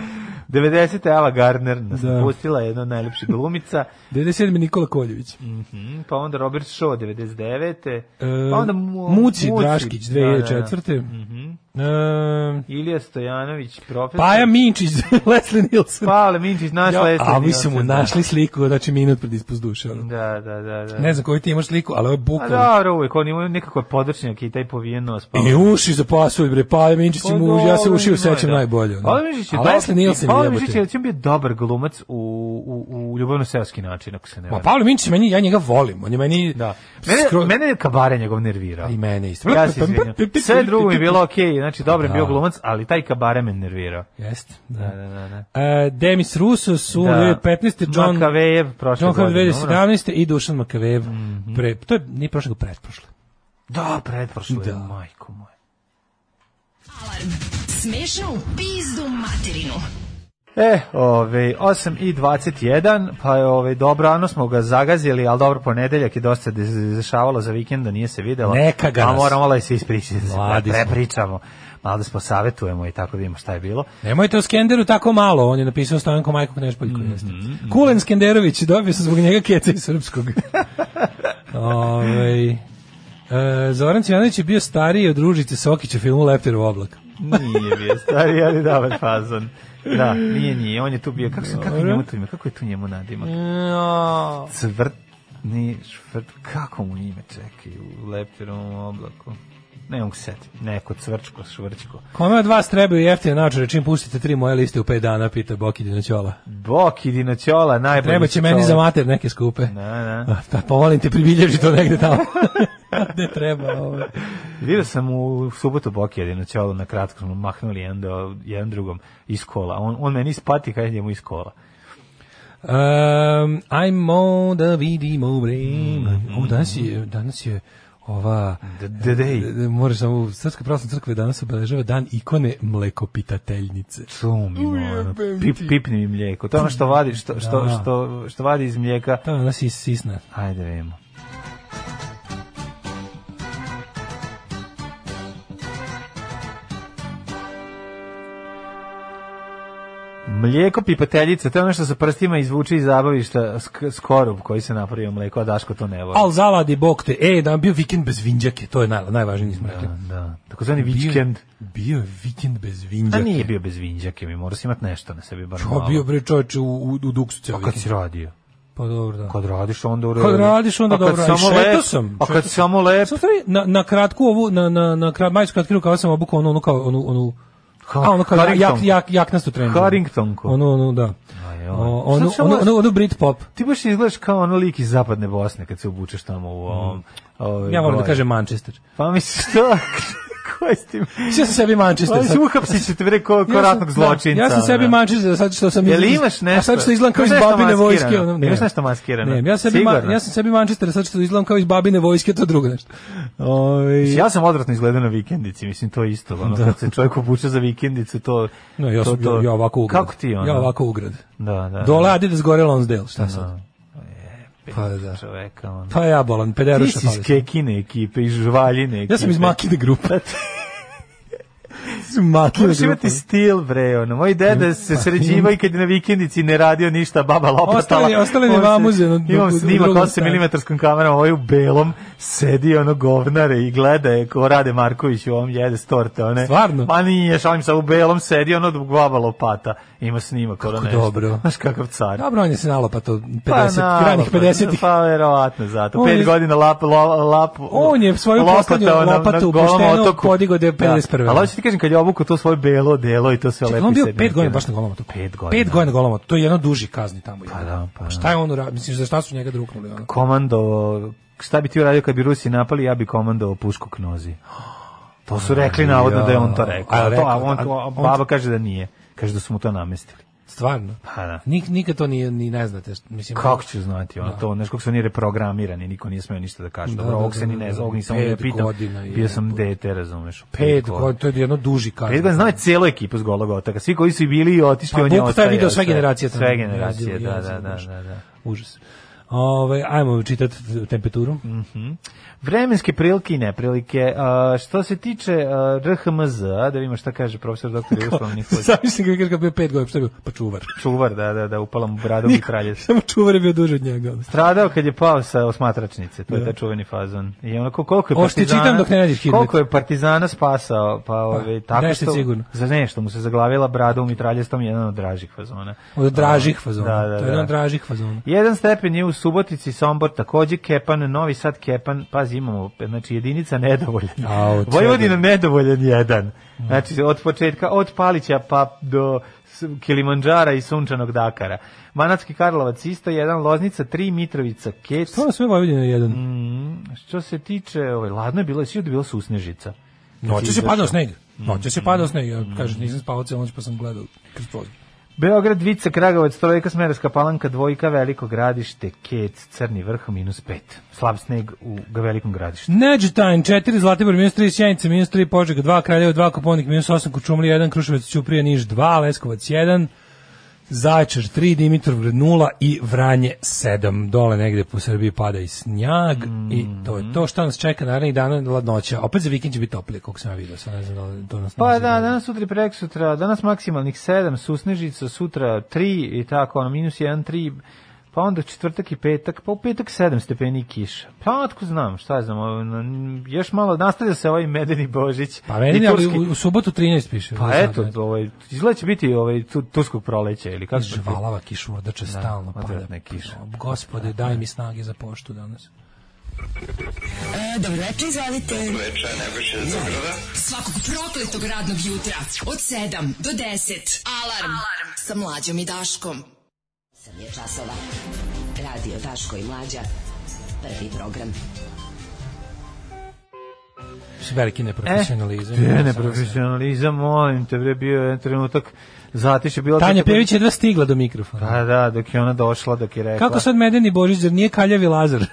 S5: 90. Ava Gardner nas
S6: Da.
S5: napustila, jedna od najljepših glumica.
S6: 97. Nikola Koljević.
S5: Mhm, pa onda Robert Shaw 99.
S6: E,
S5: pa onda Mu-
S6: Muci, Draškić 2004.
S5: Da, Mhm. da, da. Mhm.
S6: E,
S5: Ilija Stojanović, profesor.
S6: Paja Minčić, Leslie Nielsen.
S5: Pavle Minčić, naš
S6: Pa Ja,
S5: Leslie
S6: a mi smo mu
S5: Nielsen, da.
S6: našli sliku, znači minut pred ispust duše. ono.
S5: Da, da, da. da.
S6: Ne znam koju ti imaš sliku, ali ovo je
S5: A da.
S6: bukvalno.
S5: dobro, uvek, on ima nekako podršnjak i taj povijen nos. Pa.
S6: I uši za pasulj, bre, Paja Minčić
S5: Pa
S6: im u, ja se
S5: dobro,
S6: ušio
S5: ima,
S6: sećam
S5: da.
S6: najbolje. ono.
S5: Pavle Minčić je
S6: A
S5: dobar,
S6: Leslie Nielsen
S5: Pavle
S6: je
S5: Minčić je
S6: jebote.
S5: će biti dobar glumac u, u, u ljubavno-seoski način, ako se ne
S6: Ma
S5: varam.
S6: Pavle Minčić, meni, ja njega volim. On je meni...
S5: Da. Mene,
S6: skro-
S5: mene je kabare njegov nervirao.
S6: I mene isto.
S5: Ja se izvinjam. Sve drugo mi je bilo okej, znači dobro je
S6: Da.
S5: bio glumac, ali taj kabare me nervirao.
S6: Jeste.
S5: Da,
S6: Da.
S5: da, da. da.
S6: E, Demis Rusus u 2015. John,
S5: Makavejev prošle
S6: John da- Hart
S5: godine. umro.
S6: 2017. i Dušan Makavev. pre, to je nije prošle, nego pretprošle.
S5: Da, pretprošlo je,
S6: Da.
S5: majko moja.
S4: Alarm. Smešno u pizdu materinu.
S5: E, ove, 8 i 21, pa je ove, dobro, ano smo ga zagazili, ali dobro, ponedeljak je dosta de- dešavalo za vikenda, nije se videlo.
S6: Neka ga
S5: A
S6: nas.
S5: moramo da se ispričati, da se
S6: Mladi smo.
S5: prepričamo, malo da se posavetujemo i tako da vidimo šta je bilo.
S6: Nemojte o Skenderu tako malo, on je napisao Stojanko Majko Knešpoljko. jeste. Kulen Skenderović, dobio sam zbog njega keca iz srpskog. Ovaj, e, Zoran Cvijanović je bio stariji od družice Sokića u filmu Leptir u oblak.
S5: Nije bio stari, ali dobar fazon. Da, nije, nije, on je tu bio, kako, se, kako je njemu tu ime, kako je tu njemu nadimak? Cvrtni švrt, kako mu ime čekaj u leptirom oblaku? Ne mogu se setiti, neko cvrčko, švrčko.
S6: Kome od vas trebaju jeftine naočare čim pustite tri moje liste u pet dana, pita Bokidina Ćola.
S5: Bok i dinoćola, najbolji
S6: Treba će meni
S5: čovek.
S6: za mater neke skupe.
S5: Da, da.
S6: Pa, pa molim te, pribilježi to negde tamo. Gde treba. Ovaj.
S5: Vidio sam u subotu Bokija na ćelu na kratko smo mahnuli jedan, do, jedan drugom iz kola. On, on meni ispati kad je njemu iz kola.
S6: Um, ajmo da vidimo vreme.
S5: Mhm.
S6: O, danas je, danas je ova...
S5: The- the day.
S6: D- d- Moraš samo, Srpska pravostna crkva danas obeležava dan ikone mlekopitateljnice.
S5: Sumi, ono, pip, pipni mi mlijeko. To je ono što vadi, što, što,
S6: Da.
S5: što, što vadi iz mlijeka.
S6: To je ona sis, sisna.
S5: Ajde, da vidimo. Mlijeko pipateljica, to je ono što sa prstima izvuče iz zabavišta sk- skorup koji se napravio mlijeko, a Daško to ne voli.
S6: Al zavadi bog te, e, da bio vikend bez vinđake, to je naj, najvažnije nismo rekli.
S5: Da, tako zvani vikend.
S6: Bio, bio je vikend bez
S5: A
S6: vinđake.
S5: nije bio bez vinđake, mi moraš imati nešto na sebi, bar
S6: Pa
S5: malo.
S6: bio bre čovječe u, u, u duksu cijel
S5: A kad si
S6: vikend.
S5: radio?
S6: Pa dobro, da.
S5: Kad radiš onda u redu.
S6: Kad radiš onda
S5: A kad
S6: dobro, a i
S5: samo
S6: šetao
S5: lep-
S6: sam.
S5: A kad samo lep,
S6: Samo stvari, na, na kratku ovu, na, na, na krat, majsku kratkiru kao sam obukao onu, onu kao, onu, onu,
S5: Ha-
S6: a ono kao jak, jak,
S5: Harrington.
S6: jak, jaknastu trenutku.
S5: Harringtonku.
S6: Ono, ono, da.
S5: Aj, ono.
S6: O, ono,
S5: Sad samo-
S6: ono, ono, ono Britpop.
S5: Ti baš izgledaš kao ono lik iz zapadne Bosne kad se obučeš tamo u ovom... ovaj,
S6: Mhm. Ja moram da
S5: gore.
S6: kažem Manchester.
S5: Pa misliš što? Koji si ti?
S6: Sve sam sebi Manchester.
S5: Pa
S6: sad.
S5: mislim, uhapsit ćete bre ko, ko
S6: Ja sam-
S5: ratnog zločinca.
S6: Da, ja sam sebi
S5: ono.
S6: Manchester, sad što sam... iz-
S5: Jel imaš nešto?
S6: A sad što izgledam kao iz
S5: Imaš nešto
S6: babine vojske.
S5: maskirano?
S6: Ono, ne.
S5: Imaš nešto maskirano?
S6: Ne, ja, sebi, ma,
S5: Sigurno?
S6: ja sam sebi Manchester, sad što izgledam kao iz babine vojske, to je drugo nešto. Ovaj, Ove,
S5: Ja sam odvratno izgledao na vikendici, mislim to je isto, ono kad se čovjek obuče za vikendicu, to
S6: no, Da. ja,
S5: to,
S6: sam, ja, ja ovako ugrad.
S5: Kako ti ono?
S6: Ja ovako ugrad.
S5: Da, da.
S6: Dole Adidas, gore Lonsdale, šta sad? Pa da.
S5: čoveka ono.
S6: Pa ja bolan,
S5: Ti
S6: pederuša
S5: si iz
S6: fali. sam.
S5: Kekine ekipe, iz Žvaljine ekipe.
S6: Ja sam iz Makine grupe. Iz Makine
S5: da. Moraš
S6: grupe.
S5: imati stil, bre, ono. Moj
S6: Pa
S5: deda se sređiva i kad je na vikendici ne radio ništa, baba lopatala.
S6: Ostali- ostali mi
S5: On se-
S6: mamuze na-
S5: Imam
S6: u- u
S5: snimak
S6: drugom
S5: 8
S6: stanu.
S5: mm kamerom, ovaj u belom, sedi ono govnare i gleda je ko rade Marković u ovom jede s torte, one.
S6: Stvarno?
S5: Ma nije, šalim se, u belom sedi ono baba lopata. Ima snimak, ono nešto.
S6: dobro.
S5: Znaš kakav car.
S6: Dobro, on je se nalapa to 50,
S5: na,
S6: ranih
S5: pa,
S6: 50-ih.
S5: Pa, verovatno, zato.
S6: On
S5: Pet
S6: je-
S5: godina lap, lop, lop,
S6: On je svoju
S5: lopatao
S6: poslednju
S5: na- na
S6: lopatu
S5: golom
S6: pošteno
S5: otoku.
S6: podigao da je 51..
S5: Da. Ali hoću ti kažem, kad je obuku to svoje belo delo i to sve lepi
S6: Čekaj, on bio
S5: sedmice,
S6: pet godina
S5: da.
S6: baš na golomotu.
S5: Pet godina.
S6: Pet godina na golomotu. To je jedno duži kazni tamo. Pa
S5: da, pa da.
S6: Šta je on uradio? Misliš, za šta su njega druknuli? Ono?
S5: Komando, šta bi ti uradio kad bi Rusi napali, ja bi komandovao pušku k nozi. To su rekli navodno da je on to rekao.
S6: A,
S5: A, to,
S6: rekao,
S5: a on,
S6: a-
S5: a,
S6: on-
S5: baba kaže da nije. Kaže da su mu to namestili.
S6: Stvarno.
S5: Pa da.
S6: Nik, nikad to ni, ni ne znate. šta- Mislim,
S5: Kako ću znati, ono to, znaš kako su oni reprogramirani, niko nije smeo ništa da kaže.
S6: Da,
S5: Dobro,
S6: da,
S5: ovog se
S6: da,
S5: ni
S6: da,
S5: ne
S6: da.
S5: znam, ovog nisam
S6: Pet
S5: ovdje pitao.
S6: godina je,
S5: Bio sam
S6: jebote.
S5: dete, razumeš.
S6: Pet godina, to je jedno duži kazni.
S5: Pet godina znao je cijelu ekipu s Golog otoka, svi koji su i bili i otišli,
S6: Pa
S5: on je
S6: Vuk taj
S5: ostaje.
S6: video sve generacije. tamo.
S5: Sve generacije, da,
S6: Jezivo,
S5: da,
S6: jezivo,
S5: da,
S6: baš.
S5: da, da.
S6: Užas. Ove, ajmo čitati temperaturu.
S5: Mm, Vremenske prilike i neprilike. A, što se tiče a, RHMZ, da vidimo šta kaže profesor doktor Jugoslav Nikolić.
S6: Sam mislim kako je bio pet godina, što je bio? Pa čuvar.
S5: Čuvar, da, da, da, upala mu brada u mitraljez.
S6: Samo čuvar je bio duže od njega. ono.
S5: Stradao kad je pao sa osmatračnice, to je taj čuveni fazon. I onako koliko je
S6: Ovo Da. što ti
S5: partizana,
S6: čitam dok ne nađeš Hitler.
S5: koliko je partizana spasao, pa, ove, tako
S6: nešto
S5: što,
S6: sigurno.
S5: za nešto mu se zaglavila brada u mitraljezom, jedan od dražih fazona.
S6: Od dražih fazona.
S5: Da, da,
S6: To je jedan
S5: da.
S6: od dražih fazona.
S5: Jedan stepen je u Subotici, Sombor takođe, Kepan, Novi Sad, Kepan, pazi imamo, znači jedinica nedovoljan.
S6: Au,
S5: Vojvodina nedovoljan jedan. Znači od početka, od Palića pa do S- Kilimandžara i Sunčanog Dakara. Manatski Karlovac isto jedan, Loznica 3, Mitrovica, Kec.
S6: To je sve Vojvodina je jedan. Mm,
S5: Što se tiče, ovaj, ladno je bilo, je svuda bila susnežica.
S6: Noće
S5: Znači,
S6: se
S5: da
S6: padao sneg. Noće se
S5: Mm.
S6: padao sneg. Ja kažem, nisam spavao cijelo noć pa sam gledao kroz prozor.
S5: Beograd, Vica, Kragovac, Trojka, Smerovska palanka, Dvojka, Veliko gradište, Kec, Crni vrh, minus 5. Slab sneg u velikom gradištu.
S6: Neđetajn 4, Zlatibor minus 3, Sjenica minus 3, Požega 2, Kraljevo 2, Koponik minus 8, Kučumlija 1, Kruševac Ćuprija Niš 2, Leskovac 1, Zaječar 3, Dimitrovgrad 0 i Vranje 7. Dole negde po Srbiji pada i snjag i to je to što nas čeka narednih dana ladnoća. Opet za vikend će biti toplije, koliko sam ja vidio, sad ne znam da li to nas
S5: Pa
S6: nalazi
S5: da,
S6: dalje.
S5: danas sutra i prek sutra, danas maksimalnih 7, susnežica, sutra 3 i tako, ono, minus 1, 3, pa onda četvrtak i petak, pa u petak 7 stepeni i kiša. Pa otko znam, šta znam, ovo, n- još malo nastavlja se ovaj medeni Božić.
S6: Pa meni,
S5: i
S6: ali
S5: turski-
S6: u, u subotu 13 piše.
S5: Pa
S6: Sad,
S5: eto,
S6: ne.
S5: ovaj, izgleda će biti ovaj, tu, turskog proleća ili kako će biti.
S6: Žvalava
S5: Da,
S6: kišurdače stalno pada. Pa,
S5: odvratna je kiša.
S6: Gospode, daj mi snage za poštu danas.
S4: E, dobro večer, izvolite. Dobro večer, Zagrada. Svakog prokletog radnog jutra od 7 do 10. Alarm, Alarm. sa mlađom i Daškom.
S7: 8 je časova. Radio Daško i Mlađa. Prvi program.
S6: veliki neprofesionalizam.
S5: E, Gde je neprofesionalizam, E, molim te, bre, bio je jedan trenutak zatiše. Bila
S6: Tanja
S5: tako-
S6: Pević je jedva stigla do mikrofona.
S5: Da, da, dok Pa je pa- ona došla, dok je rekla.
S6: Kako sad Medeni Božić, zar nije kaljavi Lazar?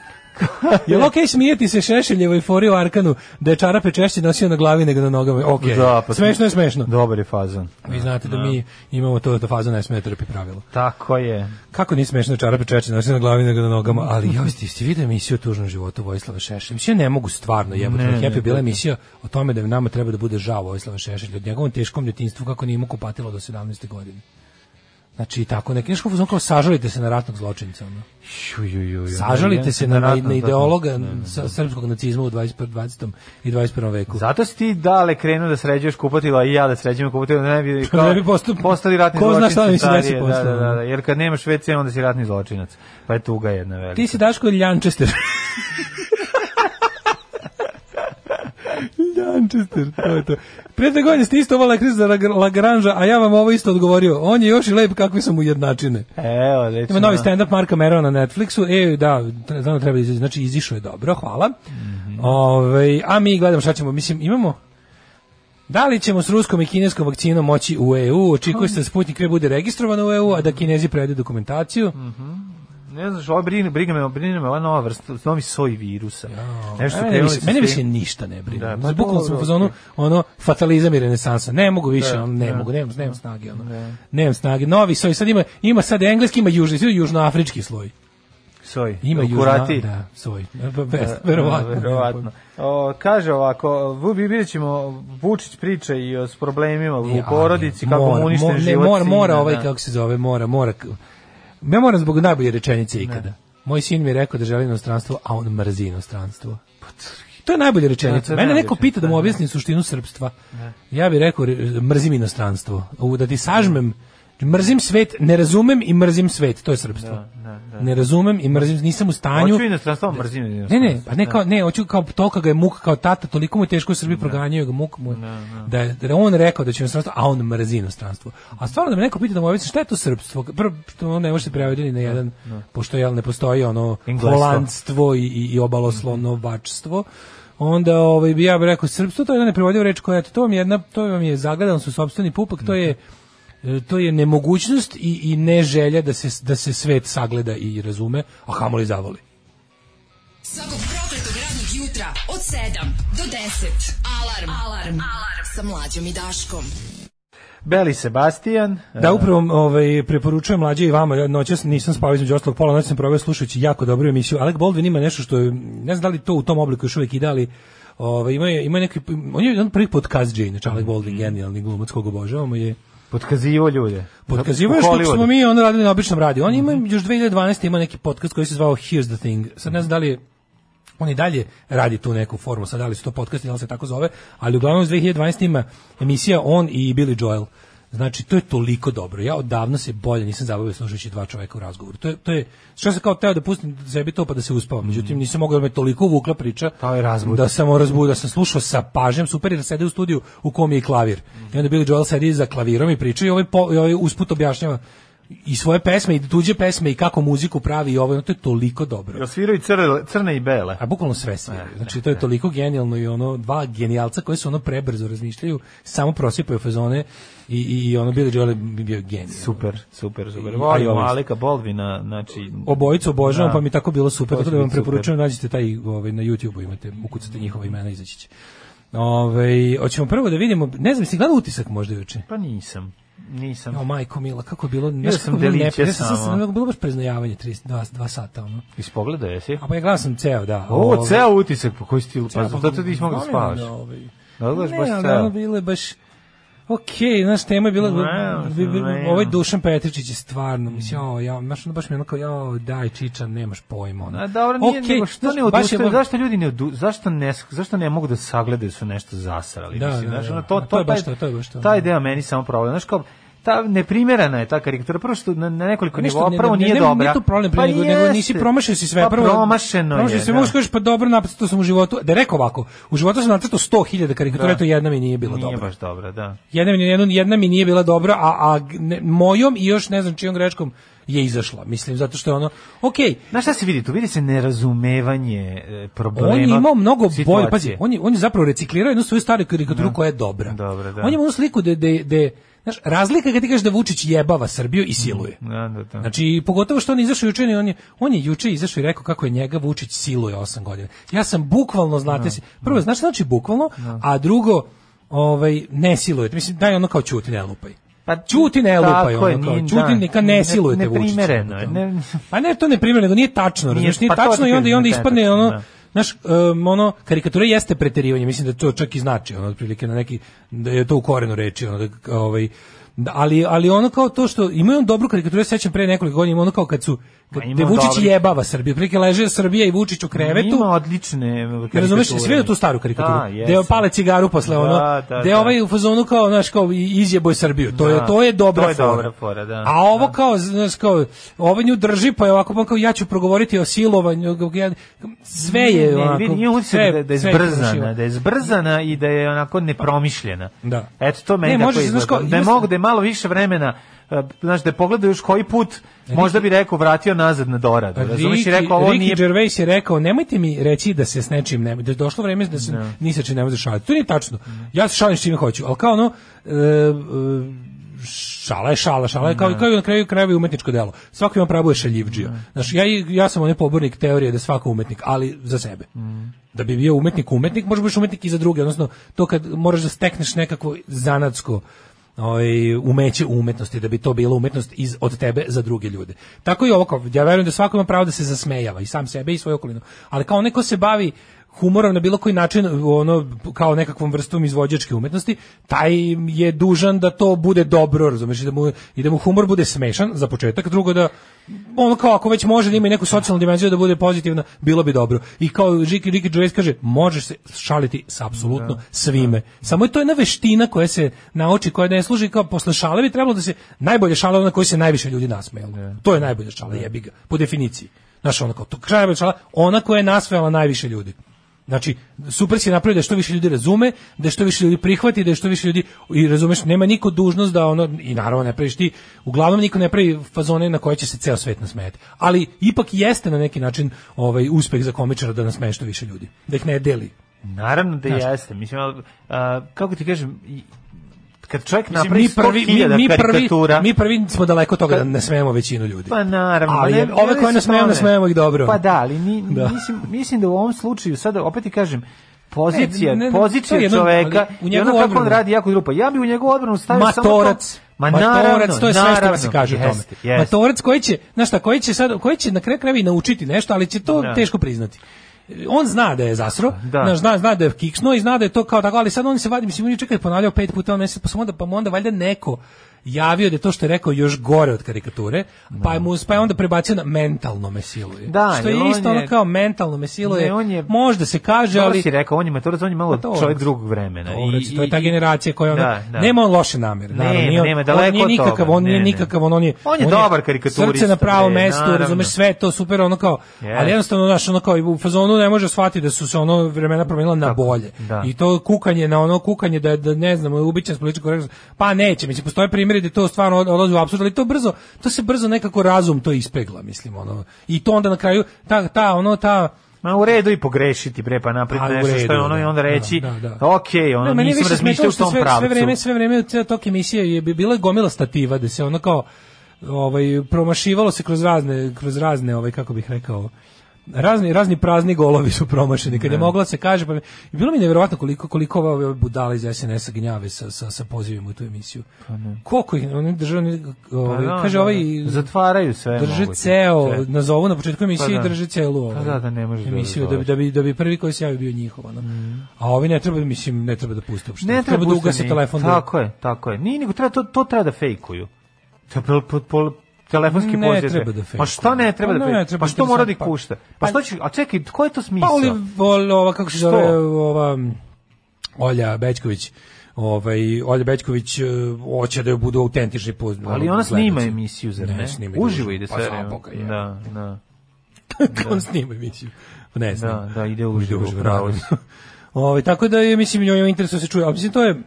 S6: Jel okej smijeti se Šešeljevoj fori u Arkanu da je čarape češće nosio na glavi nego na nogama? Okej,
S5: Da, pa-
S6: smešno je smešno.
S5: Dobar je fazan.
S6: Vi znate da mi imamo to da faza ne sme da trpi pravilo.
S5: Tako je.
S6: Kako nije smešno da čarape češće nosio na glavi nego na nogama, ali
S5: Mm-hmm.
S6: joj, ste, ste vidio emisiju o tužnom životu Vojislava Šešelja? Mislim, ja ne mogu stvarno jebati.
S5: Ne,
S6: Ne, Happy
S5: ne,
S6: bila emisija o tome da nama treba da bude žao Vojislava Šešelja od njegovom teškom djetinstvu kako nije imao kupatilo do 17. godine. Znači, tako neki, nešto kao sažalite se na ratnog zločinca. Ono.
S5: Ju, ju, ju, ju.
S6: Sažalite se na, na,
S5: Nevjerojatno,
S6: na
S5: zato-
S6: ideologa sa- srpskog nacizma u 21. 20. i 21. veku.
S5: Zato si ti dale krenuo da sređuješ kupatilo, a i ja da sređujem kupatilo, da ne bi, kao,
S6: ne bi postup-
S5: postali ratni
S6: ko zna
S5: zločinci.
S6: šta mi se desi
S5: starije, da, da,
S6: posle.
S5: da, da, jer kad nemaš WC, onda si ratni zločinac. Pa je tuga jedna velika.
S6: Ti si Daško Ljančester. Ljančester, to je to. Pre dve godine ste isto ovo lekris za Lag- Lagranža, a ja vam ovo isto odgovorio. On je još i lep kakvi sam ujednačine.
S5: Evo, lično.
S6: Ima novi stand-up Marka Merona na Netflixu. E, da, tre- znam da treba da izađe. Znači, izišao je dobro, hvala. Ovaj, a mi gledamo šta ćemo. Mislim, imamo... Da li ćemo s ruskom i kineskom vakcinom moći u EU? Očekuje se da Sputnik V bude registrovan u EU, a da kinezi predaju dokumentaciju.
S5: Ne znaš, ovo brine, brine, me, brine me ova nova vrsta, novi soj virusa. Nešto
S6: Mene
S5: krenuli
S6: više-
S5: su
S6: mene
S5: svi-
S6: više ništa ne brine.
S5: Da,
S6: Da,
S5: pa
S6: Bukvalno sam u
S5: dobro,
S6: fazonu
S5: okej.
S6: ono fatalizam i renesansa. Ne mogu više,
S5: Da,
S6: ono, ne
S5: da.
S6: mogu, nemam, nemam snage ono. Nemam snage. Novi soj sad ima ima sad engleski, ima južni, svi južnoafrički sloj.
S5: Soj,
S6: Ima južna,
S5: kurati.
S6: da, soj. Best, verovatno.
S5: E, verovatno. O, kaže ovako, vu- vi vidjet ćemo, Vučić priča i o s problemima u
S6: E,
S5: porodici,
S6: ali,
S5: kako
S6: mora,
S5: mu
S6: mo-
S5: uništen
S6: ne,
S5: život
S6: Mora, mora
S5: sina,
S6: ovaj,
S5: da.
S6: kako se zove, mora, mora. k- Ja moram zbog najbolje rečenice ikada. Moj sin mi je rekao da želi inostranstvo, a on mrzi inostranstvo.
S5: Pa
S6: To je najbolja
S5: Da, to
S6: rečenica.
S5: je
S6: Mene
S5: najbolja
S6: neko pita da mu
S5: rečenica,
S6: objasnim suštinu srpstva. Ja bih rekao, re- mrzim inostranstvo. U, Da ti sažmem, mrzim svet, ne razumem i mrzim svet. To je srpstvo. Ne razumem i mrzim, nisam u stanju.
S5: Da, Hoću inostranstvo, mrzim inostranstvo.
S6: Ne, ne, pa ne kao ne, hoću kao toka ga je muk kao tata, toliko mu je teško u Srbiji proganjaju ga muk mu. je, Da je da je on rekao da će inostranstvo, a on mrzi inostranstvo. A stvarno da me neko pita da mu objasni šta je to srpstvo? Prvo što ono ne može da se prevesti ni na jedan pošto jel ne postoji ono
S5: Inglestvo.
S6: holandstvo i, i, i obaloslovno bačstvo. Onda ovaj bi ja bih rekao srpstvo to je jedna neprevodiva reč koja eto, to vam je jedna to vam je zagadan su sopstveni pupak, to je e, to je nemogućnost i, i neželja da se, da se svet sagleda i razume, a kamoli zavoli.
S4: Svakog prokletog radnog jutra od 7 do 10. Alarm. Alarm. Alarm. Sa mlađom i Daškom.
S5: Beli Sebastian.
S6: Da, upravo ovaj, preporučujem mlađe i vama, ja noćas nisam spavao između ostalog pola, noć sam proveo slušajući jako dobru emisiju. Alec Baldwin ima nešto što, je, ne znam da li to u tom obliku još uvijek ide, ali ovaj, ima, je- ima neki, on je jedan prvi podcast Jane, znači Alec Baldwin, genijalni glumac kog obožavamo je
S5: Potkazivo ljude.
S6: podkazivo je
S5: U
S6: što
S5: Hollywoodu.
S6: smo mi on radili na običnom radiju. On ima još 2012. ima neki podcast koji se zvao Here's the Thing. Sad ne znam da li je on i dalje radi tu neku formu, sad da li su to podcasti, da li se tako zove, ali uglavnom iz 2012. ima emisija on i Billy Joel. Znači, to je toliko dobro. Ja odavno se bolje nisam zabavio slušajući dva čoveka u razgovoru. To je, to je, što sam kao teo da pustim sebi to pa da se uspavam.
S5: Mhm.
S6: Međutim, nisam mogao da me toliko vukla priča
S5: Pa je razbud.
S6: da sam razbudio, da sam slušao sa pažnjom, super je da sede u studiju u kom je i klavir. I onda Billy Joel sedi za klavirom i priča i ovaj, po, i ovaj usput objašnjava i svoje pesme i tuđe pesme i kako muziku pravi i ovo, ono, to je toliko dobro.
S5: Jel sviraju crne, crne i bele?
S6: A bukvalno sve sviraju. Znači to je toliko genijalno i ono dva genijalca koji su ono prebrzo razmišljaju, samo prosipaju fazone i i, i ono Billy Joel je bio genij.
S5: Super, super, super.
S6: I-
S5: Volim
S6: i ovaj-
S5: Alika Boldvina, znači...
S6: Obojicu obožavam,
S5: Da.
S6: pa mi je tako bilo super.
S5: To će
S6: Tako da vam
S5: biti super.
S6: preporučujem, nađite taj ovaj, na YouTube-u, imate, ukucate njihova imena, izaći će. Ove, hoćemo prvo da vidimo, ne znam, si gledao utisak možda juče?
S5: Pa nisam, nisam.
S6: O, majko mila, kako je bilo,
S5: Ja
S6: ne
S5: sam
S6: sam bilo
S5: deliće
S6: neprijatno, ja sam,
S5: samo.
S6: sam, bilo baš preznajavanje, 32 dva sata, ono.
S5: Ispogledao jesi?
S6: A pa ja gledao sam ceo, da.
S5: O,
S6: ovaj,
S5: ceo utisak, po koji stilu, pa
S6: Pa,
S5: zato ti nisi mogao da
S6: volim
S5: spavaš.
S6: da, ovaj,
S5: Da gledaš
S6: ne,
S5: baš
S6: ali
S5: ceo.
S6: ono bilo je baš... Okej, znaš, tema je bila...
S5: Ne,
S6: bi- bi-
S5: ne.
S6: ovaj Dušan Petričić je stvarno, mislim, jao, ja, znaš, ono baš mi je onako, jao, daj, čiča, nemaš pojma. Ono.
S5: A dobro, nije,
S6: Okej,
S5: nego što
S6: znaš,
S5: ne
S6: baš je
S5: odustaju,
S6: ono-
S5: zašto ljudi ne odu, zašto ne, zašto ne mogu da sagledaju su nešto zasrali,
S6: Da,
S5: mislim,
S6: da,
S5: znaš,
S6: da.
S5: ono, to,
S6: Ma,
S5: to,
S6: to je baš
S5: taj-
S6: to, da. to je baš to.
S5: Taj deo meni samo problem, znaš, kao, ta neprimerena je ta karikatura prvo što na, na nekoliko
S6: Ništa,
S5: nivoa
S6: ne-
S5: prvo
S6: ne-
S5: nije
S6: ne-
S5: dobra
S6: Nije to problem,
S5: Pa
S6: pa nego, nego nisi
S5: jeste.
S6: promašio si sve.
S5: Pa
S6: Prvo,
S5: promašeno
S6: promašio
S5: je
S6: si,
S5: da.
S6: možeš kažeš, pa dobro, napisao sam u životu. Da rekao ovako, u životu sam nacrtao 100.000 karikatura,
S5: Da.
S6: eto jedna mi nije bila
S5: nije
S6: dobra.
S5: baš dobra da
S6: Jedna mi, jedna, jedna mi nije bila dobra, a, a g- ne- mojom i još ne znam čijom greškom je izašla. Mislim, zato što je ono, okej,
S5: Znaš šta se vidi tu? Vidi se nerazumevanje e, problema.
S6: on je imao mnogo bolje,
S5: situacije. Da.
S6: pazi, on je, on je zapravo reciklirao jednu svoju staru karikaturu koja je dobra.
S5: Dobra, da.
S6: On je imao onu sliku da, da, da znaš, razlika kad ti kažeš da Vučić jebava Srbiju i siluje.
S5: Da, da, da.
S6: Znači, pogotovo što on je izašao juče, on je, on je juče izašao i rekao kako je njega Vučić siluje 8 godina. Ja sam bukvalno, znate
S5: Da.
S6: se, prvo, znaš šta znači bukvalno, a drugo, ovaj, ne siluje. te. Mislim, daj ono kao čuti, ne lupaj. Pa čuti ne lupaj,
S5: tako je,
S6: ono kao,
S5: nije-
S6: čuti
S5: da.
S6: neka ne
S5: Ne-
S6: silujete Vučića.
S5: neprimereno je,
S6: ono
S5: ne-
S6: kao. Pa ne, to ne primjereno, nego nije tačno, razumiješ, nije
S5: pa to
S6: tačno
S5: ti
S6: i onda, i
S5: kažem,
S6: onda
S5: nije
S6: ispadne
S5: tačno,
S6: ono,
S5: da.
S6: Znaš, em, ono, karikatura jeste preterivanje, mislim da to čak i znači, ono, otprilike na neki, da je to u korenu reči, ono, da, k- ovaj, da, ali, ali ono kao to što, imaju on dobru karikaturu, ja se sećam pre nekoliko godina, ima ono kao kad su, kad,
S5: ima
S6: da je
S5: on
S6: Vučić
S5: Pa dobri.
S6: jebava Srbiju, otprilike leže Srbija i Vučić u krevetu,
S5: Ima odlične karikature.
S6: Ne razumeš, si vidio tu staru karikaturu?
S5: Da,
S6: gde
S5: jesam.
S6: on pale cigaru posle
S5: Da,
S6: ono,
S5: da,
S6: gde
S5: da.
S6: ovaj u fazonu kao, znaš, kao i- izjeboj Srbiju. To je
S5: Da.
S6: to je dobra
S5: To je
S6: fora.
S5: dobra fora, da.
S6: A ovo kao, znaš, kao ovo nju drži, pa je ovako pa kao ja ću progovoriti o silovanju, g- g- sve je
S5: Ne, ne,
S6: onako.
S5: vidi, nije utisak
S6: sve-
S5: da, da je
S6: sve
S5: zbrzana,
S6: promašivo.
S5: da je zbrzana i da je onako nepromišljena.
S6: Da.
S5: Eto, to meni
S6: Ne,
S5: tako
S6: može se, znaš
S5: izgleda.
S6: kao,
S5: da je
S6: ima se-
S5: mogu, da je malo više vremena, e, znaš, da je pogledao još koji put,
S6: E,
S5: možda bi rekao, vratio nazad na doradu. Razumeš, i
S6: Ricky,
S5: rekao, ovo
S6: Ricky
S5: nije...
S6: Gervais je rekao, nemojte mi reći da se s nečim ne, da je došlo vreme da se ni sa čim ne može šaliti. To nije tačno. Ja se šalim s čime hoću, ali kao ono, e, e, šala je šala, šala je kao, kao i na kraju krajeva i umetničko delo. Svako ima pravo je šaljivđio. Znaš, ja, i- ja sam onaj pobornik teorije da je svako umetnik, ali za sebe. Da bi bio umetnik umetnik, možeš biti umetnik i za druge, odnosno to kad moraš da stekneš nekakvo zanatsko ovaj, umeće u umetnosti, da bi to bila umetnost iz, od tebe za druge ljude. Tako i ovo, kao, ja verujem da svako ima pravo da se zasmejava i sam sebe i svoju okolinu, ali kao neko se bavi humorom na bilo koji način ono kao nekakvom vrstom izvođačke umetnosti taj je dužan da to bude dobro razumeš i da mu i da mu humor bude smešan za početak drugo da ono kao ako već može da ima i neku socijalnu dimenziju da bude pozitivna bilo bi dobro i kao Ricky Ricky Gervais kaže možeš se šaliti sa apsolutno svime samo je to jedna veština koja se nauči koja ne služi kao posle šale bi trebalo da se najbolje šala je ona koju se najviše ljudi nasmejalo to je najbolja šala jebi ga po definiciji Znaš, ono kao, to kraj najbolja šala, ona koja je nasmejala najviše ljudi. Znači, super si napravio da što više ljudi razume, da što više ljudi prihvati, da što više ljudi i razumeš, nema niko dužnost da ono i naravno ne praviš ti, uglavnom niko ne pravi fazone na koje će se ceo svet nasmejati. Ali ipak jeste na neki način ovaj uspeh za komičara da nasmeje što više ljudi, da ih ne deli.
S5: Naravno da
S6: Znaš.
S5: jeste. Mislim, ali, a, kako ti kažem, i- kad čovjek
S6: Mislim,
S5: napravi 100.000
S6: mi, prvi,
S5: karikatura...
S6: mi prvi smo daleko od toga da nasmejemo većinu ljudi.
S5: Pa naravno.
S6: Ali
S5: ne-
S6: je-
S5: ne
S6: ove
S5: radi
S6: koje
S5: se o
S6: nasmejamo,
S5: tome.
S6: nasmejamo ih dobro.
S5: Pa da, ali ni,
S6: Da.
S5: Mislim, mislim da u ovom slučaju, sada opet ti kažem, pozicija,
S6: Ne, ne, ne, to
S5: pozicija
S6: je jedno,
S5: čoveka,
S6: ali u
S5: i ono
S6: njegovu
S5: kako on
S6: odbranu.
S5: radi jako grupa. Ja bi u njegovu odbranu stavio samo to-
S6: Matorac.
S5: Ma
S6: Matorac,
S5: naravno,
S6: to je sve što
S5: naravno.
S6: se kaže o tome.
S5: Jeste, jeste.
S6: Matorac koji će, znaš šta, koji će sad, koji će na kraju krajeva i naučiti nešto, ali će to
S5: Da.
S6: teško priznati. On zna da je zasro,
S5: Da.
S6: znaš, zna, zna da je kiksno i zna da je to kao tako, ali sad on se vadi, mislim, on je čekaj ponavljao pet puta, on mesec, pa sam onda, pa mu onda valjda neko javio da je to što je rekao još gore od karikature, pa, je mu, pa je onda prebacio na mentalno me siluje.
S5: Da,
S6: što je
S5: jer on
S6: isto ono
S5: je-
S6: kao mentalno me siluje,
S5: Ne, on je-
S6: možda se kaže,
S5: Dobro
S6: ali...
S5: si rekao, on je maturac, on je malo
S6: Matorac.
S5: čovjek drugog vremena.
S6: Dobro, znači,
S5: I-
S6: to je ta
S5: i-
S6: generacija koja ona
S5: Da, da.
S6: nema on loše namere,
S5: Nema,
S6: naravno. nije on-
S5: nema,
S6: on
S5: daleko
S6: nije
S5: od toga,
S6: nikakav, on
S5: ne,
S6: nije
S5: ne.
S6: nikakav, on, on je
S5: On je dobar karikaturista,
S6: Srce na pravo
S5: bre,
S6: mesto,
S5: naravno.
S6: razumeš, sve je to super, ono kao.
S5: Yes.
S6: Ali jednostavno znaš, ono kao i u fazonu ne može shvatiti da su se ono vremena promenila na bolje.
S5: da.
S6: I to kukanje na ono kukanje da da ne znam, uobičajen politički korektnost. Pa neće, mislim postoje primjeri da to stvarno od- odlazi u apsurd, ali to brzo, to se brzo nekako razum to ispegla, mislim ono. I to onda na kraju ta ta ono ta
S5: Ma u redu i pogrešiti bre pa
S6: A, u
S5: napraviti nešto što je
S6: redu,
S5: ono i onda
S6: da,
S5: reći
S6: da, da.
S5: okej, ono
S6: Ne, meni je
S5: nisam
S6: više
S5: razmišljao
S6: smetalo
S5: u
S6: što
S5: tom
S6: sve,
S5: pravcu.
S6: Sve vreme, sve vreme ceo tok emisije je bi- bila gomila stativa da se ono kao ovaj promašivalo se kroz razne kroz razne ovaj kako bih rekao razni razni prazni golovi su promašeni kad je
S5: Da.
S6: mogla se kaže pa mi- i bilo mi je neverovatno koliko koliko ove, ove budale iz SNS-a gnjave sa sa sa pozivima u tu emisiju. Koliko ih oni državni ovaj,
S5: Pa da,
S6: kaže
S5: da,
S6: ovaj
S5: da. zatvaraju sve
S6: drže
S5: moguće.
S6: ceo
S5: Sve.
S6: nazovu na početku emisije
S5: da.
S6: i drže celu ovaj,
S5: da, da ne možeš da
S6: emisiju da bi
S5: razgovaraš.
S6: da bi da bi prvi koji se javi bio njihov ono. a ovi ne treba mislim ne treba da puste uopšte
S5: Ne treba
S6: da
S5: da
S6: ugase telefon da-
S5: Tako je, tako je. Nije nego treba to to treba da fejkuju. To je pol, pol, pol, telefonski
S6: Ne
S5: poziv.
S6: treba da fejkuju.
S5: Pa šta ne treba
S6: Pa
S5: da
S6: ne,
S5: fejkuju?
S6: treba
S5: Pa što
S6: da
S5: mora
S6: sad-
S5: da ih
S6: pa-
S5: pušta? Pa šta će, a čekaj, ko je to
S6: pa
S5: smisao?
S6: oli vol- ova kako se zove
S5: Što?
S6: ova Olja Bećković ovaj, Olja Bećković e, hoće da joj budu autentični po,
S5: Ali ona snima emisiju, zar
S6: Ne,
S5: ne?
S6: snima ide
S5: Uživo
S6: uživo.
S5: ide
S6: Pa
S5: sve.
S6: za
S5: vreme.
S6: Boga, je.
S5: Da, da.
S6: on snima emisiju. Ne znam.
S5: Da, da, ide uživo, pravo si.
S6: Ove, tako da je, mislim, njoj interesu se čuje. Ali mislim, to je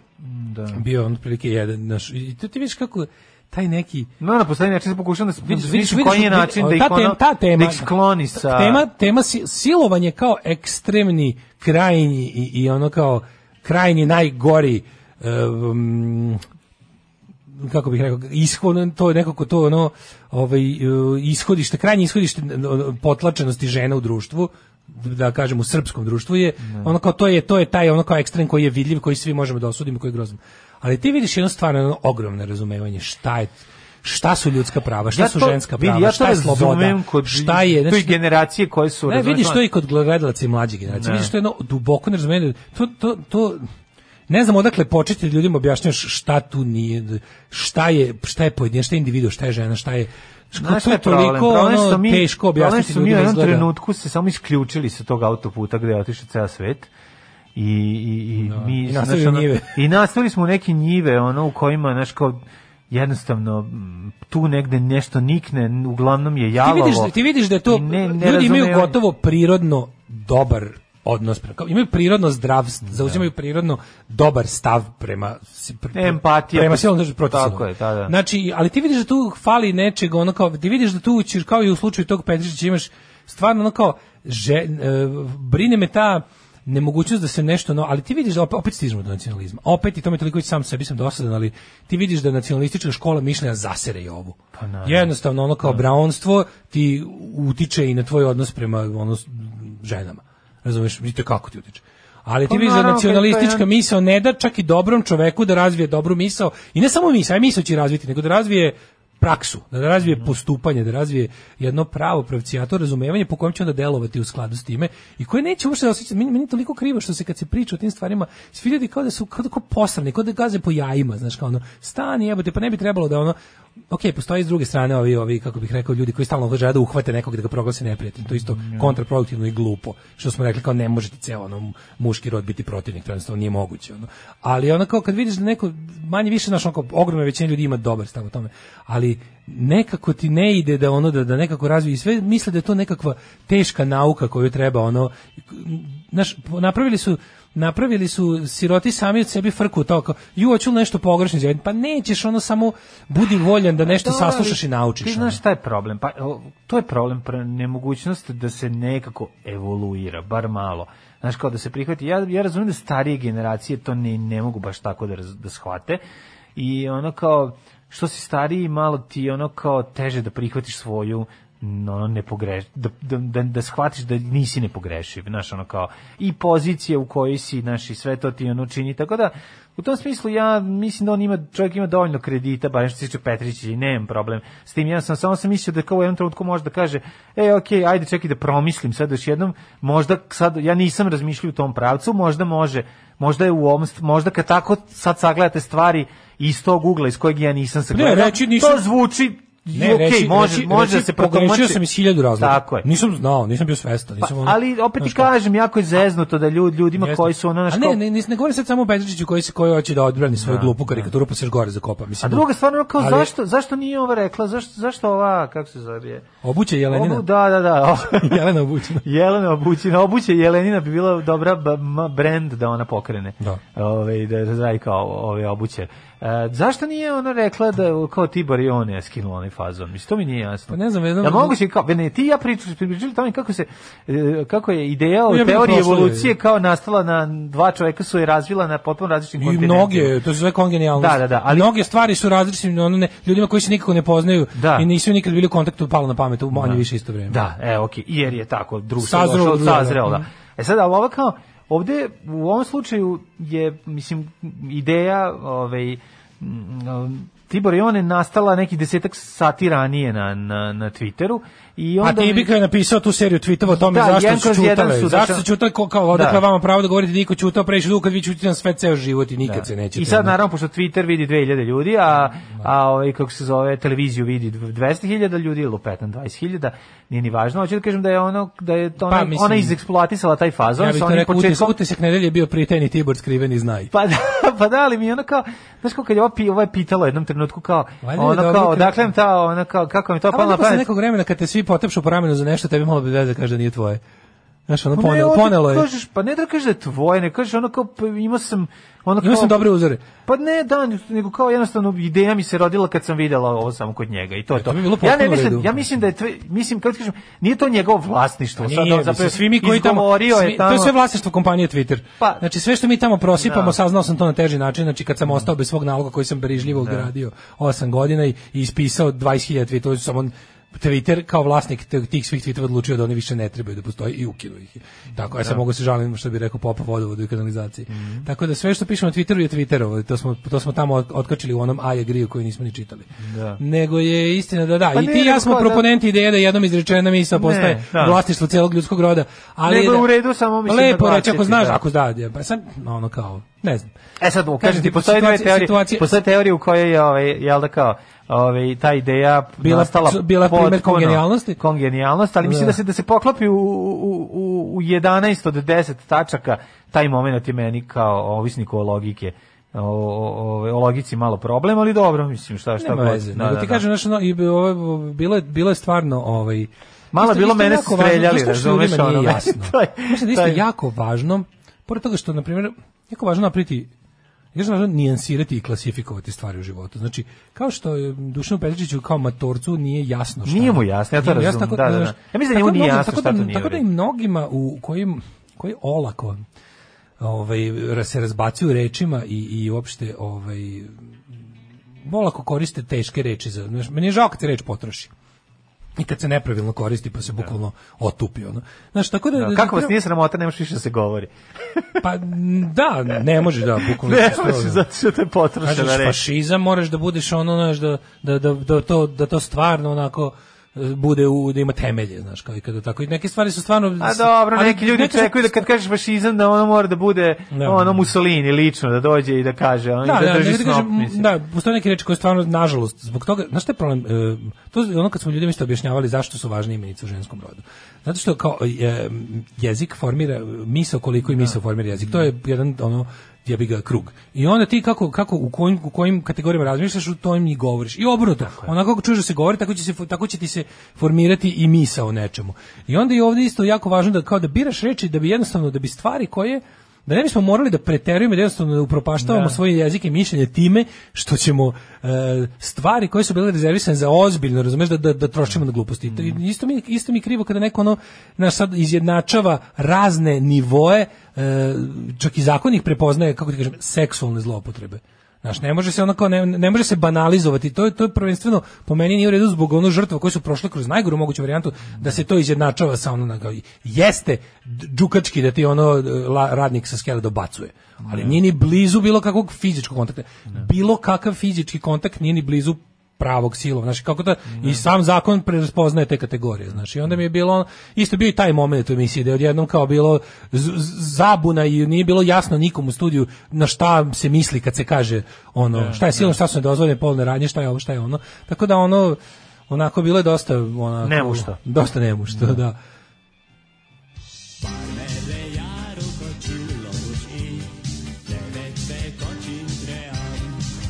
S5: da.
S6: bio on otprilike jedan naš... I to ti vidiš kako taj neki...
S5: No, na poslednji način se pokušam da
S6: Vidiš,
S5: smislim
S6: vidiš, vidiš,
S5: koji je
S6: vidiš,
S5: način da
S6: ta
S5: ih, ono,
S6: tem- ta tema-
S5: da ih skloni sa...
S6: Tema, tema si- silovanje kao ekstremni, krajnji i, i ono kao krajnji, najgori eh, um, kako bih rekao, ishod, to je nekako to ono, ovaj, uh, ishodište, krajnje ishodište uh, potlačenosti žena u društvu, da kažem u srpskom društvu je, ono kao to je, to je taj ono kao ekstrem koji je vidljiv, koji svi možemo da osudimo, koji je grozan. Ali ti vidiš jedno stvarno ono ogromno razumevanje šta je šta su ljudska prava, šta su
S5: to-
S6: ženska
S5: vidi,
S6: prava,
S5: ja to
S6: šta je sloboda,
S5: razumem kod
S6: šta je, znači,
S5: to je generacije koje su...
S6: ne,
S5: razumeš,
S6: vidiš
S5: ono-
S6: to i kod gledalaca i mlađe generacije.
S5: Ne.
S6: Vidiš to je jedno duboko nerazumevanje. To, to, to, ne znam odakle početi da ljudima objašnjaš šta tu nije, šta je, šta je pojedinje, šta je individu, šta je žena, šta je...
S5: Znaš
S6: to
S5: šta je
S6: je
S5: problem?
S6: toliko
S5: Problem je što
S6: ono,
S5: mi,
S6: teško
S5: problem je
S6: objasniti
S5: što mi u
S6: ljudima
S5: jednom
S6: izgleda.
S5: trenutku se samo isključili sa tog autoputa gde je otišao ceo svet. I, i, i, mi,
S6: Da. I nastavili
S5: znaš, ono,
S6: njive.
S5: I nastavili smo u neke njive, ono, u kojima, znaš, kao, jednostavno, m, tu negde nešto nikne, n- uglavnom je
S6: ti
S5: jalavo.
S6: vidiš, da- ti vidiš da je to
S5: I ne- ne
S6: ljudi imaju
S5: razumeju-
S6: gotovo prirodno dobar odnos prema kao imaju prirodno zdrav
S5: Da.
S6: zauzimaju prirodno dobar stav prema si- pre-
S5: Empatija.
S6: prema silom drži protiv
S5: Tako
S6: silom.
S5: je, da, da.
S6: znači ali ti vidiš da tu fali nečeg ono kao ti vidiš da tu ćeš kao i u slučaju tog Petričića imaš stvarno ono kao že, e, brine me ta nemogućnost da se nešto no, ali ti vidiš da opet, opet stižemo do nacionalizma. Opet i to me toliko već sam sebi sam dosadan, ali ti vidiš da nacionalistička škola mišljenja zasere i ovu.
S5: Pa naravno. Da.
S6: Jednostavno ono kao braunstvo ti utiče i na tvoj odnos prema ono s- ženama. Razumeš? Vidite kako ti utiče. Ali
S5: Pa
S6: ti vidiš da
S5: naravno, kad to je
S6: nacionalistička
S5: jedan-
S6: misao ne da čak i dobrom čoveku da razvije dobru misao i ne samo misao, a misao će razviti, nego da razvije praksu, da razvije postupanje, da razvije jedno pravo pravcijato razumevanje po kojem će onda delovati u skladu s time i koje neće uopšte da osjećati. Meni, meni je toliko krivo što se kad se priča o tim stvarima, svi ljudi kao da su kao, da kao posrani, kao da gaze po jajima, znaš, kao ono, stani jebote, pa ne bi trebalo da ono, ok, postoji s druge strane ovi, ovi kako bih rekao, ljudi koji stalno žele da uhvate nekog da ga proglase neprijateljem, to je isto kontraproduktivno i glupo, što smo rekli kao ne možete ceo ono, muški rod biti protivnik, to jednostavno nije moguće. Ono. Ali ono kao kad vidiš da neko, manje više, znaš, onako, ogromna većina ljudi ima dobar stav o tome, ali nekako ti ne ide da ono da, da nekako razvije i sve misle da je to nekakva teška nauka koju treba ono znaš, po- napravili su napravili su siroti sami od sebi frku to kao ju hoću li nešto pogrešno izjaviti pa nećeš ono samo budi voljan da nešto
S5: Dobro, Pa ali
S6: saslušaš i naučiš
S5: Ti
S6: ono.
S5: znaš šta je problem? Pa, o, to je problem pre- nemogućnost da se nekako evoluira, bar malo. Znaš, kao da se prihvati. Ja, ja razumijem da starije generacije to ne, ne mogu baš tako da, raz- da shvate. I ono kao, što si stariji, malo ti je ono kao teže da prihvatiš svoju n- ono nepogreš da da da da shvatiš da nisi nepogrešiv znaš ono kao i pozicija u kojoj si znaš i sve to ti ono čini tako da u tom smislu ja mislim da on ima čovjek ima dovoljno kredita bar što se tiče Petrića i nemam problem s tim ja sam samo sam mislio da kao u jednom trenutku može da kaže e ok ajde čekaj da promislim sad još jednom možda sad ja nisam razmišljao u tom pravcu možda može možda je u ovom st- možda kad tako sad sagledate stvari iz tog ugla iz kojeg ja nisam sagledao
S6: reći nisam-
S5: to zvuči
S6: Ne,
S5: ne, okej,
S6: reći-
S5: može,
S6: reći-
S5: može
S6: reći,
S5: da se
S6: pogrešio
S5: protumači.
S6: sam iz hiljadu razloga.
S5: Tako je.
S6: Nisam znao, nisam bio svestan.
S5: Pa,
S6: Nisam ono-
S5: ali opet ti
S6: znaš kao-
S5: kažem, jako je zeznuto da ljudi, ljudima
S6: Jeste.
S5: koji su ono naš
S6: A
S5: kao-
S6: ne, ne, ne, ne govorim sad samo o Petričiću koji se koji hoće da odbrani svoju glupu karikaturu pa se još gore zakopa. Mislim,
S5: A druga stvar, ono kao,
S6: ali-
S5: zašto, zašto nije ova rekla, zašto, zašto ova, kako se zove je?
S6: Obuće Jelenina.
S5: Obu, da, da, da.
S6: Jelena obućena.
S5: Jelena obućina, obuće Jelenina bi bila dobra b- m- brand da ona pokrene.
S6: Da.
S5: Ove, da zraj kao ove obuće. E, zašto nije ona rekla da je kao Tibor i on je skinuo onaj fazon? Mislim, to mi nije jasno.
S6: Pa ne znam, jedan-
S5: Ja moguće, kao, ne, ti i ja pričali, pričali tome kako se, e, kako je ideja o
S6: Ja bih
S5: teoriji
S6: prošla,
S5: evolucije kao nastala na dva čoveka su je razvila na potpuno različitim
S6: I
S5: kontinentima.
S6: mnoge, to se zove kongenijalnost.
S5: Da, da, da, ali-
S6: Mnoge stvari su različite, ono ne, ljudima koji se nikako ne poznaju
S5: Da.
S6: i nisu nikad bili u kontaktu, palo na pamet u manje više isto vrijeme.
S5: Da, e, ok, jer je tako, društvo
S6: Sazrelo
S5: sazrelo,
S6: društvo,
S5: sazrelo da.
S6: mhm.
S5: E sad, ali ovo kao, ovde u ovom slučaju je, mislim, ideja, ovaj, mm, um, Tibor Jon je nastala neki desetak sati ranije na, na, na Twitteru i
S6: A
S5: onda...
S6: Tibika je napisao tu seriju tweetova o tome
S5: Da, jedan
S6: zašto
S5: kroz
S6: su
S5: jedan
S6: čutale.
S5: su,
S6: zašto
S5: znači-
S6: su čutale, ko- kao odakle
S5: Da.
S6: vama pravo da govorite, niko čutao, previše dugo kad vi čutite na sve ceo život i nikad se Mhm. nećete.
S5: Da. I sad
S6: ono.
S5: naravno pošto Twitter vidi 2000 ljudi, a a ovaj kako se zove televiziju vidi 200.000 ljudi ili 15 20.000, nije ni važno. Hoću da kažem da je ono da je to ona,
S6: Pa, mislim-
S5: ona izeksploatisala taj fazon
S6: ja bih
S5: sa
S6: to
S5: onim
S6: rekao, utisak,
S5: početkom.
S6: utisak nedelje je bio prijateljni Tibor skriveni znaj.
S5: Pa da, pa da, ali mi je ono kao, znaš kao kad je ovo, pi, ovo je pitalo u jednom trenutku kao,
S6: Valjda je
S5: ono
S6: dobro
S5: kao,
S6: kad-
S5: dakle mi ta, ono kao, kako mi to
S6: A
S5: palo na
S6: onda posle
S5: pamet.
S6: nekog vremena kad te svi potepšu po ramenu za nešto, tebi malo bi veze da kaže da nije tvoje. Znaš, ono
S5: Pa ne,
S6: ponelo,
S5: ovdje
S6: ponelo je.
S5: Kažeš, pa ne da kažeš da je tvoje, ne kažeš ono kao, pa imao sam, ono kao,
S6: Imao sam dobre uzore.
S5: Pa ne, da, nego kao jednostavno ideja mi se rodila kad sam videla ovo samo kod njega i to je
S6: E, to
S5: to.
S6: bi bilo
S5: ja
S6: potpuno
S5: ne
S6: u
S5: mislim,
S6: redu.
S5: ja mislim da je tve, mislim kako ti kažem, nije to njegovo vlasništvo.
S6: Pa Nije,
S5: on
S6: mislim,
S5: zapravo
S6: svi mi koji tamo,
S5: izgovorio je
S6: svi, to je
S5: tamo-
S6: sve vlasništvo kompanije Twitter.
S5: Pa-
S6: znači sve što mi tamo prosipamo,
S5: Da.
S6: saznao sam to na teži način, znači kad sam ostao bez svog naloga koji sam brižljivo
S5: Da.
S6: ugradio 8 godina i, i ispisao 20.000 tweetova, sam on Twitter kao vlasnik te- tih svih tweetova odlučio da oni više ne trebaju da postoji i ukinuo ih. je. Tako,
S5: Da.
S6: ja sam mogu da se žalim što bi rekao popa vodovodu i kanalizaciji.
S5: Mhm.
S6: Tako da sve što pišemo na Twitteru je Twitterovo, to smo, to smo tamo od- otkačili u onom I agree koju nismo ni čitali. Nego je istina da da,
S5: Da. Pa
S6: i ti
S5: ne,
S6: i ja
S5: nego
S6: smo
S5: kao da-
S6: proponenti ideje da jednom izrečena misao postaje
S5: da.
S6: vlasništvo celog ljudskog roda. Ali
S5: Nego
S6: je
S5: je u redu, samo mislim
S6: Lepo reći,
S5: naglasiti,
S6: ako znaš,
S5: da.
S6: ako da, ja, pa sad, ono kao, ne znam.
S5: E sad, kažem,
S6: Kažem ti,
S5: ti, postoje dve
S6: situacija-
S5: teorije,
S6: situacija-
S5: postoje teorije u kojoj je, ovaj, jel da kao, ovaj, ta ideja
S6: Bila-
S5: nastala
S6: bila primer
S5: potpuno-
S6: kongenijalnosti?
S5: Kongenijalnost, ali mislim
S6: Da.
S5: da. se da se poklopi u, u, u, u 11 od 10 tačaka, taj moment je meni kao ovisniku o logike, o, o, o, o logici malo problem, ali dobro, mislim, šta, šta
S6: Nema
S5: god.
S6: veze.
S5: Da,
S6: nego
S5: da,
S6: ti
S5: da.
S6: kažem, znaš, ono, i bi- ovo, bilo, je, bilo je stvarno, ovaj,
S5: Malo je
S6: isto-
S5: bilo
S6: isto
S5: mene
S6: jako važno,
S5: streljali,
S6: znaš što ljudima
S5: razumeš, ono,
S6: nije jasno.
S5: to je-
S6: Znaš šta je isto
S5: to je-
S6: jako važno, pored toga što, na primjer, jako važno napriti Još važno nijansirati i klasifikovati stvari u životu. Znači, kao što je Dušanu Petričiću kao matorcu nije jasno šta.
S5: Nije
S6: je.
S5: mu jasno, ja to
S6: Nije mu
S5: razumem, da, da, da.
S6: znaš,
S5: Ja mislim da njemu
S6: tako
S5: nije
S6: mnogo-
S5: jasno
S6: tako
S5: šta
S6: da-
S5: to nije u
S6: Tako da i
S5: redu.
S6: mnogima u kojim, koji olako ovaj, ra- se razbacuju rečima i, i uopšte ovaj, olako koriste teške reči. Za, znaš, meni je žao kad se reč potroši. I kad se nepravilno koristi, pa se bukvalno otupi. Ono. Znaš, tako da,
S5: Da, Kako vas nije sramota, nemaš više da se govori.
S6: Pa m, da, ne može da, bukvalno.
S5: Ne,
S6: što-
S5: zato što te potrošena
S6: Kažeš pa
S5: reč.
S6: fašizam, moraš da budeš ono, znaš, da, da, da, da, to, da to stvarno onako e, bude u, da ima temelje, znaš, kao i kada tako. I neke stvari su stvarno...
S5: A Pa dobro,
S6: ali
S5: neki ljudi
S6: neke-
S5: očekuju da kad kažeš fašizam da ono mora da bude
S6: Da.
S5: ono Mussolini lično da dođe i da kaže, ono
S6: Da,
S5: i
S6: da,
S5: da drži
S6: nego ti
S5: snop,
S6: kažem,
S5: mislim.
S6: da, postoje neke reči koje stvarno, nažalost, zbog toga, znaš šta je problem, E, to je ono kad smo ljudima isto objašnjavali zašto su važne imenice u ženskom rodu. Zato što kao e, jezik formira, misao koliko i
S5: Da.
S6: misao formira jezik, to je jedan ono, ja ga krug. I onda ti kako, kako u, kojim, u kojim kategorijama razmišljaš, u to im i govoriš. I obrnuto, onako kako čuješ da se govori, tako će, se, tako će ti se formirati i misao o nečemu. I onda je ovdje isto jako važno da kao da biraš reči, da bi jednostavno, da bi stvari koje da ne bismo morali da preterujemo i da jednostavno upropaštavamo svoje jezike i mišljenje time što ćemo e, stvari koje su bile rezervisane za ozbiljno, razumeš, da, da, da trošimo na gluposti. I Isto mi, isto mi je krivo kada neko ono, naš sad izjednačava razne nivoe, e, čak i zakonik prepoznaje, kako ti kažem, seksualne zloupotrebe. Znaš, ne može se ono kao, ne, ne može se banalizovati. To je to je prvenstveno po meni nije u redu zbog ono žrtva koje su prošle kroz najgoru moguću varijantu da se to izjednačava sa ono na kao- jeste d- đukački da ti ono e, la- radnik sa skele dobacuje. Ali nije ni blizu bilo kakvog fizičkog kontakta. Bilo kakav fizički kontakt nije ni blizu pravog silova. Znači, kako da, i sam zakon prepoznaje te kategorije, znači, i onda mi je bilo, ono- isto je bio i taj moment u emisiji, da je odjednom kao bilo z- z- zabuna i nije bilo jasno nikom u studiju na šta se misli kad se kaže, ono, šta je silno, šta su nedozvoljene polne radnje, šta je ovo, šta je ono, tako da, ono, onako bilo je dosta, onako,
S5: Nemušto.
S6: dosta nemušto, da.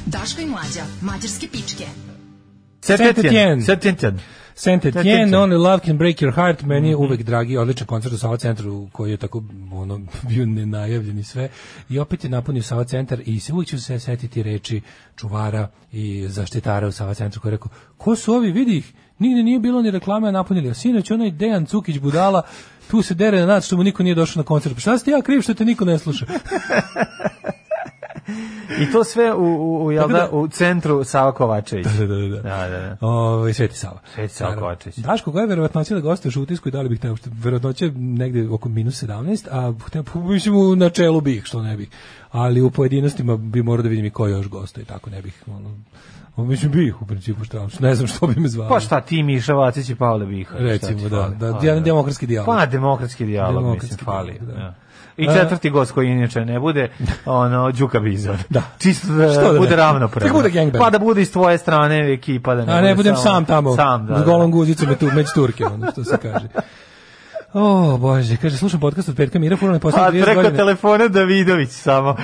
S4: Daško i mlađa, mađarske pičke.
S6: Saint-Étienne.
S5: Saint-Étienne. Saint-Étienne.
S6: Saint Etienne,
S5: Etienne.
S6: Only Love Can Break Your Heart, meni je uvek dragi, odličan koncert u Sava centru koji je tako ono, bio nenajavljen i sve. I opet je napunio Sava centar i se uvijek ću se setiti reči čuvara i zaštitara u Sava centru koji je rekao, ko su ovi, vidi ih, nigde nije bilo ni reklame, a napunili. A sinoć onaj Dejan Cukić budala, tu se dere na nas što mu niko nije došao na koncert. Pa šta ste ja kriv što te niko ne sluša?
S5: I to sve u, u, u, jel da, u centru Sava Kovačević.
S6: da, da, da.
S5: Da, da, da.
S6: Ovaj Sveti Sava.
S5: Sveti Sava
S6: Naravno.
S5: Kovačić.
S6: Daško, koja je verovatnoća da gostuješ u utisku i da li bih te uopšte verovatnoća je negde oko minus 17, a te, mislim u načelu bih, što ne bih. Ali u pojedinostima bi morao da vidim i ko još gostuje, tako ne bih. Ono, Mislim, bih u principu, šta, ne znam što bi me zvali.
S5: Pa šta ti Miša Vacić i Pavle Bihar?
S6: Recimo, da, da, da, demokratski dijalog.
S5: Pa demokratski dijalog, mislim,
S6: Demokratski
S5: fali.
S6: dijalog, da.
S5: ja. I četvrti gost koji inače ne bude, ono, Đuka Bizon.
S6: Da.
S5: Čisto da,
S6: Što da
S5: bude
S6: ne?
S5: ravnopravno.
S6: Tek bude gangbang.
S5: Pa da bude iz tvoje strane ekipa. Da ne
S6: A
S5: bude
S6: ne budem
S5: samo-
S6: sam tamo,
S5: Sam, da.
S6: s
S5: da.
S6: golom guzicom i tu, među Turke, ono što se kaže. O, bože, kaže, slušam podcast od petka Mira Furlan,
S5: Pa
S6: poslednje 30
S5: preko
S6: godine.
S5: telefona Davidović samo.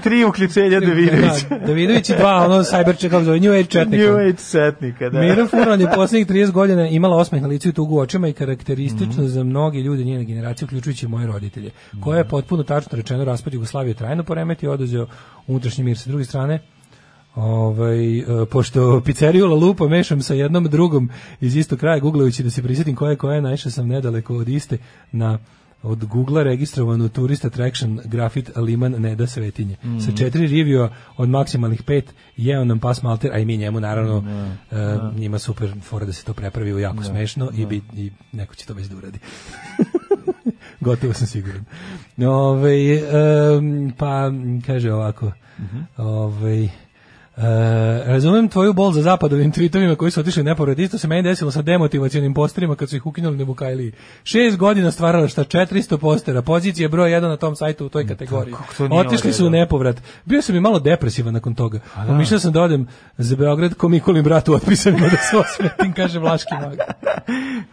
S5: Tri, tri uključenja Davidovića.
S6: Da, Davidović i dva, ono, cyber check, kako zove, New Age četnika.
S5: New Age setnika, da.
S6: Mira Furlan je poslednjih 30 godina imala osmeh na licu i tugu u očima i karakteristično
S5: Mhm.
S6: za mnoge ljude njene generacije, uključujući i moje roditelje, koja
S5: Da.
S6: je potpuno tačno rečeno raspad Jugoslavije trajno poremeti i oduzeo unutrašnji mir. Sa druge strane, Ovaj, e, pošto pizzeriju La Lupa mešam sa jednom drugom iz istog kraja, guglajući da se prisjetim koja je koja, naišao sam nedaleko od iste na od Google registrovanu turist attraction grafit Liman Neda Svetinje. Sa četiri reviewa od maksimalnih pet jeo nam pas Malter, a i mi njemu naravno e, njima super fora da se to prepravi u jako smešno i, bi, i neko će to već da uradi. Gotovo sam siguran. Ove, pa, m, kaže ovako, ovaj, e, razumem tvoju bol za zapadovim tweetovima koji su otišli nepovred. Isto se meni desilo sa demotivacijonim posterima kad su ih ukinuli na Bukajliji. Šest godina stvarala šta 400 postera. Pozicija je broj jedan na tom sajtu u toj kategoriji.
S5: Da, kako to nije Pa
S6: Otišli su u
S5: odredno?
S6: nepovrat. Bio sam i malo depresivan nakon toga. Pomišljao sam da odem za Beograd ko Mikolin bratu otpisanima da se osmetim, kaže Vlaški mag.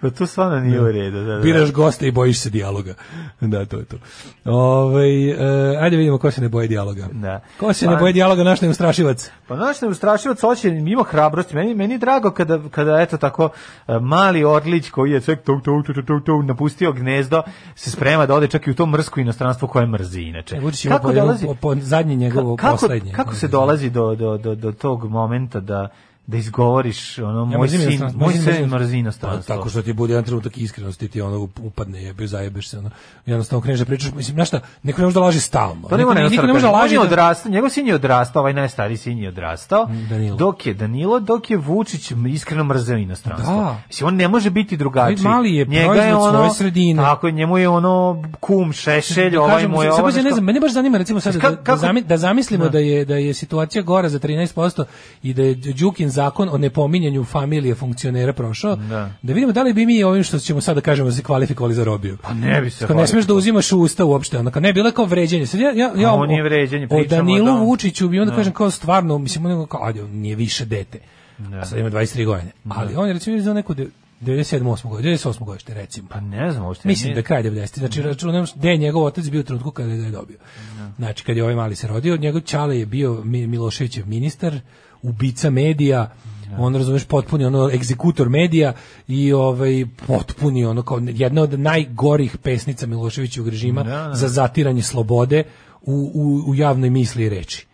S5: Pa to stvarno nije u redu. Da, da.
S6: Biraš goste i bojiš se dijaloga. Da, to je to. Ovaj e, ajde vidimo ko se ne boji dijaloga.
S5: Da.
S6: Ko se ne
S5: Pa-
S6: boji dijaloga, naš neustrašivac.
S5: Pa znaš, neustrašivac hoće, ima hrabrosti. Meni, meni je drago kada, kada eto tako e, mali orlić koji je sve tuk, tuk, tuk, tuk, tuk, napustio gnezdo, se sprema da ode čak i u to mrsko inostranstvo koje mrzi inače.
S6: E, Vučić ima po, dolazi, po, po zadnje njegovo
S5: kako,
S6: poslednje.
S5: Kako se dolazi do, do, do, do tog momenta da da izgovoriš ono moj
S6: mrzim
S5: sin
S6: inostranstvo,
S5: moj
S6: mrzim
S5: sin
S6: inostranstvo.
S5: mrzino
S6: Pa,
S5: stranstvo
S6: tako što ti bude jedan trenutak iskrenosti, ti ono upadne, jebe, zajebeš se, ono, jednostavno kreneš da pričaš, mislim, znaš šta, neko ne može da laži stalno.
S5: Pa nema
S6: Niko- niko
S5: ne
S6: ne može da laži.
S5: On je
S6: da-
S5: odrastao, njegov sin je odrastao, ovaj najstariji sin je odrastao.
S6: Mm, Danilo.
S5: Dok je Danilo, dok je Vučić iskreno mrzeo inostranstvo.
S6: Da.
S5: Mislim, on ne može biti drugačiji.
S6: Ali mali je proizvod svoje sredine. Da
S5: Tako, je, njemu je ono kum, šešelj, ovaj
S6: Kažem,
S5: mu je
S6: sad
S5: ovo.
S6: baš ja ne znam, mene baš zanima recimo sad
S5: Ka-
S6: da, da,
S5: kako-
S6: zami- da zamislimo da je da je situacija gora za 13% i da je Đukin zakon o nepominjanju familije funkcionera prošao. Da,
S5: Da.
S6: vidimo da li bi mi ovim što ćemo sada kažemo se kvalifikovali za robiju. Pa
S5: ne bi se
S6: Ne smeš da
S5: kvalifikovali.
S6: uzimaš u usta uopšte, onda ne bilo je kao vređanje. Sad ja ja ja
S5: A
S6: o-
S5: ovo nije vređanje,
S6: o
S5: pričamo
S6: Danilu
S5: da on-
S6: Vučiću bi onda kažem kao stvarno mislim on je kao ajde on nije više dete.
S5: Da.
S6: A sad ima 23 godine. Ali on je recimo izdao neku de- 97 8 godine, 98 godište recimo.
S5: Pa ne znam, uopšte.
S6: Mislim
S5: ne-
S6: da je kraj 90. Znači računam da je njegov otac bio u trenutku kada je ga je dobio.
S5: Da.
S6: Znači kad je ovaj mali se rodio, njegov čale je bio Mi- Miloševićev ministar, ubica medija,
S5: Da.
S6: on razumeš potpuni ono egzekutor medija i ovaj potpuni ono kao jedna od najgorih pesnica Miloševićevog režima
S5: Da, da.
S6: za zatiranje slobode u, u, u javnoj misli i reči.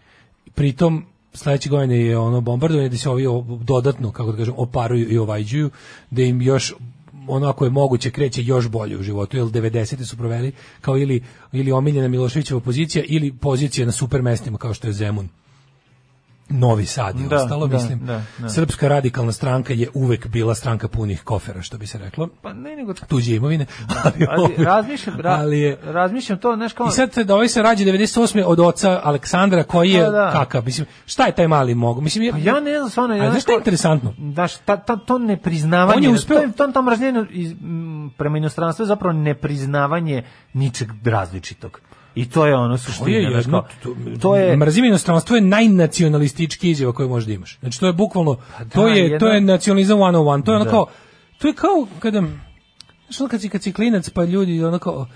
S6: Pritom sledeće godine je ono bombardovanje da se ovi o- dodatno, kako da kažem, oparuju i ovajđuju, da im još ono ako je moguće kreće još bolje u životu, jer 90. su proveli kao ili, ili omiljena Miloševićeva pozicija ili pozicija na super mestima kao što je Zemun. Novi Sad i
S5: Da,
S6: ostalo,
S5: da,
S6: mislim.
S5: da, da.
S6: Srpska radikalna stranka je uvek bila stranka punih kofera, što bi se reklo.
S5: Pa ne, nego...
S6: Tuđe imovine. Ali,
S5: Da, Ali,
S6: ovaj-
S5: razmišljam, ra-
S6: ali je,
S5: razmišljam to, znaš kao...
S6: i sad da ovaj se rađa 98. od oca Aleksandra koji je
S5: Da, da.
S6: kakav, mislim, šta je taj mali mogu? Mislim, je-
S5: Pa ja ne znam, stvarno...
S6: A
S5: ja
S6: znaš šta je interesantno?
S5: Daš, ta, ta, to nepriznavanje,
S6: On je uspeo-
S5: to, je- to, to mržnje iz, m, prema inostranstvu je zapravo nepriznavanje ničeg različitog. I to je ono
S6: To je
S5: suština. znaš,
S6: jedno,
S5: kao,
S6: to,
S5: to je,
S6: mrzim inostranstvo je najnacionalistički izjava koju možeš da imaš. Znači to je bukvalno,
S5: Pa da,
S6: to je,
S5: jedna-
S6: to je nacionalizam 101, to je ono
S5: Da.
S6: kao, to je kao kada, znaš ono kad si, kad si klinac pa ljudi ono kao,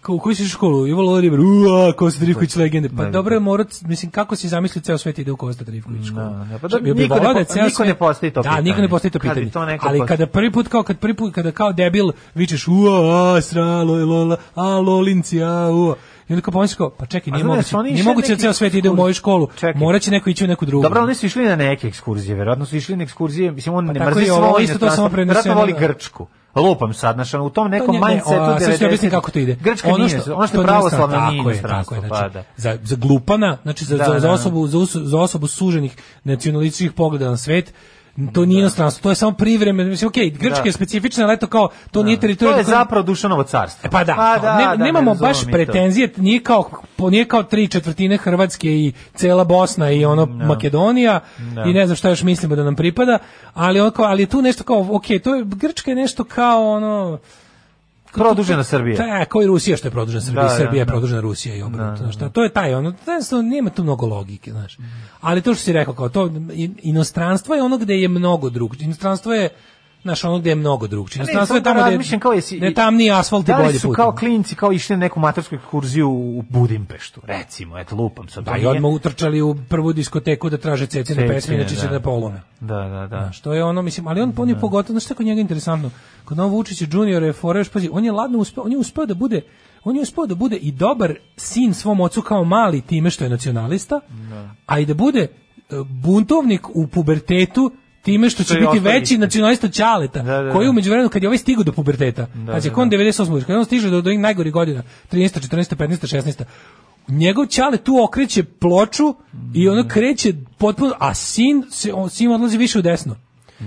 S6: kao u koju si školu, Ivo Loriber, ua, Kosta Trivković legende,
S5: Da,
S6: pa dobro je morat, mislim, kako si zamislio ceo svet ide u Kosta Trivković školu?
S5: Da, da, pa
S6: Čak
S5: da,
S6: bi
S5: niko ne
S6: volao da
S5: po-
S6: je ceo
S5: niko ne
S6: svet-
S5: postavi to
S6: Da,
S5: pitanje.
S6: niko ne postavi to
S5: Kad bi
S6: pitanje.
S5: to neko
S6: Ali
S5: postavio.
S6: kada Da prvi put kao kad prvi put kada kao debil vičeš ua a, sralo lola a lolinci a ua i onda kao pomisliš kao pa čekaj
S5: A
S6: nije
S5: znaš,
S6: moguće
S5: oni
S6: nije
S5: išli
S6: moguće da
S5: neki
S6: ceo svet ide u
S5: ekskurzije.
S6: moju školu
S5: Čekaj.
S6: moraće neko ići u neku drugu
S5: Dobro, oni su išli na neke ekskurzije, verovatno su išli na ekskurzije, mislim on ne
S6: Pa tako
S5: mrzi
S6: i ovo,
S5: svo
S6: isto to
S5: inostranstvo,
S6: samo preneseno,
S5: verovatno voli
S6: da.
S5: Grčku. Lupam sad, znaš, ono, u tom nekom
S6: To nije-
S5: mindsetu
S6: a, sad ću ti
S5: 90.
S6: objasniti kako to ide.
S5: Grčka ono što, nije, ono što je
S6: nije
S5: pravoslavno
S6: tako
S5: nije
S6: je, tako
S5: inostranstvo.
S6: je,
S5: pa
S6: znači,
S5: da.
S6: za, za glupana, znači za,
S5: Da,
S6: za,
S5: da,
S6: za,
S5: da.
S6: osobu, za, us- za osobu suženih nacionalističkih pogleda na svet, to nije inostranstvo, to je samo privremeno. Mislim, okej, Grčka
S5: Da.
S6: je specifična, ali eto kao, to nije teritorija...
S5: To je
S6: na kojem-
S5: zapravo Dušanovo carstvo.
S6: E, Pa da,
S5: Pa
S6: kao, ne-
S5: da, da,
S6: nemamo
S5: ne
S6: baš
S5: razumem mi to.
S6: pretenzije, nije kao, po- nije kao tri četvrtine Hrvatske i cela Bosna i ono Makedonija i ne znam šta još mislimo da nam pripada, ali, on kao, ali je tu nešto kao, ok, to je, Grčka je nešto kao ono...
S5: Produžena Srbija.
S6: Da, kao i Rusija što je produžena Srbija,
S5: Da, da,
S6: Srbija
S5: da.
S6: je
S5: Mm.
S6: produžena Rusija i obrnuto. znaš, šta, to je taj, ono, jednostavno nema tu mnogo logike, znaš. Ali to što si rekao, kao to, in- inostranstvo je ono gde je mnogo drugčije. Inostranstvo je, znaš, ono gde je mnogo drugčije.
S5: Ne,
S6: Inostranstvo
S5: samo
S6: je tamo
S5: da
S6: gde,
S5: razmišljam kao jesi-
S6: gde je tamniji asfalt i
S5: Da li
S6: bolji
S5: su
S6: put.
S5: kao klinci kao išli na neku matursku ekskurziju u Budimpeštu, recimo, eto lupam sad.
S6: Da,
S5: to
S6: i
S5: nije-
S6: odmah utrčali u prvu diskoteku da traže cecine pesme,
S5: Pa Cecine,
S6: inače će
S5: da.
S6: da polome.
S5: Da, da, da.
S6: Što je ono, mislim, ali on, on je pogotovo, znaš što je kod njega interesantno, kod Novo Vučića junior je fora, još pazi, on je ladno uspeo, on je uspeo da bude, on je uspeo da bude i dobar sin svom ocu kao mali time što je nacionalista, a i da bude e, buntovnik u pubertetu time što,
S5: Što
S6: će
S5: je
S6: biti
S5: ostao
S6: veći
S5: isti.
S6: nacionalista Ćaleta,
S5: Da, da,
S6: koji
S5: da.
S6: u međuvremenu kad je ovaj stigao do puberteta, znači
S5: da,
S6: ako on 98, kad je on stiže do, do onih najgorih godina, 13, 14, 15, 16, njegov čale tu okreće ploču i
S5: Mm.
S6: ono kreće potpuno, a sin, se, on, sin odlazi više u desno.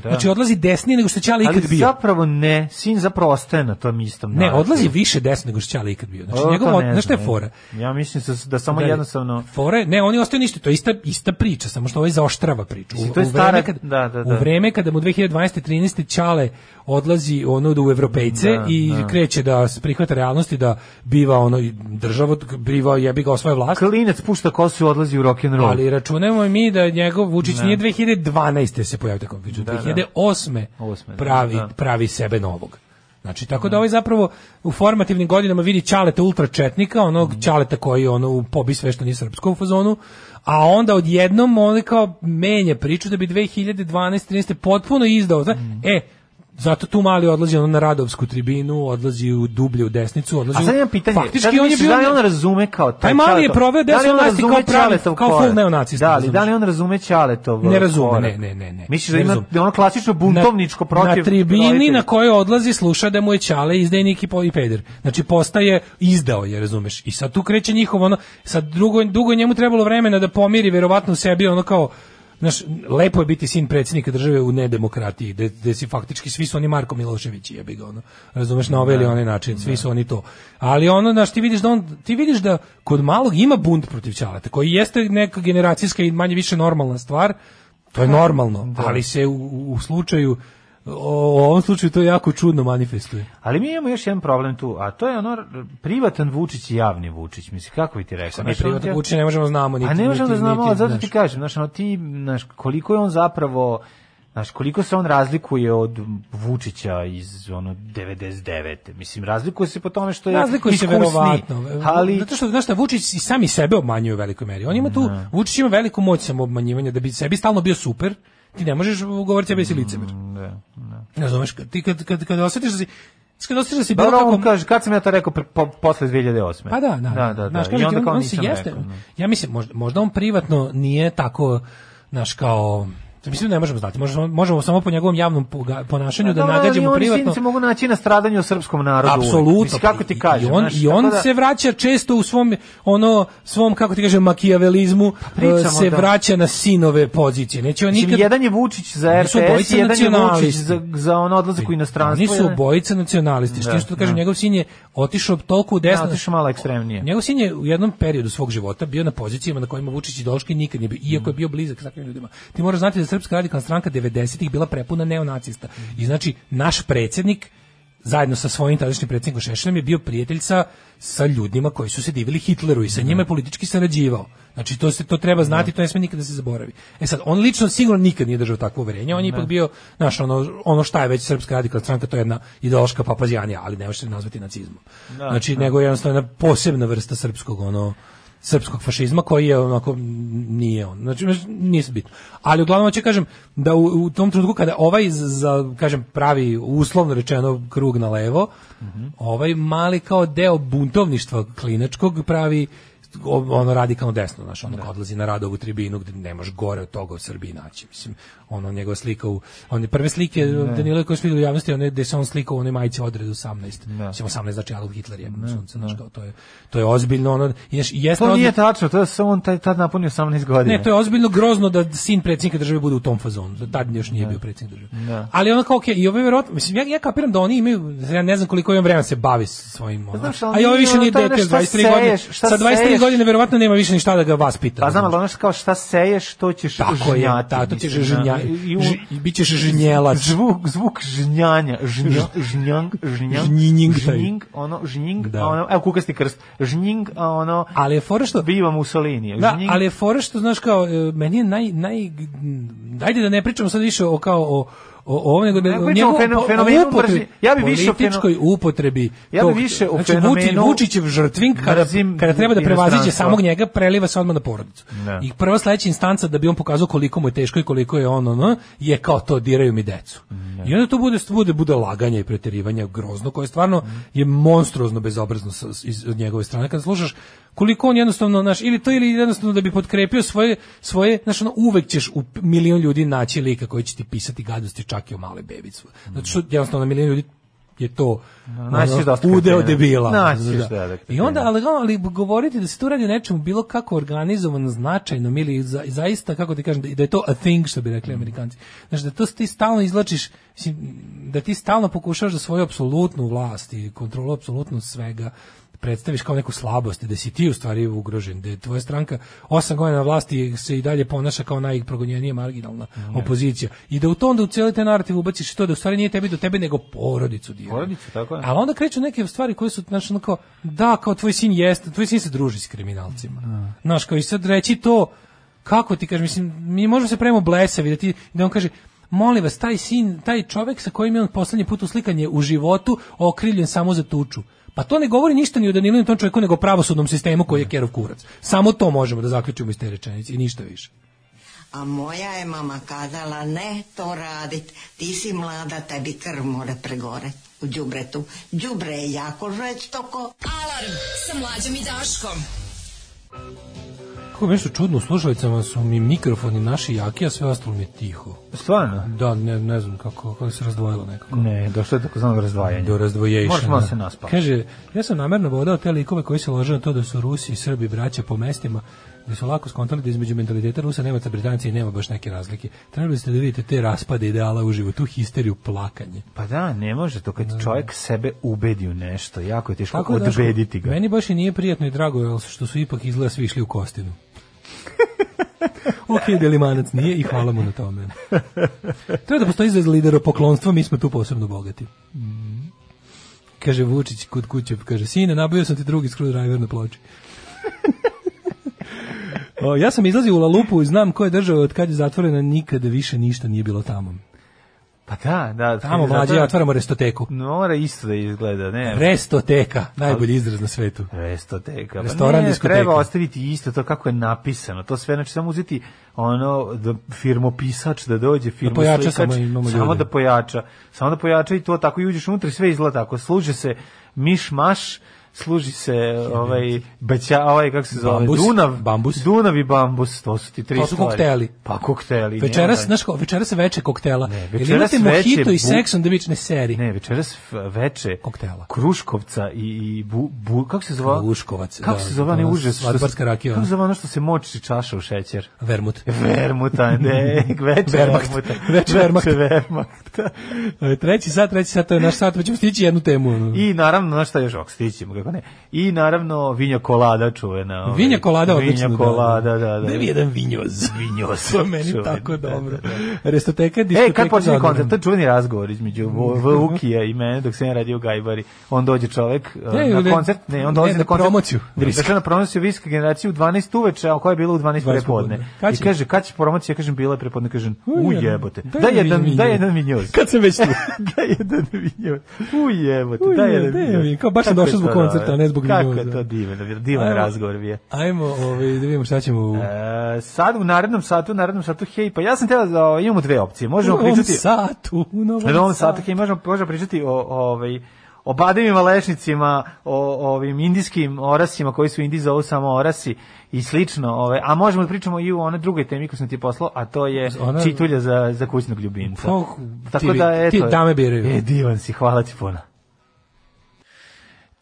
S6: Znači odlazi desnije nego što je Ćale
S5: Da. Ali
S6: ikad bio.
S5: zapravo ne, sin zapravo ostaje na tom istom.
S6: Ne,
S5: naravno.
S6: odlazi više desno nego što je Ćale ikad bio. Znači
S5: O,
S6: njegov,
S5: to
S6: od-
S5: ne
S6: znaš šta je
S5: znam,
S6: fora?
S5: Ja mislim da, da samo
S6: Da,
S5: jednostavno...
S6: fora je- ne, oni ostaju ništa, to je ista, ista priča, samo što ovaj zaoštrava priču.
S5: Mislim, to je stara-
S6: kad,
S5: da, da,
S6: u
S5: da.
S6: vreme kada mu 2012. 13. Čale odlazi ono da u Evropejce
S5: Da,
S6: i
S5: da.
S6: kreće da s- prihvata realnosti da biva ono i država, biva jebi ga osvaja vlast.
S5: Klinac pušta kosu i odlazi u rock'n'roll.
S6: Ali računajmo i mi da njegov Vučić nije 2012. se pojavio tako, već 2008.
S5: Da, Osme, da,
S6: pravi,
S5: da.
S6: pravi sebe novog. Znači, tako da ovaj zapravo u formativnim godinama vidi Ćaleta ultračetnika,
S5: Mhm.
S6: onog Ćaleta koji ono u pobi sve što nije srpsko u fazonu, a onda odjednom on kao menja priču da bi 2012. 13. potpuno izdao. zna-
S5: Mhm.
S6: E, zato tu mali odlazi ono na Radovsku tribinu, odlazi u dublje u desnicu, odlazi
S5: A sad
S6: u-
S5: imam pitanje,
S6: Faktički
S5: sad
S6: on je
S5: misliš
S6: bio...
S5: da li on razume kao taj
S6: Taj mali je
S5: Ćaletov-
S6: proveo
S5: da li on
S6: desnu vlast i
S5: razume
S6: kao pravi-
S5: Ćaletov
S6: kao full
S5: korak?
S6: neonacista,
S5: Da, ali da
S6: razumeš?
S5: li on razume Ćaletov
S6: Ne razume,
S5: korak?
S6: ne, ne, ne, ne.
S5: Misliš
S6: Ne
S5: da ima
S6: razume.
S5: da je ono klasično buntovničko
S6: na,
S5: protiv...
S6: na tribini
S5: roditelja?
S6: na kojoj odlazi sluša da mu je Ćale izdajnik i, po, i peder. Znači postaje izdao je, razumeš. I sad tu kreće njihovo ono, sad drugo, dugo je njemu trebalo vremena da pomiri verovatno u sebi ono kao Znaš, lepo je biti sin predsjednika države u nedemokratiji, gde, gde si faktički, svi su oni Marko Milošević, jebi ga, ono, razumeš, na
S5: Da.
S6: ovaj ili onaj način, svi su oni to. Ali ono, znaš, ti vidiš da on, ti vidiš da kod malog ima bunt protiv Ćaleta, koji jeste neka generacijska i manje više normalna stvar, to je normalno,
S5: Da.
S6: ali se u, u slučaju o, u ovom slučaju to jako čudno manifestuje.
S5: Ali mi imamo još jedan problem tu, a to je ono r- privatan Vučić i javni Vučić. Mislim, kako bi ti rekao?
S6: Mi
S5: Znaš, ono
S6: privatno
S5: ti-
S6: kuće ne možemo znamo niti.
S5: A ne možemo
S6: niti-
S5: da znamo,
S6: niti,
S5: ali zato
S6: znaš.
S5: ti kažem, znaš, ono, ti, znaš, koliko je on zapravo, znaš, koliko se on razlikuje od Vučića iz, ono, 99. Mislim, razlikuje se po tome što je
S6: Razlikuje se
S5: iskusni,
S6: verovatno.
S5: Ali,
S6: Zato što, znaš šta, Vučić i sami sebe obmanjuje u velikoj meri. On ima tu,
S5: Da.
S6: Vučić ima veliku moć samoobmanjivanja, da bi sebi stalno bio super, ti ne možeš govoriti sebe da si licemer.
S5: da,
S6: Razumeš, kad- ti kad, kad, kad osjetiš da si, kad osjetiš da si bilo
S5: Dobro, on
S6: kako...
S5: kaže, kad sam ja to rekao, pre- po, posle 2008.
S6: Pa da, da,
S5: da, da,
S6: Znaš,
S5: da. I
S6: kažem ti,
S5: onda
S6: on-
S5: kao
S6: on se
S5: nisam
S6: jeste-
S5: rekao. da.
S6: Ja mislim, možda, možda on privatno nije tako, znaš, kao... Mislim, da ne možemo znati, možemo, možemo samo po njegovom javnom poga- ponašanju da
S5: Pa Dobro, ali
S6: nagađamo
S5: oni
S6: privatno.
S5: se mogu naći na stradanju u srpskom narodu. uvek.
S6: Apsolutno.
S5: Mislim, kako ti kažem?
S6: I on,
S5: znaš,
S6: i on
S5: tako da-
S6: se vraća često u svom ono svom kako ti kažem makijavelizmu eh,
S5: pričamo
S6: se
S5: da.
S6: vraća na sinove pozicije. Neće on
S5: Mislim,
S6: nikad
S5: jedan je Vučić za
S6: Oni su
S5: RTS,
S6: obojica
S5: jedan je Vučić
S6: nacionalisti.
S5: za, za ono odlazak u inostranstvo.
S6: Oni su
S5: jedan-
S6: obojica nacionalisti. što, što kažem, njegov sin je otišao toliko u desno.
S5: Da, otišao malo ekstremnije.
S6: Njegov sin je u jednom periodu svog života bio na pozicijama na kojima Vučić i Dolški nikad nije bio, iako je bio blizak s takvim ljudima. Ti moraš znati da je Srpska radikalna stranka 90-ih bila prepuna neonacista. I znači, naš predsjednik zajedno sa svojim tadašnjim predsjednikom Šešeljem je bio prijatelj sa, sa ljudima koji su se divili Hitleru i sa njima je politički sarađivao. Znači, to, se, to treba znati, to ne sme nikada da se zaboravi. E sad, on lično sigurno nikad nije držao takvo uverenje, on je ipak bio, znaš, ono, ono šta je već Srpska radikalna stranka, to je jedna ideološka papazijanija, ali ne može se nazvati nacizmom. znači, nego je jednostavno jedna posebna vrsta srpskog, ono, srpskog fašizma koji je onako m, nije on znači baš nije se bitno ali uglavnom hoću kažem da u, u tom trenutku kada ovaj z- za kažem pravi uslovno rečeno krug na levo ovaj mali kao deo buntovništva klinačkog pravi o- ono radikalno desno, znaš,
S5: Da.
S6: ono kad odlazi na Radovu tribinu gde ne može gore od toga u Srbiji naći. Mislim, ono njegova slika u one prve slike Danila koje su videli u javnosti, one gde se on slikao u onoj majici odred 18.
S5: Da.
S6: Mislim 18 znači Adolf Hitler je sunce, znaš, kao to je to je ozbiljno ono, i znaš, i jeste
S5: To nije
S6: ozbiljno,
S5: tačno, to je samo on taj, tad napunio 18 godina.
S6: Ne, to je ozbiljno grozno da sin predsjednika države bude u tom fazonu. Da tad još nije bio predsjednik države.
S5: Da.
S6: Ali ono kao okej, i ovo je verovatno, mislim ja ja kapiram da oni imaju ja ne znam koliko imam vremena da se bavi s svojim. Ono,
S5: Pa Znaš, ali
S6: a i ovo
S5: nije
S6: više
S5: ono
S6: nije
S5: to je
S6: dete,
S5: ono šta
S6: 23 godine.
S5: seješ, šta
S6: Sa 23
S5: seješ.
S6: godine verovatno nema više ni šta da ga vaspita.
S5: Pa znam,
S6: razumeš?
S5: ali ono što kao šta seješ, to ćeš
S6: Tako je,
S5: žnjati,
S6: ta, to ćeš
S5: mislim,
S6: ženja,
S5: da. I- i u-
S6: ž, i bit ćeš ženjelac.
S5: Zvuk, zvuk žnjanja, žnj,
S6: Da.
S5: žnjang, žnjang,
S6: Žnjinjing taj.
S5: žnjing, ono, žnjing,
S6: Da.
S5: a ono, evo kukasti krst, žnjing, a ono,
S6: Ali je fora što...
S5: biva Mussolini,
S6: Da,
S5: žnjing,
S6: ali je fora što, znaš, kao, e, meni je naj, naj... Ajde da ne pričamo sad više o kao o o o ovome nego da-
S5: Ne
S6: o
S5: pričamo
S6: njegovom
S5: o feno-
S6: po-
S5: fenomenu
S6: upotrebi-
S5: mržnje. Ja bi više o feno-
S6: političkoj upotrebi.
S5: Ja bi više o
S6: znači,
S5: fenomenu-
S6: Vučić, Vučićev žrtvin kada
S5: Mrzim
S6: kada treba da prevaziđe
S5: inostranstvo.
S6: samog njega, preliva se odmah na porodicu.
S5: Da.
S6: I prva sledeća instanca da bi on pokazao koliko mu je teško i koliko je on ono je kao to diraju mi decu.
S5: Da.
S6: I onda to bude bude bude laganje i preterivanje grozno koje stvarno je monstruozno bezobrazno sa- s- iz, od njegove strane kada slušaš koliko on jednostavno naš ili to ili jednostavno da bi potkrepio svoje svoje znaš ono uvek ćeš u p- milion ljudi naći lika koji će ti pisati gadosti čak i o male bebicu. Znači što jednostavno milion ljudi je to
S5: naći ćeš dosta
S6: udeo
S5: kretena.
S6: debila.
S5: Naći ćeš,
S6: Da.
S5: da, da,
S6: I onda, ali, ali govoriti da se tu radi o nečemu bilo kako organizovano, značajnom ili za, zaista, kako ti kažem, da, da je to a thing, što bi rekli
S5: Mhm.
S6: amerikanci. Znači, da to ti stalno izlačiš, mislim, da ti stalno pokušaš da svoju apsolutnu vlast i kontrolu apsolutno svega predstaviš kao neku slabost, da si ti u stvari ugrožen, da je tvoja stranka osam godina na vlasti se i dalje ponaša kao najprogonjenija marginalna
S5: Mhm.
S6: opozicija. I da u to onda u cijeli taj narativ ubaciš i to da u stvari nije tebi do tebe, nego porodicu diraju.
S5: Porodicu, tako je.
S6: Ali onda kreću neke stvari koje su, znaš, ono kao, da, kao tvoj sin jeste, tvoj sin se druži s kriminalcima. Znaš, kao i sad reći to, kako ti kažeš, mislim, mi možemo se pravimo blesavi, da, ti, da on kaže, molim vas, taj sin, taj čovek sa kojim je on poslednji put uslikan je u životu okriljen samo za tuču. Pa to ne govori ništa ni o Danilinu tom čovjeku, nego o pravosudnom sistemu koji je kerov kurac. Samo to možemo da zaključimo iz te rečenice i ništa više.
S8: A moja je mama kazala, ne to radit, ti si mlada, tebi krv more pregore u džubretu. Džubre je jako žestoko,
S4: Alarm sa mlađom i Daškom.
S6: Kako je nešto čudno, u slušalicama su mi mikrofoni naši jaki, a sve ostalo mi je tiho.
S5: stvarno,
S6: Da, ne, ne znam kako, kako se razdvojilo nekako.
S5: ne, došlo je tako znanog razdvajanja,
S6: Do razdvojejšana.
S5: Možeš malo se naspati.
S6: Kaže, ja sam namerno vodao te likove koji se lože na to da su Rusi i Srbi braća po mestima, gde su lako skontali da između mentaliteta Rusa, Nemaca, Britanci i nema baš neke razlike. Trebali ste da vidite te raspade ideala u životu, tu histeriju, plakanje.
S5: pa da, ne može to, kad čovjek sebe ubedi u nešto, jako je teško
S6: je, Daško,
S5: odbediti ga,
S6: Meni baš i nije prijatno i drago, jel, što su ipak izgleda svi išli u kostinu. ok, Delimanac nije i hvala mu na tome. Treba da postoji za lidero poklonstvo, mi smo tu posebno bogati. Kaže Vučić kod kuće, kaže, sine, nabavio sam ti drugi screwdriver na ploči. O, ja sam izlazio u Lalupu i znam koje države od kad je zatvorena nikada više ništa nije bilo tamo.
S5: pa da, da,
S6: Tamo mlađe, ja otvaramo restoteku.
S5: mora isto da izgleda, ne,
S6: Restoteka, najbolji izraz na svetu.
S5: Restoteka. Pa
S6: Restoran,
S5: ne,
S6: diskoteka.
S5: Treba ostaviti isto to kako je napisano. To sve, znači samo uzeti ono da firmopisač da dođe,
S6: pojača
S5: firmoslikač,
S6: samo, imamo
S5: samo
S6: ljude.
S5: da pojača. Samo da pojača i to tako i uđeš unutra i sve izgleda tako. Služe se miš maš, služi se ovaj beća, ovaj kako se zove,
S6: Bambus.
S5: Dunav,
S6: Bambus.
S5: Dunav i bambus, to su ti tri
S6: To su
S5: stvari.
S6: kokteli.
S5: Pa kokteli.
S6: Večeras,
S5: nema.
S6: znaš ko, večeras je veče koktela.
S5: Ne,
S6: Ili
S5: večeras
S6: imate
S5: veče
S6: mojito i
S5: bu-
S6: seks on the beach, ne seri.
S5: Ne, večeras f- veče
S6: Koktela.
S5: Kruškovca i, i bu, bu, kako se zove?
S6: Kruškovac,
S5: Kako
S6: da,
S5: se zove ne
S6: ono,
S5: užas? što se-
S6: sladbarska rakija. da.
S5: Kako se zove ono što se moči čaša u šećer?
S6: Vermut.
S5: Vermuta, ne, veče
S6: Wehrmacht.
S5: Vermuta.
S6: Veče Wehrmacht.
S5: Vermahta.
S6: E, Treći sat, treći sat, to je naš sat, pa ćemo stići jednu temu. ono.
S5: I naravno, na šta još, ok, stićemo, kako ne. I naravno, vinja kolada čuvena. ovaj.
S6: Vinja kolada, odlično.
S5: Vinja kolada, da, da.
S6: Ne bi jedan vinjoz.
S5: Vinjoz.
S6: To je meni
S5: Čuven,
S6: tako
S5: da,
S6: dobro.
S5: da, da.
S6: Restoteka, diskoteka.
S5: E, kad
S6: za
S5: počinje
S6: odmorom.
S5: koncert, to je čuveni razgovor između Vo-
S6: Mhm.
S5: Vukija i mene dok sam ja radio u Gajbari. On dođe čovek uh,
S6: Ne, ne,
S5: na koncert, ne, on
S6: ne,
S5: dolazi
S6: na
S5: na koncert.
S6: promociju Vriska.
S5: Dakle, na promociju Viska generaciju u 12 uveče, a koja je bila u 12
S6: 12
S5: prepodne.
S6: popodne. Kad
S5: I
S6: će?
S5: kaže, kad će promocija? Ja kažem, bila je prepodne. Kažem, u jebote.
S6: Daj
S5: Da
S6: jedan
S5: jedan,
S6: vinjoz.
S5: da jedan vinjoz.
S6: Kad se već tu.
S5: da jedan vinjoz. U jebote,
S6: U
S5: da
S6: je,
S5: jedan
S6: da je
S5: vinjoz.
S6: vinjoz. Kao baš sam
S5: Kako je
S6: došao zbog
S5: to dobro.
S6: koncerta, a ne zbog
S5: Kako
S6: vinjoza.
S5: je to divan, divan
S6: Ajmo.
S5: razgovor bio.
S6: Ajmo ovaj, da vidimo šta ćemo u...
S5: E, sad u narednom satu, u narednom satu, hej, pa ja sam teo da imamo dve opcije.
S6: u
S5: Možemo
S6: novom
S5: pričati
S6: satu, u novom
S5: Na ovom
S6: satu.
S5: satu, hej, možemo, možemo pričati o, o, ovaj, o bademima lešnicima, o ovim indijskim orasima koji su Indi zovu samo orasi i slično. Ove, a možemo da pričamo i u one drugoj temi koju sam ti poslao, a to je
S6: Ona-
S5: čitulja za, za kućnog ljubimca.
S6: Fuh,
S5: Tako
S6: ti-
S5: da, eto,
S6: ti dame biraju.
S5: E, divan si, hvala ti puno.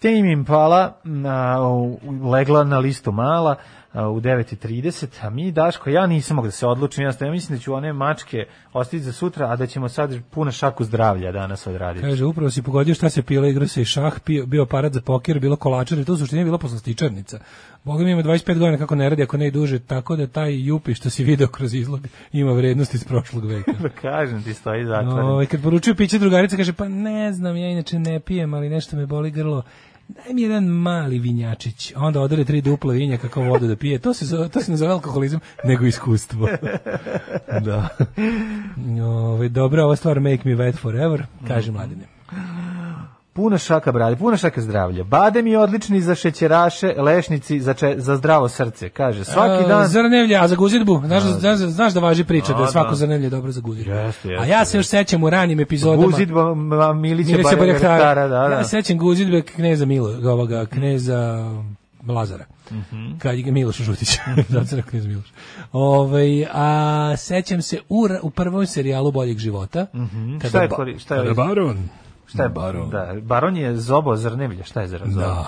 S5: Tame Impala na, u- legla na listu mala a, u 9.30, a mi, Daško, ja nisam mogu da se odlučim, ja mislim da ću one mačke ostaviti za sutra, a da ćemo sad puno šaku zdravlja danas odraditi.
S6: Kaže, upravo si pogodio šta se pila, igra se i šah, pio, bio aparat za poker, bilo kolačar, to u suštini je bila poslastičarnica. Boga mi ima 25 godina kako ne radi, ako ne i duže, tako da taj jupi što si video kroz izlog ima vrednost iz prošlog veka.
S5: Da kažem ti stoji zatvoren.
S6: Ovaj kad poručuju piće drugarica kaže pa ne znam ja inače ne pijem ali nešto me boli grlo. Daj mi jedan mali vinjačić. Onda odere tri dupla vinja kako vodu da pije. To se zove, to se ne zove alkoholizam nego iskustvo. da. Ovaj dobra ova stvar make me wet forever, kaže mladine.
S5: Puno šaka, brade, puno šaka zdravlja. Badem je odlični za šećeraše, lešnici za, če- za zdravo srce. Kaže, svaki
S6: A,
S5: dan...
S6: Zrnevlja, a E, za guzidbu. Znaš, znaš, znaš da važi priča da je
S5: A,
S6: svako
S5: da.
S6: zrnevlje dobro za guzidbu.
S5: Jeste, jeste,
S6: a ja se još sećam u ranim epizodama.
S5: Guzidba ma, Milića
S6: da, Milića
S5: Barjaktara. Da, da.
S6: Ja se sećam guzidbe kneza Milo, ovoga, kneza Lazara.
S5: Mhm.
S6: Kad je Miloš Žutić, zato se rekao knez Miloš. Ovaj, a sećam se u, ra- u prvom serijalu Boljeg života. kada
S5: Mhm. Šta je
S6: ba-
S5: kori- šta je-
S6: kada Baron?
S5: Šta je baron? Da, baron je zobo zrnevlja, šta je zra- zobo?
S6: Da.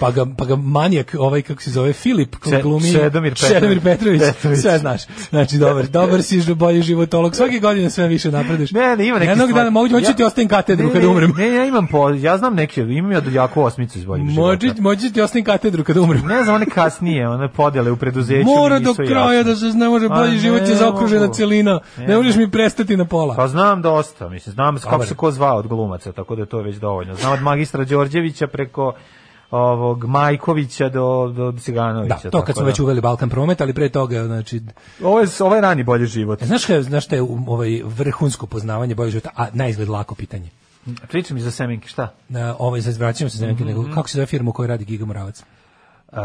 S6: Pa ga, pa ga manijak, ovaj kako se zove, Filip, ko
S5: Če-
S6: glumi.
S5: Čedomir Petrović.
S6: Čedomir Petroviž,
S5: Petrović.
S6: sve znaš. Znači, dobar, dobar si ž- bolji životolog. Svake godine sve više napreduješ.
S5: Ne, ne, ima neki
S6: Jednog dana mogu hoću ti ostavim katedru kada umrem.
S5: Ne, ja imam po, ja znam neki, imam ja jako osmicu iz boljeg
S6: Moći,
S5: života.
S6: moći ti ostavim katedru kada umrem.
S5: Ne znam, one kasnije, one podele u preduzeću.
S6: Mora do
S5: nisu
S6: kraja
S5: jasne.
S6: da se ne može
S5: A
S6: bolji
S5: ne
S6: život je zaokružena
S5: mogu.
S6: celina. Ne možeš mi prestati na pola.
S5: Pa znam dosta, mislim, znam kako
S6: Dobar.
S5: se ko zvao od glumaca, tako da to je već dovoljno. Znam od magistra Đorđevića preko ovog Majkovića do, do Ciganovića.
S6: Da, to
S5: tako
S6: kad smo već uveli Balkan promet, ali pre toga, znači,
S5: Ovo je, ovo je rani bolji život.
S6: E, znaš šta je, znaš šta je um, ovaj vrhunsko poznavanje bolje života, a naizgled lako pitanje.
S5: Priča mi za Semenke, šta?
S6: Na ovaj sad vraćamo se za
S5: Mhm.
S6: neki nego kako se zove firma u kojoj radi Giga Moravac?
S5: Uh,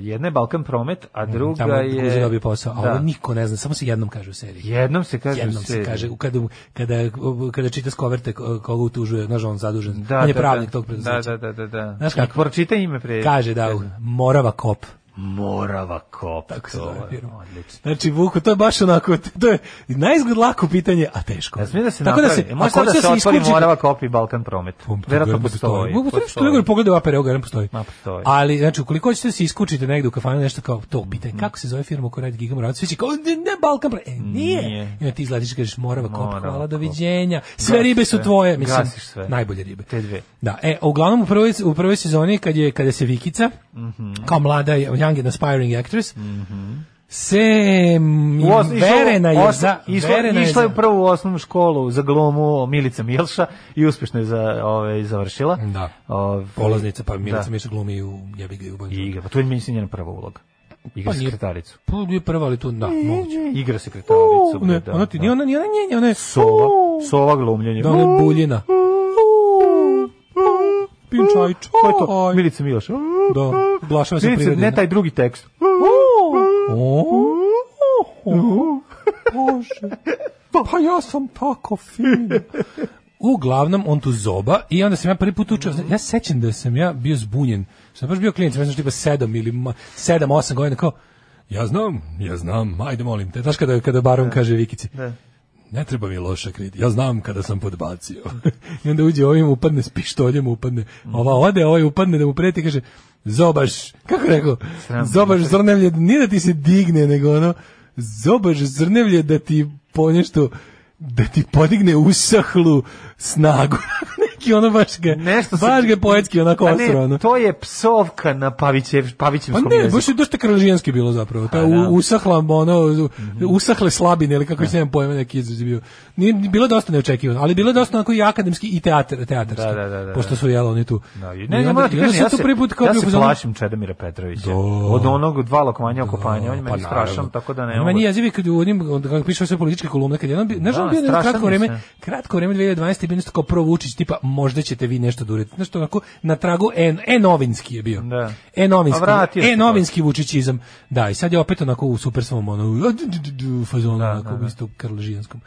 S5: jedna je Balkan promet, a druga
S6: Mm, Tamo
S5: je...
S6: Guzi dobio posao, a
S5: Da.
S6: ovo niko ne zna, samo se jednom kaže u seriji.
S5: Jednom se kaže
S6: Jednom
S5: u
S6: se
S5: seriji.
S6: kaže, u- kada, kada, kada čita skoverte ko- koga utužuje, znaš, on zadužen,
S5: Da,
S6: on je
S5: da,
S6: pravnik
S5: da.
S6: tog preduzeća.
S5: Da, da, da, da. da.
S6: Znaš kako?
S5: Pročita ime pre.
S6: Kaže da, Morava Kop.
S5: Morava kop.
S6: Tako se
S5: to
S6: zove
S5: je
S6: firma.
S5: Odlično.
S6: Znači, Vuku, to je baš onako, to je naizgled lako pitanje, a teško.
S5: Ja smijem da se
S6: Tako
S5: napravi.
S6: da se,
S5: Može
S6: ako
S5: sad da
S6: hoće
S5: se otvori
S6: isključi-
S5: Morava kop i Balkan promet.
S6: Pa,
S5: Verovatno postoji.
S6: Mogu potrebno što nego pogledaj apere, evo ga, ne da postoji.
S5: Ma, postoji.
S6: Ali, znači, ukoliko ćete da se iskučiti negde u kafanu, nešto kao to,
S5: Mhm.
S6: pitaj, kako se zove firma koja radi Giga Moravac, svi će kao, ne, ne, Balkan, pre, e, nije.
S5: Nije.
S6: I onda ti izgledaš i kažeš, Morava, kop,
S5: Morava,
S6: hvala,
S5: kop.
S6: doviđenja, sve
S5: Gasiš
S6: ribe su
S5: sve.
S6: tvoje, mislim,
S5: Gasiš sve.
S6: najbolje ribe.
S5: Te dve.
S6: Da, e, a uglavnom u prvoj, u prvoj sezoni kad je, kada se Vikica,
S5: Mhm.
S6: kao mlada, young and aspiring actress, se m,
S5: U os- išla u-
S6: verena je
S5: os-
S6: za...
S5: išla,
S6: verena je
S5: išla je
S6: za-
S5: u prvu osnovnu školu za glumu Milica Milša i uspešno je za, ove, završila.
S6: Da.
S5: Ove,
S6: Polaznica, pa Milica
S5: Da.
S6: Miša glumi i u jebi ga i u Banjo.
S5: I igra, pa to je mislim njena prva uloga. Igra
S6: Pa nije-
S5: sekretaricu.
S6: Pa je prva, ali to da, moguće.
S5: Igra sekretaricu. bre,
S6: Ne,
S5: da,
S6: ona ti,
S5: da.
S6: ni ona, ni ona, nije, ona je
S5: Sova, sova glumljenje.
S6: Da, ona je buljina. Pijem čaj, čaj.
S5: Ko je to? Milica Milša.
S6: Da, glašava se
S5: Milica,
S6: prirodina.
S5: ne taj drugi tekst.
S6: O, o, Bože, pa ja sam tako fin. Uglavnom, on tu zoba i onda sam ja prvi put učio, ja sećam da sam ja bio zbunjen, sam baš bio klinic, ja sam tipa sedam ili ma- sedam, osam godina, kao, ja znam, ja znam, ajde molim te. Znaš kada, kada baron
S5: Da.
S6: kaže Vikici, ne treba mi loša kriti, ja znam kada sam podbacio. I onda uđe ovim, upadne s pištoljem, upadne, ova ode, ovaj upadne da mu preti, kaže, zobaš, kako je rekao, zobaš zrnevlje, nije da ti se digne, nego ono, zobaš zrnevlje da ti po nešto, da ti podigne usahlu snagu. Neki ono baš ga,
S5: Nešto se-
S6: baš ga je poetski onako
S5: A
S6: ostro, ono.
S5: ne, to je psovka na Pavićev, Pavićevskom
S6: Pa ne,
S5: jeziku.
S6: baš je dosta kralžijanski bilo zapravo. Ta
S5: Pa da. Mhm.
S6: u, usahla, ono, usahle slabine ili kako se nemam pojma neki izraz je bio. Nije, bilo je dosta neočekivano, ali bilo je dosta onako i akademski i teatar, teatarski.
S5: Da, da, da, da.
S6: Pošto su jelo oni tu.
S5: Da, i-
S6: I
S5: ne, ne,
S6: onda-
S5: moram ti
S6: i onda
S5: kažem,
S6: sam
S5: ja
S6: tu
S5: se,
S6: prvi put kao
S5: ja
S6: bio
S5: se
S6: fazonu-
S5: plašim Čedomira Petrovića. Od onog dva lokovanja oko panja, on je meni strašan,
S6: Pa naravno.
S5: tako da ne
S6: Ima
S5: mogu.
S6: Meni jezivi kad u njim, onda kako piše sve političke kolumne, kad jedan, bi- znaš,
S5: Da,
S6: on bio jedno
S5: strašan
S6: kratko
S5: je
S6: vreme,
S5: sve.
S6: kratko vreme 2012. je bio nešto kao provučić, tipa možda ćete vi nešto da uredite. Znaš, to onako na tragu e, e novinski je bio.
S5: Da.
S6: E novinski,
S5: A vratio se
S6: e novinski vučićizam.
S5: Da,
S6: Da, i sad je opet onako u super svom ono, u fazonu, onako, isto krlžijanskom.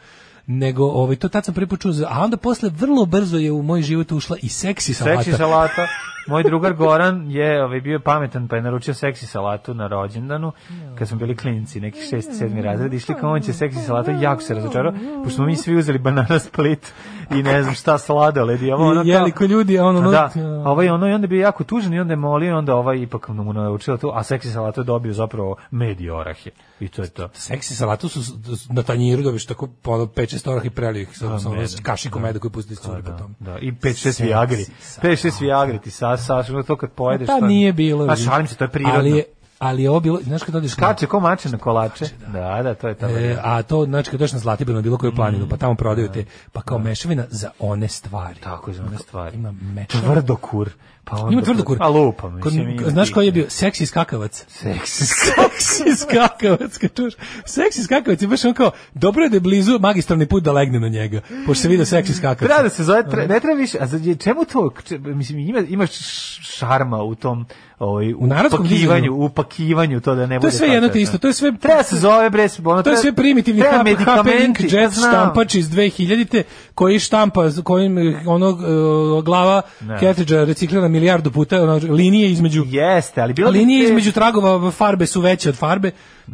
S6: nego ovaj, to tad sam prvi put čuo za- a onda posle vrlo brzo je u moj život ušla i seksi salata.
S5: Seksi salata. Moj drugar Goran je ovaj, bio pametan pa je naručio seksi salatu na rođendanu kad smo bili klinci, neki 6. 7. razred. Išli kao on će seksi salatu, jako se razočarao, pošto smo mi svi uzeli banana split i ne znam šta sladoled. I ovo,
S6: I
S5: ono kao-
S6: jeli ko ljudi, a ono, e, ono-
S5: Da, a ovaj ono i onda je bio jako tužan i onda je molio i onda ovaj ipak mu naučila to, a seksi salatu je dobio zapravo medij orahe. I to je to.
S6: seksi salatu su s- s- na tanjiru dobiš tako ono 5-6 orah i prelio ih sa, sa ono,
S5: meda,
S6: s kašikom meda koji pusti curi po tome.
S5: Da, i 5-6
S6: Seksi
S5: viagri.
S6: salata.
S5: 5-6 viagri ti sa, sa, sa, to kad pojedeš.
S6: Pa
S5: to-
S6: nije bilo.
S5: Pa
S6: vidi.
S5: šalim se, to je prirodno.
S6: Ali je, ali je ovo bilo, znaš kad odeš na-
S5: Kače ko mače na kolače. Da, da, to je ta
S6: E,
S5: varijanta.
S6: a to znači kad dođeš na Zlatibor na bilo koju planinu,
S5: Mm.
S6: pa tamo prodaju te, pa kao mešavina za one stvari.
S5: Da. Tako je za one stvari.
S6: Ima meča.
S5: Tvrdokur. Pa onda,
S6: Ima tvrdokur.
S5: A lupa, mislim.
S6: Kod-
S5: ima
S6: znaš
S5: tih.
S6: koji je bio? Seksi skakavac.
S5: Seksi.
S6: Seksi skakavac, kad čuješ. Seksi skakavac je baš on kao, dobro je da je blizu magistralni put da legne na njega, pošto se vidio seksi skakavac.
S5: Treba da se zove, tre, ne treba više, a za, čemu to, Če- mislim, ima, ima š- šarma u tom, ovaj, u
S6: narodskom
S5: pakivanju,
S6: dizajnu.
S5: u pakivanju, to da ne
S6: To
S5: bude.
S6: je sve jedno
S5: tako,
S6: te isto,
S5: da.
S6: to je sve...
S5: Treba se zove, bre, ono,
S6: To je sve primitivni
S5: treba
S6: HP Ink
S5: medikamenti,
S6: Jet
S5: znam.
S6: štampač iz 2000-te koji štampa s kojim eh, onog eh, glava
S5: Ne.
S6: cartridge reciklira milijardu puta, ono, linije između
S5: Jeste, ali bilo
S6: A
S5: bi
S6: linije
S5: te-
S6: između tragova farbe su veće od farbe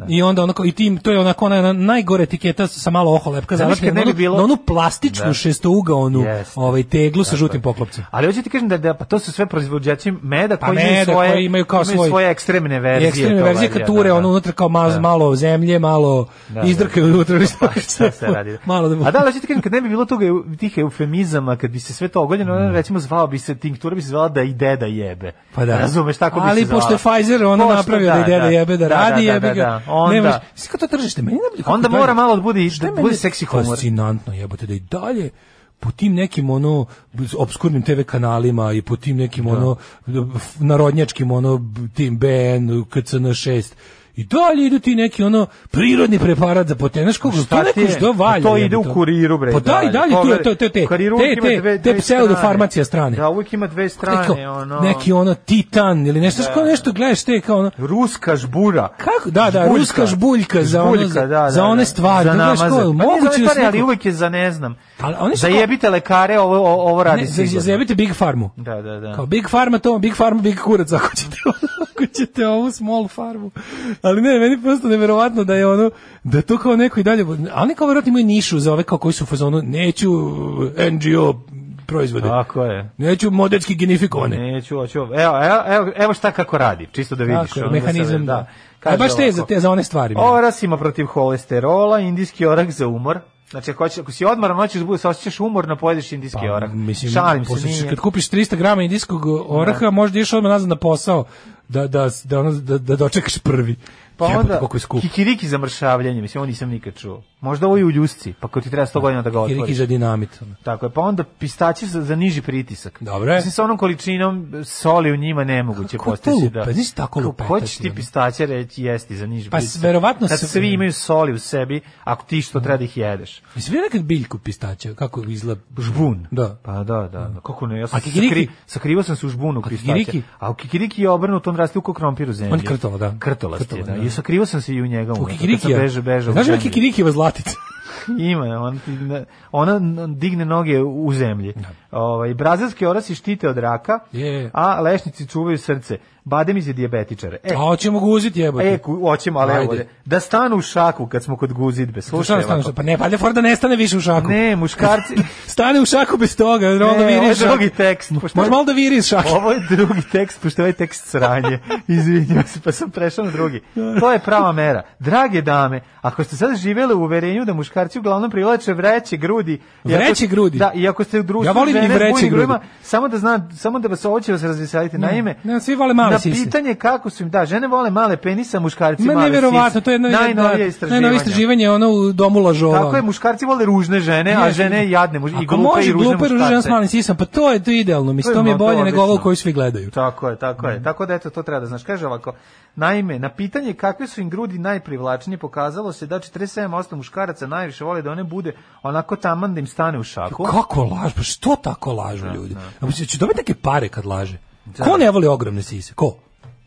S6: i onda onako i tim to je onako ona na- najgore etiketa sa malo oholepka
S5: Znaš,
S6: završena
S5: kad ne
S6: na,
S5: bi
S6: onu-
S5: bilo-
S6: na onu plastičnu
S5: Da.
S6: šestougaonu
S5: Jeste.
S6: ovaj teglu sa žutim poklopcem.
S5: Ali hoću ti kažem da, da pa to su sve proizvođači meda da
S6: Pa
S5: koji imaju
S6: meda
S5: svoje
S6: koji imaju kao svoj-
S5: svoje ekstremne
S6: I
S5: verzije.
S6: ekstremne
S5: to
S6: verzije
S5: valjda,
S6: kad ture
S5: da, da.
S6: ono unutra kao maz, malo zemlje, malo
S5: Da,
S6: da,
S5: da.
S6: izdrkaju unutra.
S5: Pa šta se radi?
S6: malo da
S5: A da, ali ću ti kažem, kad ne bi bilo toga eu- tih eufemizama, kad bi se sve to ogoljeno, mm. recimo zvao bi se, tinktura bi se zvala da i deda jebe.
S6: Pa da.
S5: Razumeš, tako bi
S6: Ali
S5: se zvala.
S6: pošto je Pfizer ono
S5: Pošto
S6: napravio da, ide da jebe, da, radi jebe ga.
S5: da. Onda,
S6: Nemaš, Svi kao to tržište, meni najbolje kako
S5: Onda
S6: dalje-
S5: mora malo da bude-
S6: Šta je
S5: da bude
S6: meni
S5: seksi humor.
S6: Fascinantno jebote da i dalje po tim nekim ono obskurnim TV kanalima i po tim nekim
S5: Da.
S6: ono f- narodnjačkim ono b- tim BN, KCN 6 I dalje idu ti neki ono prirodni preparat za potenaš kako
S5: Šta Pa
S6: to
S5: ti
S6: neko
S5: je?
S6: što valja.
S5: To ide
S6: jebote.
S5: u Kuriru, bre,
S6: Pa da i
S5: dalje.
S6: dalje tu je to te te
S5: U Kuriru uvijek ima
S6: te
S5: dve-
S6: te, te
S5: dve
S6: pseudofarmacija strane.
S5: Da, uvijek ima dve strane,
S6: Neko-
S5: ono.
S6: Neki ono titan ili nešto,
S5: Da.
S6: da. nešto gledaš te kao ono,
S5: Ruska žbura.
S6: Kako? Da, da, ruska žbuljka za ono-
S5: Žbuljka, da, da,
S6: za one
S5: da.
S6: stvari.
S5: Za
S6: Da gledaš
S5: namaze.
S6: ko je,
S5: Pa ne za one
S6: moguće da
S5: stvari,
S6: su
S5: ali
S6: neko-
S5: uvek je za ne znam.
S6: Ali oni su
S5: Za
S6: kao-
S5: jebite lekare, ovo, o- ovo radi
S6: ne, za-
S5: sigurno.
S6: zajebite Big Farmu.
S5: Da, da, da.
S6: Kao Big Farma to, Big Farma, Big Kurac, ako ćete, ako ćete ovu small farmu. Ali ne, meni je prosto neverovatno da je ono, da to kao neko i dalje, ali neko verovatno imaju nišu za ove kao koji su u fazonu, neću eh, NGO proizvode.
S5: Tako je.
S6: Neću modetski genifikovane.
S5: Neću, hoću. Evo, evo, evo, evo šta kako radi, čisto da vidiš.
S6: Tako je,
S5: ono, da se-
S6: mehanizam, da.
S5: Kaže
S6: A baš te za,
S5: ovako,
S6: te, za one stvari. meni.
S5: Oras Pa, ima protiv holesterola, indijski orah za umor. Znači, ako, hoćeš, ako si odmoran, hoćeš da budeš, osjećaš umorno, pojedeš indijski
S6: Pa,
S5: orah.
S6: Mislim,
S5: Šalim se,
S6: posle ćeš-
S5: nije. Da.
S6: Kad kupiš 300 grama indijskog oraha, možda ideš odmah nazad na posao da, da, da, ono- da, da dočekaš prvi.
S5: Pa
S6: Jebote,
S5: onda,
S6: koliko je skup.
S5: kikiriki za mršavljanje, mislim, ovo nisam nikad čuo. Možda ovo i u ljusci, pa ko ti treba 100 godina da ga otvoriš.
S6: Kiriki za dinamit.
S5: Tako je, pa onda pistaći za, za niži pritisak.
S6: Dobro je.
S5: Mislim, sa onom količinom soli u njima nemoguće
S6: Kako je to
S5: postići. Da.
S6: lupa- znaš tako
S5: Kako
S6: lupetati,
S5: Hoćeš ti
S6: ono?
S5: pistaće reći jesti za niži
S6: Pa s-
S5: pritisak.
S6: verovatno
S5: Kad
S6: se-
S5: svi imaju soli u sebi, ako ti što treba da ih jedeš.
S6: Jesi vidio nekad biljku pistaća, kako izgleda?
S5: Žbun.
S6: Da.
S5: Pa da, da. da. Kako ne, ja sam
S6: A
S5: se
S6: kikiriki?
S5: sakri, sakrivo sam se u žbunu pistaća.
S6: kikiriki?
S5: A u kikiriki je obrnuto, on raste u ko krompir u zemlji.
S6: On je krtola, da.
S5: Krtolast je,
S6: Krtola,
S5: da.
S6: da.
S5: I sakrivo sam se i u njega.
S6: U
S5: unutra, kad sam
S6: kikirikija.
S5: bežao, bežao u
S6: Znaš da
S5: zemlji.
S6: kikirikijeva zlatica?
S5: Ima, on ti ne- ona n- digne noge u zemlji. Ovaj brazilski orasi štite od raka,
S6: Da. Je.
S5: a lešnici čuvaju srce. Bademi za dijabetičare. E,
S6: A hoćemo ga uzeti jebote.
S5: e ku- hoćemo ali
S6: Ajde.
S5: evo ovde. da stanu u šaku kad smo kod guzidbe.
S6: To šta
S5: Slušaj.
S6: stane u
S5: ovako.
S6: šaku? Pa ne, valjda fora da ne stane više u šaku.
S5: Ne, muškarci.
S6: Stane u šaku bez toga, jer
S5: Ne,
S6: onda viri
S5: ovo je
S6: iz šake.
S5: drugi tekst. Pa Pošto-
S6: Može malo da viri iz šake.
S5: Ovo je drugi tekst, pošto je ovaj tekst sranje. Izvinjam se, pa sam prešao na drugi. To je prava mera. Drage dame, ako ste sad živele u uverenju da muškarci uglavnom privlače vreće grudi... i ako-
S6: Vreće grudi?
S5: Da, i ako ste u društvu
S6: Ja volim
S5: žene
S6: i
S5: s
S6: vreće
S5: bujnim grudima,
S6: grudi.
S5: samo da zna, samo da vas ovo će vas razveseliti. Naime,
S6: ne, svi vole male
S5: na
S6: sise.
S5: pitanje kako su im... Da, žene vole male penisa, muškarci
S6: Ma
S5: male
S6: neverovatno,
S5: sise.
S6: to je jedno
S5: najnovije
S6: da, najnovije istraživanje ono u domu lažova.
S5: Tako je, muškarci vole ružne žene, a
S6: Jeste.
S5: žene jadne muž- i
S6: Ako
S5: glupe
S6: može
S5: i ružne
S6: glupa i ružna žena s
S5: muškarce.
S6: malim sisom, pa to je to je idealno, mislim,
S5: To je
S6: to mi je
S5: ma- to je
S6: bolje nego ovo
S5: odlično.
S6: koju svi gledaju.
S5: Tako je, tako je. Tako da eto to treba da znaš. Kaže ovako. Naime, na pitanje kakve su im grudi najprivlačnije pokazalo se da 47% muškaraca najviše vole da one bude onako taman da im stane u šaku.
S6: Kako laž, pa što tako lažu
S5: Da,
S6: ljudi? A mislim, će dobiti neke pare kad laže. Ko ne voli ogromne sise? Ko?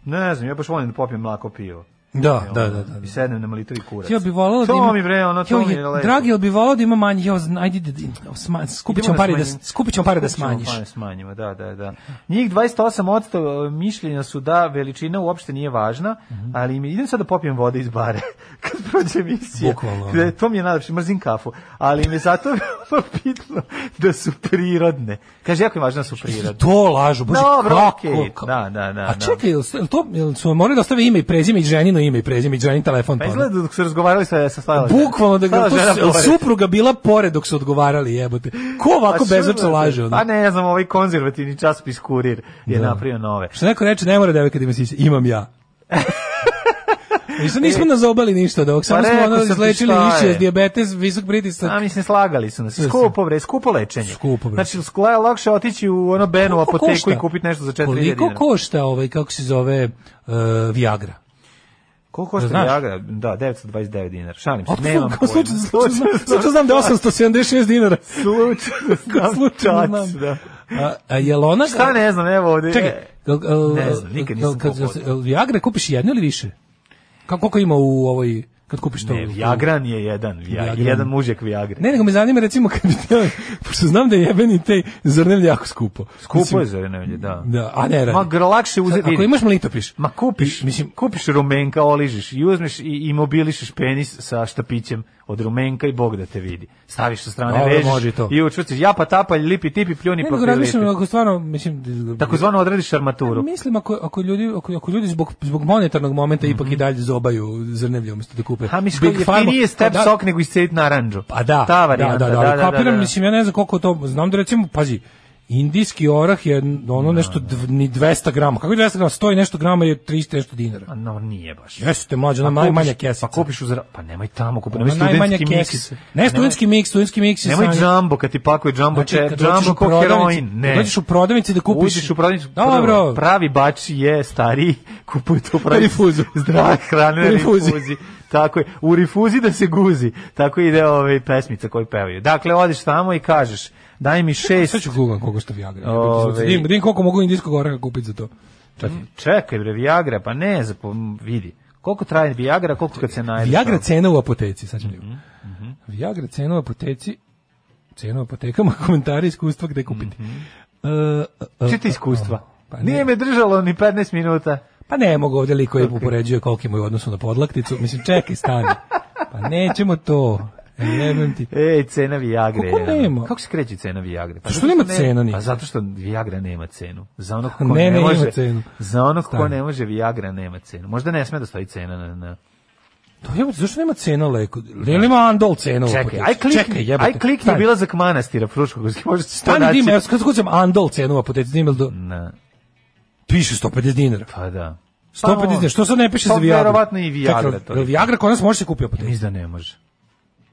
S5: Ne znam, ja baš volim da popijem mlako pivo.
S6: Da,
S5: ono,
S6: da, da, da.
S5: I sednem na molitu i kurac.
S6: Ja bih volao da
S5: to
S6: ima...
S5: mi bre, ono, to
S6: Jo,
S5: mi
S6: je-
S5: je lepo.
S6: Dragi, jel bi volao da ima manje? Jo, zna- ajde, da- da- sma- skupit ćemo
S5: Idemo
S6: pare da,
S5: smanjenje.
S6: skupit ćemo pare da
S5: Skupit ćemo
S6: smanjiš.
S5: pare da smanjimo, da, da, da. Njih 28% e, mišljenja su da veličina uopšte nije važna,
S6: Mhm.
S5: ali mi idem sad da popijem vode iz bare kad prođe emisija.
S6: Bukvalno,
S5: Gde- To mi je najlepše, mrzim kafu. Ali mi je zato veoma bitno da su prirodne. Kaže, jako je važno da su prirodne.
S6: To lažu, bože,
S5: Dobro,
S6: kako?
S5: okej,
S6: kako-
S5: da, da, da,
S6: A
S5: da.
S6: čekaj, jel, se- jel to, jel su morali da ostave ime i prezime i ženino ime i prezime i ženin telefon?
S5: Pa
S6: pa ono?
S5: izgleda dok su razgovarali sa, sa Slavila.
S6: Bukvalno da ga
S5: Slavila
S6: tu
S5: žena
S6: su- jel
S5: pored.
S6: supruga bila pored dok su odgovarali, jebote. Ko ovako
S5: Pa
S6: bezobrazno
S5: sigurno,
S6: laže? ono? Da.
S5: Pa ne, ja znam, ovaj konzervativni časopis Kurir je napravio nove.
S6: Što neko reče, ne mora devojka da ima sise, imam ja. Nismo, nismo nazobali ništa od ovog, samo
S5: E, Pa
S6: smo
S5: rekao
S6: ono
S5: sam ti
S6: izlečili
S5: šta
S6: mišićnost,
S5: je.
S6: dijabetes, visok pritisak.
S5: A mislim slagali su nas. Skupo bre, skupo lečenje.
S6: Skupo, bre.
S5: Znači skla je lakše otići u ono Benu
S6: Koliko
S5: apoteku
S6: košta?
S5: i kupiti nešto za 4000 dinara.
S6: Pa Koliko košta ovaj, kako se zove, uh, Viagra?
S5: Koliko
S6: Da,
S5: košta
S6: znaš?
S5: Viagra? Da, 929 dinara. Šalim se,
S6: Otkud
S5: nemam
S6: znam, kao
S5: pojma.
S6: slučajno, slučajno, znam- slučajno znam da je 876 dinara.
S5: Slučajno
S6: Kao
S5: znam.
S6: slučajno
S5: čac,
S6: znam.
S5: Da.
S6: A, a jel ona...
S5: Šta ne znam, evo ovde.
S6: Čekaj,
S5: e,
S6: jel, jel,
S5: ne znam, nikad
S6: jel,
S5: nisam
S6: kad- jel-
S5: pohodio.
S6: jel Viagra kupiš jednu ili više? Kako, koliko ima u ovoj, kad kupiš to?
S5: Ne, Viagran je jedan, Viagra,
S6: Viagran.
S5: jedan mužjak Viagra.
S6: Ne, nego me zanima recimo kad bi teo, pošto znam da je jebeni taj zrnevlje jako skupo.
S5: Skupo
S6: Mislim,
S5: je za Renelje, da.
S6: Da, a ne radi.
S5: Ma gr- lakše uzeti.
S6: Ako
S5: vidi.
S6: imaš mlitopiš.
S5: Ma kupiš,
S6: I-
S5: mislim, kupiš rumenka, oližeš i uzmeš i, i mobilišeš penis sa štapićem od rumenka i Bog da te vidi. Staviš sa strane,
S6: Dobro,
S5: vežeš
S6: može i to.
S5: i učvrciš. Ja pa tapalj, lipi, tipi, pljuni,
S6: Ne,
S5: pa prilipi.
S6: nego razmišljam, ako stvarno, mislim...
S5: Takozvano odradiš armaturu.
S6: Mislim, ako, ako, ljudi, ako, ako ljudi zbog, zbog monetarnog momenta ipak i dalje zobaju zrnevlje umjesto da kupe.
S5: Mhm. Ha, mislim,
S6: Big
S5: Big
S6: Pharma,
S5: nije step
S6: da-
S5: sok, nego iscedit naranđu.
S6: Pa da,
S5: Ta
S6: da, da,
S5: varijanta,
S6: da, da, ali kapiram, mislim, ja ne znam koliko to, znam da recimo, pazi, indijski orah je
S5: Da,
S6: ono nešto dv, ni 200 grama, kako je 200 grama, 100 i nešto grama je 300 i nešto dinara.
S5: A Pa No, nije baš.
S6: Jeste, mlađe, ona
S5: Pa
S6: maj,
S5: kupiš-
S6: manja kesica.
S5: Pa kupiš u zra... Pa nemoj tamo, kupi,
S6: Ona
S5: nemoj
S6: najmanja
S5: studentski miks.
S6: kesica. Ne, studentski miks, studentski miks je
S5: Nemoj
S6: sranje.
S5: džambo, kad ti pakuje džambo,
S6: Znači,
S5: znači,
S6: kad dođeš
S5: džambo
S6: u
S5: ko
S6: prodavnicu-
S5: heroin. Ne.
S6: kad dođeš u prodavnicu da kupiš-
S5: Uđeš u prodavnicu.
S6: Dobro.
S5: prvo, Pravi bač je stariji, kupuje to pravi.
S6: Rifuzu.
S5: Zdrave hrane na
S6: Rifuzi.
S5: rifuzi. Tako je. U rifuzi da se guzi. Tako ide ove pesmica koju pevaju. Dakle, odiš tamo i kažeš, daj mi
S6: Sad
S5: šest...
S6: ću googlam koliko što Viagra. Da
S5: Ove.
S6: Dim, dim koliko mogu indijskog oraha kupiti za to. Čekaj.
S5: Čekaj bre, Viagra, pa ne, za, pa, vidi. Koliko traje Viagra, koliko kad se najde?
S6: Viagra cena u apoteci, sad ću
S5: Mhm,
S6: mm Viagra cena u apoteci, cena u apotekama, komentari iskustva gde kupiti. E, e, e,
S5: Čita Mhm. iskustva.
S6: Pa
S5: Pa
S6: ne.
S5: Nije me držalo ni 15 minuta.
S6: Pa ne mogu ovdje liko je upoređuje koliko ima u odnosu na podlakticu. Mislim, čekaj, stani. Pa nećemo to. E, Jebem ti.
S5: Ej, cena Viagre.
S6: Kako nema?
S5: Kako se kreće cena Viagre? Pa
S6: što
S5: zato
S6: nema
S5: ne-
S6: cena nikad?
S5: Pa zato što Viagra nema cenu. Za ono ko
S6: Ne, ne,
S5: ne,
S6: ima
S5: može,
S6: cenu.
S5: Za ono ko
S6: Stani.
S5: ne može Viagra nema cenu. Možda ne sme da stoji cena na... na.
S6: To jebote, zašto nema cena leku? Jel ima Andol cena u
S5: Čekaj,
S6: apoteci?
S5: aj klikni,
S6: pa Čekaj, jebote.
S5: aj klikni
S6: Stani.
S5: bila za manastira Fruškogorski. Možda će to
S6: Stani,
S5: naći.
S6: Dima, ja skoro sam Andol cenu u apoteci, Dima, jel do...
S5: Na,
S6: Piše 150 dinara.
S5: pa da.
S6: 150 dinara, što sad ne piše
S5: Pa
S6: za Viagra?
S5: verovatno i Viagra to
S6: Čekaj,
S5: je.
S6: jel Viagra kod nas može se kupiti u
S5: Ja
S6: apoteci?
S5: mislim da ne može.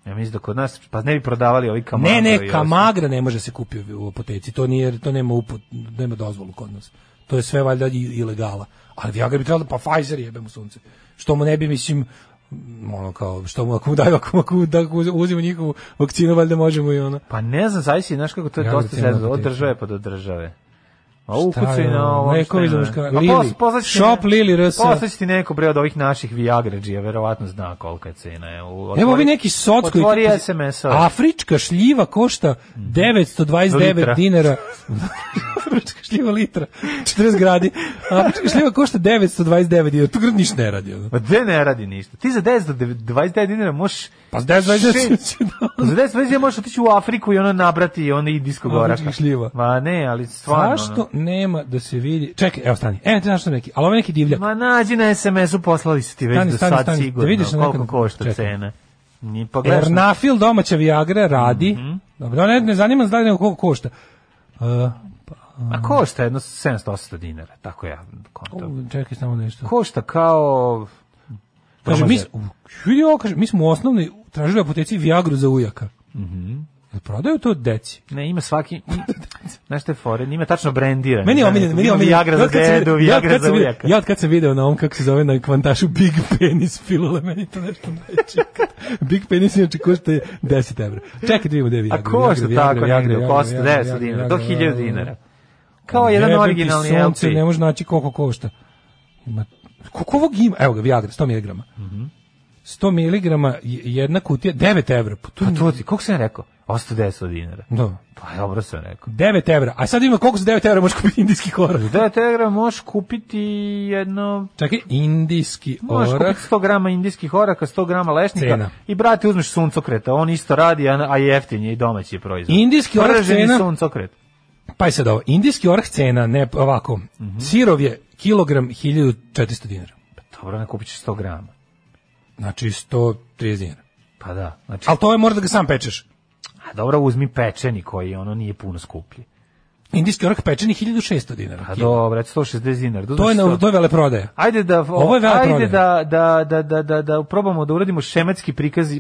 S5: Ja mislim da kod nas, pa ne bi prodavali ovi kamagra.
S6: Ne,
S5: i
S6: ne,
S5: ostalo.
S6: kamagra ne može da se kupiti u apoteci. To nije, to nema uput, nema dozvolu kod nas. To je sve valjda i- ilegala. Ali Viagra bi trebalo, da- pa Pfizer jebe mu sunce. Što mu ne bi, mislim, m, ono kao, što mu ako mu daju, ako mu, ako mu da, ako uzimo njihovu vakcinu, valjda možemo i ono.
S5: Pa ne znam, zavisi, znaš kako to je
S6: Viagra
S5: dosta
S6: cena
S5: zezno, od
S6: apoteka.
S5: države pa do države. A
S6: Šta
S5: ukucaj
S6: je
S5: na
S6: ovo?
S5: ovo.
S6: Lekovi za muškarce. Lili. Shop Lili RS.
S5: Poslaći ti neko bre od ovih naših Viagrađija, verovatno zna kolika je cena. Evo,
S6: Evo vi neki socko.
S5: Otvori SMS-ove.
S6: Afrička šljiva košta 929
S5: Litra.
S6: dinara. Afrička šljiva litra. 40 gradi. Afrička šljiva košta 929 dinara. Tu grad ništa ne radi. ono.
S5: Ma Pa gde ne radi ništa? Ti za 10 do 29 dinara možeš...
S6: Pa za 10 do 29
S5: Šest- Za 10 do 29 možeš otići u Afriku i ono nabrati ono i diskog oraka.
S6: Afričkih šljiva.
S5: Ma ne, ali stvarno...
S6: Zašto
S5: ono.
S6: nema da se vidi? Čekaj, evo stani. Evo ti znaš što neki, ali ovo je neki divljak.
S5: Ma nađi na SMS-u, poslali su ti već
S6: Stani,
S5: do
S6: stani,
S5: sad
S6: stani. Da
S5: sigurno
S6: vidiš na
S5: koliko
S6: nekom-
S5: košta
S6: Čekaj.
S5: cena. Ni pa gledaš na-
S6: Ernafil domaća Viagra radi.
S5: Mhm.
S6: Dobro, ne, ne zanima nas da li nego koliko košta. Uh, Mm.
S5: A Pa košta jedno 700-800 dinara, tako ja kontam.
S6: u, čekaj samo nešto.
S5: Košta kao...
S6: Kaže,
S5: Domaća.
S6: mi, s- u, vidi ovo, kaže, mi smo u osnovnoj tražili u apoteci Viagru za ujaka. Mm
S5: Mhm.
S6: Prodaju to deci.
S5: Ne, ima svaki... Znaš te fore, ima tačno brendiranje.
S6: Meni je
S5: Znaš,
S6: omiljen, meni je
S5: ima
S6: omiljen.
S5: Da, Viagra za
S6: Ja od kad sam
S5: dedu,
S6: vidio- ja od
S5: Viagra
S6: kad
S5: za
S6: sam vidio-
S5: ujaka.
S6: Ja od kad sam video na ovom, kako se zove na kvantašu, Big Penis pilule, meni je to nešto najčekaj. Big Penis inače košta 10 evra. Čekaj da vidimo gde je Viagra.
S5: A košta
S6: Viagra,
S5: tako
S6: Viagra,
S5: negde,
S6: Viagra,
S5: košta
S6: Viagra,
S5: 900 dinara,
S6: Viagra,
S5: do
S6: Viagra,
S5: 1000
S6: Viagra.
S5: dinara. Kao jedan
S6: Jebem ti
S5: originalni
S6: sunce,
S5: LP.
S6: Ne može naći koliko košta. Ima Koliko ovog ima? Evo ga, Viagra, 100 mg.
S5: Mhm.
S6: 100 mg jedna kutija, 9 evra. Pa to
S5: Pa
S6: je-
S5: to ti, koliko sam ja rekao? 810 dinara.
S6: Da.
S5: Pa dobro sam rekao.
S6: 9 evra. A sad ima koliko za 9 evra možeš kupiti indijski orah?
S5: Da, Telegram možeš kupiti jedno...
S6: Čekaj, indijski
S5: Možeš
S6: orah.
S5: kupiti 100 grama indijskih oraka, 100 grama lešnika
S6: Cena.
S5: i brate uzmeš suncokreta, on isto radi, a, a jeftin je i domaći je proizvod.
S6: Indijski orah
S5: Prženi
S6: cena-
S5: suncokret.
S6: Pa je sad ovo, indijski orah cena, ne ovako,
S5: Mhm.
S6: sirov je kilogram 1400 dinara.
S5: Pa dobro, ne kupit ćeš 100 grama.
S6: Znači 130 dinara.
S5: Pa da, znači,
S6: Ali to je mora da ga sam pečeš.
S5: a dobro uzmi pečeni koji ono nije puno skuplji.
S6: Indijski orah pečeni 1600 dinara.
S5: Pa
S6: kilo.
S5: dobro, eto, 160 dinara. da
S6: to je,
S5: uzmeš
S6: na,
S5: 100.
S6: to je veleprodaja.
S5: Ajde da
S6: Ovo je veleprodaja.
S5: ajde da, da, da, da, da, da probamo da uradimo šematski prikaz uh,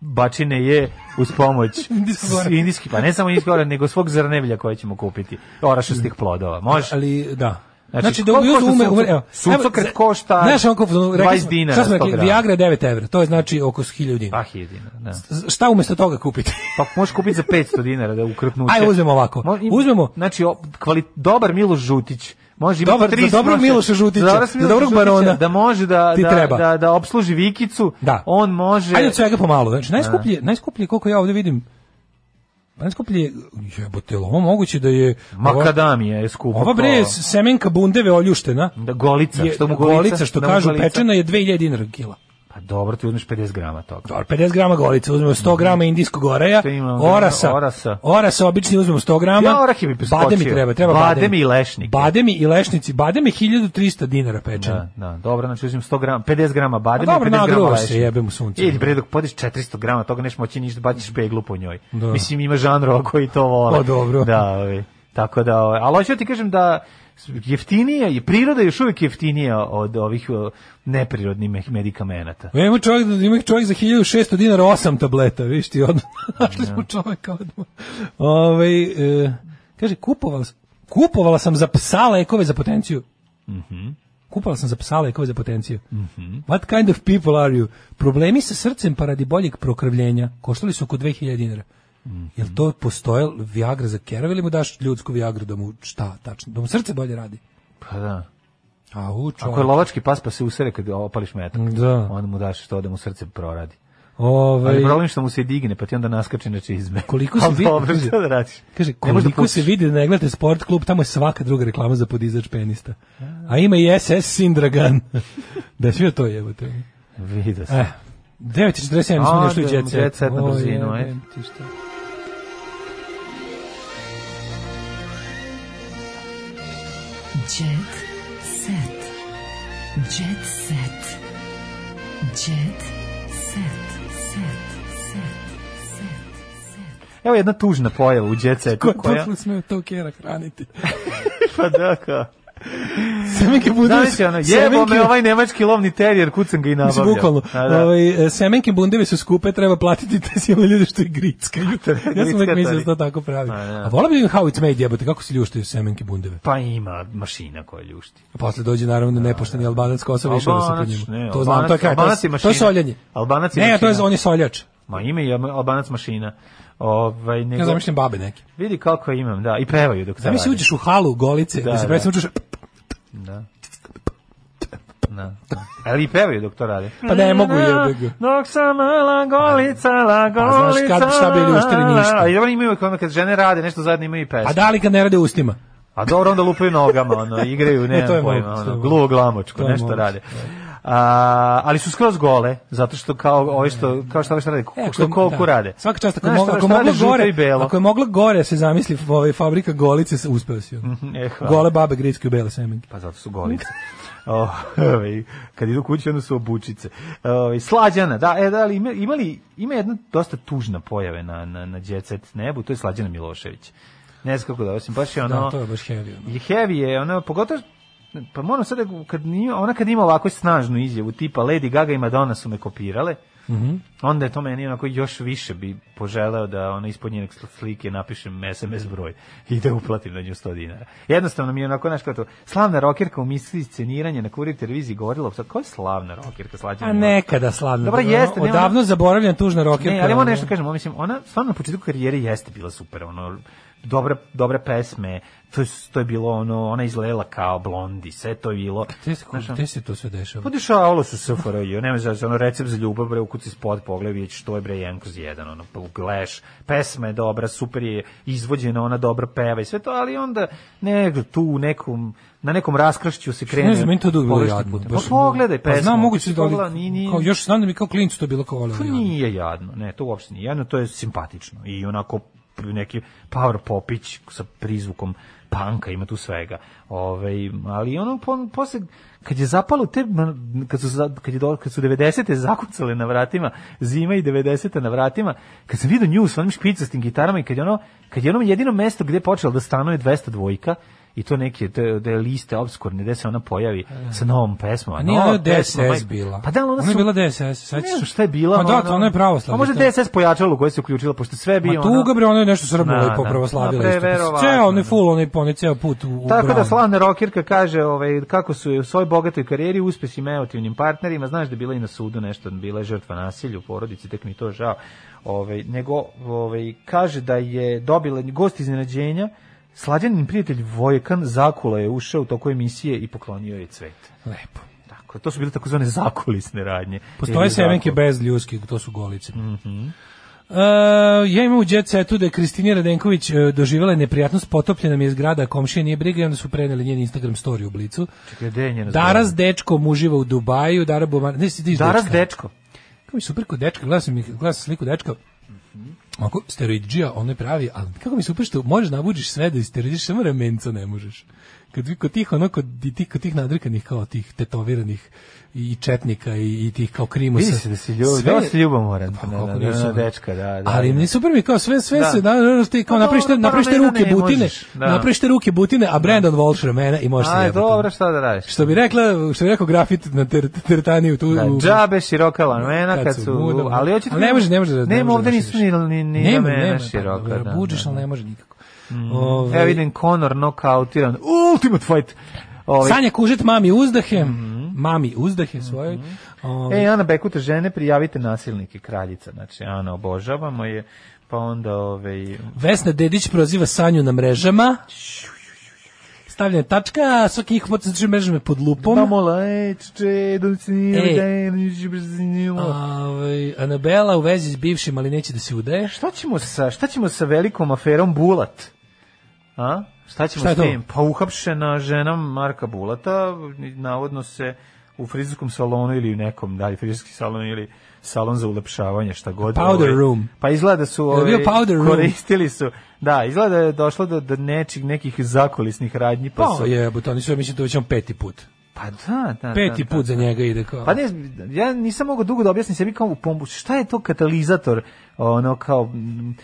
S5: bačine je uz pomoć
S6: Indijskog orah.
S5: s- indijski, pa ne samo indijski orah, nego svog zrnevlja koje ćemo kupiti, orašastih plodova. Može?
S6: Ali, da.
S5: Znači,
S6: Znači, da
S5: koliko
S6: ubijuzu
S5: košta
S6: ume,
S5: suncok-
S6: ume, evo.
S5: suncokret
S6: Evo,
S5: košta
S6: Znaš, onko, rekli
S5: 20
S6: smo,
S5: dinara,
S6: šta smo rekli,
S5: 100 grama.
S6: Viagra je 9 evra, to je znači oko 1000 dinara.
S5: Ah, jedina, da.
S6: Z- Šta umesto toga kupiti?
S5: Pa možeš kupiti za 500 dinara da ukrpnuće.
S6: Ajde, uzmemo ovako. Uzmemo-
S5: Znači, o, kvali, dobar Miloš Žutić. Može imati
S6: Dobar- za
S5: 300
S6: dobrog
S5: može-
S6: Miloša Žutića,
S5: za dobrog
S6: za dobrog
S5: Žutića,
S6: barona.
S5: Da može da,
S6: Ti
S5: da,
S6: treba.
S5: da, da obsluži Vikicu.
S6: Da.
S5: On može...
S6: Ajde od svega pomalo. Znači,
S5: Da.
S6: najskuplje, najskuplje koliko ja ovdje vidim, pa najskuplje, jebote, jel ovo moguće da je...
S5: Makadamija je skupo.
S6: Ova, ova bre,
S5: to.
S6: semenka bundeve oljuštena,
S5: Da, golica,
S6: je,
S5: što mu golica,
S6: golica, što
S5: da mu
S6: kažu,
S5: golica.
S6: pečena je 2000 dinara kila.
S5: Pa dobro, ti uzmeš 50 grama toga.
S6: Dobro, 50 grama golice, uzmemo 100
S5: Mhm.
S6: grama indijskog oraja,
S5: To imamo,
S6: orasa,
S5: orasa.
S6: orasa, orasa obični uzmemo 100 grama,
S5: Ja orah je mi preskočio.
S6: bademi treba, treba
S5: Bademi i lešnike.
S6: Bademi i lešniki, bademi 1300 dinara pečeni.
S5: Da, da, dobro, znači uzmem 100 grama, 50 grama badema,
S6: A Pa dobro,
S5: 50 grama
S6: nagruva
S5: lešnja.
S6: se, jebem u sunce. da.
S5: Ili bre, dok podiš 400 grama, toga neš moći ništa, baciš peglu po njoj.
S6: Da.
S5: Mislim, ima žanrova koji to vole.
S6: Pa dobro.
S5: Da, ovaj, tako da, ovaj, ali hoću da ti kažem da jeftinije, i priroda je još uvijek jeftinija od ovih o, neprirodnih me- medikamenata.
S6: E, Ima čovjek, ima čovjek za 1600 dinara osam tableta, viš ti odmah. Našli smo čovjeka odmah. Ove, e, kaže, kupovala, s- kupovala sam za psa lekove za potenciju. Kupala sam za psa lekove za potenciju. What kind of people are you? Problemi sa srcem pa radi boljeg prokrvljenja koštali su oko 2000 dinara. Jel to postoje Viagra za kerov ili mu daš ljudsku Viagru da mu šta tačno, da mu srce bolje radi?
S5: Pa da.
S6: A
S5: Ako
S6: u
S5: je
S6: čovjek.
S5: lovački pas pa se usere kad opališ metak,
S6: Da.
S5: onda mu daš to da mu srce proradi.
S6: Ovaj-
S5: Ali problem je što mu se digne, pa ti onda naskače na čizme.
S6: Koliko se
S5: Ali
S6: vidi-
S5: Dobro, šta da radiš?
S6: Kaže,
S5: Ne možeš da
S6: koliko se
S5: pustiš.
S6: vidi da ne gledate sport klub, tamo je svaka druga reklama za podizač penista. A ima i SS Sindragan. da svi to jebote.
S5: Vidio sam.
S6: Eh, 9.47, smo
S5: A,
S6: nešto u
S5: da,
S6: Jet Set.
S5: Jet Set na
S6: O,
S5: brzinu, eh.
S6: jebem ti šta.
S7: Jet set. Jet set. Jet set. Set. Set.
S5: Evo jedna tužna pojava u Jet Setu
S6: Ko je
S5: Pa koja...
S6: počelo smeo Pa to kjera hraniti?
S5: Pa da, kao.
S6: Semenke budu...
S5: Znaš, ono, jebo me ovaj nemački lovni terijer, kucam ga i
S6: Mislim,
S5: nabavljam.
S6: bukvalno.
S5: A, da.
S6: Ovaj, e, semenke bundevi su skupe, treba platiti te silne ljude što je gricka. ja sam
S5: Grickatari.
S6: uvijek mislio da to tako pravi.
S5: A, da.
S6: A vola bi im how it's made jebote, kako se ljuštaju semenke bundeve.
S5: Pa ima mašina koja ljušti.
S6: Pa Posle dođe naravno nepošteni albanac Kosova i da se po
S5: Albanac,
S6: njemu.
S5: ne,
S6: to znam, to je
S5: Albanac-
S6: kraj. To,
S5: Albanac je
S6: je- to
S5: mašina.
S6: je soljenje.
S5: Albanac je
S6: ne, to je
S5: mašina.
S6: on je soljač.
S5: Ma ima i albanac mašina. Ovaj, nego,
S6: Ja zamišljam babe neke.
S5: Vidi kako imam, da. I pevaju dok se
S6: Da mi se
S5: radi.
S6: uđeš u halu golice, da,
S5: Da,
S6: se
S5: da.
S6: predstavno čuš,
S5: Da. Da. Ali i pevaju dok to rade.
S6: Pa ne mogu, jebe ga.
S5: Dok sam lagolica, lagolica.
S6: A Pa znaš kad bi šta bili uštili ništa.
S5: A i dobro imaju ono kad žene rade, nešto zajedno imaju i pesme.
S6: a da li kad ne rade ustima?
S5: A dobro, onda lupaju nogama, ono, igraju, ne,
S6: E, to
S5: znam
S6: je
S5: pojma,
S6: moguće, to je
S5: ono,
S6: moguće.
S5: gluvo glamočko,
S6: To je
S5: nešto
S6: moguće, da.
S5: rade. A, ali su skroz gole, zato što kao ove što, kao što ove što rade,
S6: E. ako
S5: što
S6: je-
S5: koliko
S6: da.
S5: rade.
S6: Svaka čast, ako,
S5: Znaš
S6: mo,
S5: šta-
S6: ako,
S5: šta rade
S6: mogla
S5: žuto
S6: gore,
S5: i belo.
S6: ako je mogla gore se zamisli f- ovaj, fabrika golice, s- uspeo si. ono.
S5: E, hvala.
S6: Gole babe gricke u bele semenke.
S5: Pa zato su golice. Ovaj, kad idu kući, onda su obučice. Ovaj, slađana, da, e, da, ali ima, imali, ima jedna dosta tužna pojave na, na, na Jet Set nebu, to je Slađana Milošević. Ne znam kako da, osim, baš je ono...
S6: Da, to je baš heavy. ono.
S5: je heavy je, ona pogotovo pa moram sada kad nije, ona kad ima ovako snažnu izjavu tipa Lady Gaga i Madonna su me kopirale. Onda je to meni onako još više bi poželeo da ono ispod njene slike napišem SMS broj i da uplatim na nju 100 dinara. Jednostavno mi je onako, znaš kao to, slavna rokerka u misli sceniranja na kurir televiziji govorila, sad kao je slavna rokerka, slađena
S6: A nekada slavno.
S5: Dobro,
S6: ono,
S5: jeste, nema-
S6: Odavno zaboravljen tužna rokerka.
S5: ne, ali moram
S6: ono.
S5: nešto kažem, ono, mislim, ona stvarno na početku karijere jeste bila super, ono, dobre, dobre pesme, to je, to je bilo ono, ona izgledala kao blondi, sve to je bilo.
S6: Gde se, gde se to sve dešava?
S5: Pa dešavalo se SFRJ, nema znači, ono recept za ljubav, bre, ukuci spod, pogledaj, vidjet ćeš, to je bre 1 kroz 1, ono, pa gleš, pesma je dobra, super je izvođena, ona dobro peva i sve to, ali onda negdje tu u nekom, na nekom raskršću se krene.
S6: Ne znam, meni to dugo bilo
S5: pogrešni
S6: jadno.
S5: put. Pa
S6: baš-
S5: pogledaj pesmu.
S6: Pa znam, moguće da
S5: pogledaj,
S6: li,
S5: ni- ni-
S6: kao, još znam da mi kao klincu to bilo kao voleo.
S5: Pa nije jadno, ne, to uopšte nije jadno, to je simpatično i onako neki power popić sa prizvukom panka, ima tu svega. Ove, ali ono, pon- posle, kad je zapalo te, m- kad su, za- kad je do, kad su 90. zakucale na vratima, zima i 90. na vratima, kad sam vidio nju s onim špicastim gitarama i kad je ono, kad je ono jedino mesto gde je počelo da stanuje 200 dvojka, i to neke te, te liste obskurne gde se ona pojavi sa novom pesmom.
S6: A nije
S5: nova
S6: ona
S5: pesma,
S6: DSS
S5: majko-
S6: bila.
S5: Pa da, ali ona
S6: ona je
S5: su-
S6: bila DSS,
S5: ne
S6: sećaš
S5: znam
S6: se?
S5: šta je bila.
S6: Pa da,
S5: ono-
S6: ona je pravoslavna.
S5: A možda
S6: šta je?
S5: DSS pojačalo koje se uključilo, pošto sve je bio...
S6: Ma tu ga bre, ona je nešto srbno
S5: Na,
S6: lepo
S5: da.
S6: pravoslavila.
S5: Ma,
S6: isto.
S5: preverovatno,
S6: Ceo, onaj
S5: da.
S6: full, onaj poni, ceo put u, u
S5: Tako da
S6: branu.
S5: slavna rokirka kaže ovaj, kako su u svojoj bogatoj karijeri uspesima emotivnim partnerima, znaš da je bila i na sudu nešto, bila je žrtva nasilja u porodici, tek mi je to žao. Ovaj, nego ovaj, kaže da je dobila gost iznenađenja, slađanin prijatelj Vojkan Zakula je ušao u toku emisije i poklonio je cvet.
S6: Lepo.
S5: Tako, to su bile takozvane zakulisne radnje.
S6: Postoje
S5: Ili Mhm.
S6: semenke
S5: zakul-
S6: bez ljuski, to su golice. Uh, ja imam u Jet Setu da je Kristina Radenković uh, doživjela neprijatnost, potopljena mi je zgrada, a komšija nije briga i onda su preneli njen Instagram story u blicu.
S5: Čekaj, gde je njena
S6: Daras
S5: zgrada?
S6: dečkom uživa u Dubaju, Dara Bumar... Ne, si ti iz
S5: Daras
S6: dečka?
S5: dečko.
S6: Kako mi super kod dečka, gledao sam, ih- gledao sam sliku dečka, Ako steroidžija, on ne pravi, ali kako mi je super što možeš navuđiš sve da isteroidiš, samo ramenca ne možeš. Kad vi kod tih, ono, kod, di- tih, kod tih nadrikanih, kao tih tetoviranih i četnika i, i tih kao krimosa.
S5: Vidi se da si ljubav, sve... da si ljubomoran.
S6: Pa,
S5: na-
S6: kako
S5: na- na-
S6: nisam,
S5: na
S6: ne.
S5: dečka, da, da.
S6: Ali mi super mi je kao sve sve
S5: Da.
S6: se da, da, da, ti kao
S5: Pa
S6: naprište
S5: dobro,
S6: naprište
S5: paralelno
S6: ruke
S5: ne
S6: butine,
S5: možeš, da.
S6: naprište ruke butine, a Brandon Walsh ramena i možeš se
S5: Aj,
S6: jebati.
S5: dobro, šta da radiš?
S6: Što bi rekla, što bi rekao grafit na ter, teretani u tu.
S5: Da,
S6: u-
S5: džabe široka lamena kad, su,
S6: muda, muda.
S5: ali hoćete
S6: Ali ne može, ne može. da- ne
S5: Nema
S6: može
S5: ovde
S6: da
S5: nisu ni
S6: širiš.
S5: ni ni
S6: Nema,
S5: lamena
S6: nema,
S5: široka,
S6: pa,
S5: da.
S6: Budžiš,
S5: da,
S6: ali
S5: da. Mhm.
S6: ne može nikako. Ovaj,
S5: Evo vidim Conor nokautiran. Ultimate fight. Ovaj
S6: Sanja Kužet, mami uzdahe,
S5: Mhm.
S6: mami uzdahe svoje. Ovaj,
S5: E, Ana Bekuta, žene, prijavite nasilnike, kraljica. Znači, Ana, obožavamo je. Pa onda, ovaj...
S6: Vesna Dedić proziva Sanju na mrežama. Stavljena je tačka, svaki njihov potez drži mrežama pod lupom.
S5: Tamo lajče,
S6: E.
S5: da
S6: Ovaj, Anabela u vezi s bivšim, ali neće da se udaje.
S5: Šta ćemo sa, šta ćemo sa velikom aferom Bulat? A? Šta ćemo
S6: Šta je
S5: s
S6: to?
S5: tim? Pa uhapšena žena Marka Bulata, navodno se u frizerskom salonu ili u nekom, da, frizerski salon ili salon za ulepšavanje, šta god.
S6: Powder room.
S5: Pa izgleda da su
S6: Je li bio
S5: ovaj,
S6: powder room?
S5: koristili su, da, izgleda da je došlo do, do nečih, nekih zakulisnih radnji, pa,
S6: Pa
S5: su,
S6: je, to nisu, ja mislim to je već on peti put.
S5: pa da, da,
S6: Peti
S5: da, da,
S6: put za
S5: da.
S6: njega ide kao.
S5: Pa ne, ja nisam mogao dugo da objasnim sebi kao u pombu, šta je to katalizator, ono kao mm,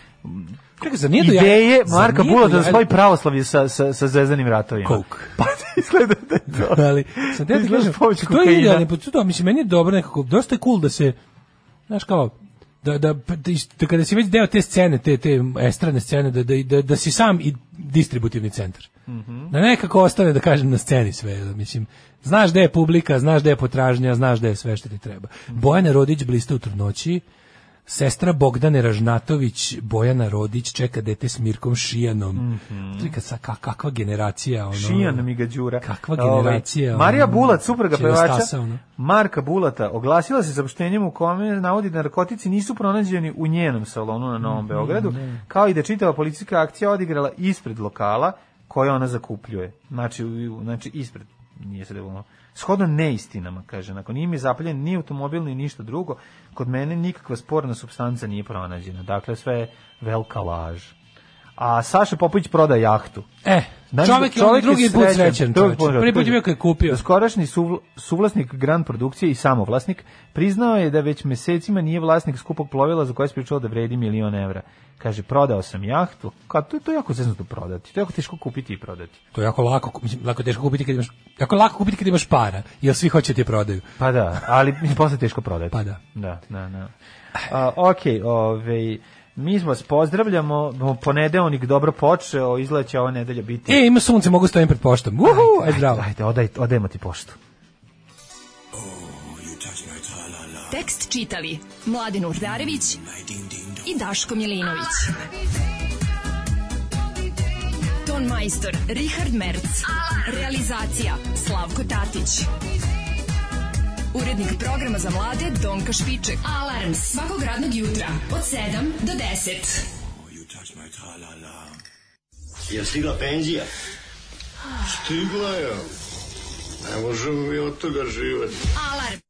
S6: Čekaj, zar nije do
S5: ideje
S6: jaja- zar
S5: Marka
S6: nije do
S5: Bulata da
S6: jaja-
S5: spoji pravoslavlje sa, sa, sa zvezdanim ratovima.
S6: Coke.
S5: Pa izgleda da je to.
S6: ali sam te
S5: Izgleda
S6: kažem,
S5: pomoć
S6: to je
S5: kokaina.
S6: idealni put, to, mislim, meni je dobro nekako, dosta je cool da se, znaš kao, da, da, da, da kada si već deo te scene, te, te estrane scene, da, da, da, da si sam i distributivni centar.
S5: Mhm.
S6: Da nekako ostane, da kažem, na sceni sve, da, mislim, znaš gde je publika, znaš gde je potražnja, znaš gde je sve što ti treba.
S5: Mhm.
S6: Bojana Rodić blista u trudnoći, Sestra Bogdane Ražnatović, Bojana Rodić, čeka dete s Mirkom Šijanom. Mm kakva generacija. Ono,
S5: Šijan mi ga đura.
S6: Kakva
S5: Ovaj,
S6: generacija, ono,
S5: Marija Bulat, supruga pevača,
S6: čevastasa, ono.
S5: Marka Bulata, oglasila se saopštenjem u kome navodi da narkotici nisu pronađeni u njenom salonu na
S6: Mhm,
S5: Novom Beogradu, kao i da je čitava policijska akcija odigrala ispred lokala koje ona zakupljuje. Znači, u- u- znači ispred, nije se devolno. Shodno neistinama, kaže, nakon nije mi zapaljen ni automobil ni ništa drugo, kod mene nikakva sporna substanca nije pronađena. Dakle, sve je velika laž. A Saša Popović proda jahtu.
S6: E,
S5: Znači,
S6: čovjek je on drugi put srećan.
S5: drugi
S6: čovječe.
S5: put
S6: Prvi put je bio kad je kupio.
S5: Skorašnji suvl- suvlasnik Grand Produkcije i samovlasnik priznao je da već mesecima nije vlasnik skupog plovila za koje se pričalo da vredi milion evra. Kaže, prodao sam jahtu. Ka, to, to je jako zeznuto prodati. To je jako teško kupiti i prodati.
S6: To je jako lako, ku- mislim, lako je teško kupiti kad imaš, jako lako kupiti kad imaš para, jer svi hoće da ti je prodaju.
S5: Pa da, ali mislim, posle teško prodati.
S6: Pa da.
S5: Da, da, da. A, ok, ovaj, mi smo vas pozdravljamo, ponedeonik dobro počeo, izgleda će ova nedelja biti...
S6: E, ima sunce, mogu stojim pred poštom. Uhu, aj zdravo.
S5: Ajde, odaj, odajmo ti poštu.
S4: Tekst čitali Mladin Urdarević i Daško Milinović.
S7: Alarm.
S4: Ton majstor Richard Merc. Realizacija Slavko Tatić. Urednik programa za mlade Donka Špiček. Alarms svakog radnog jutra od 7 do 10.
S9: Je stigla penzija?
S10: Stigla je. Ne možemo mi od toga živjeti.
S4: Alarm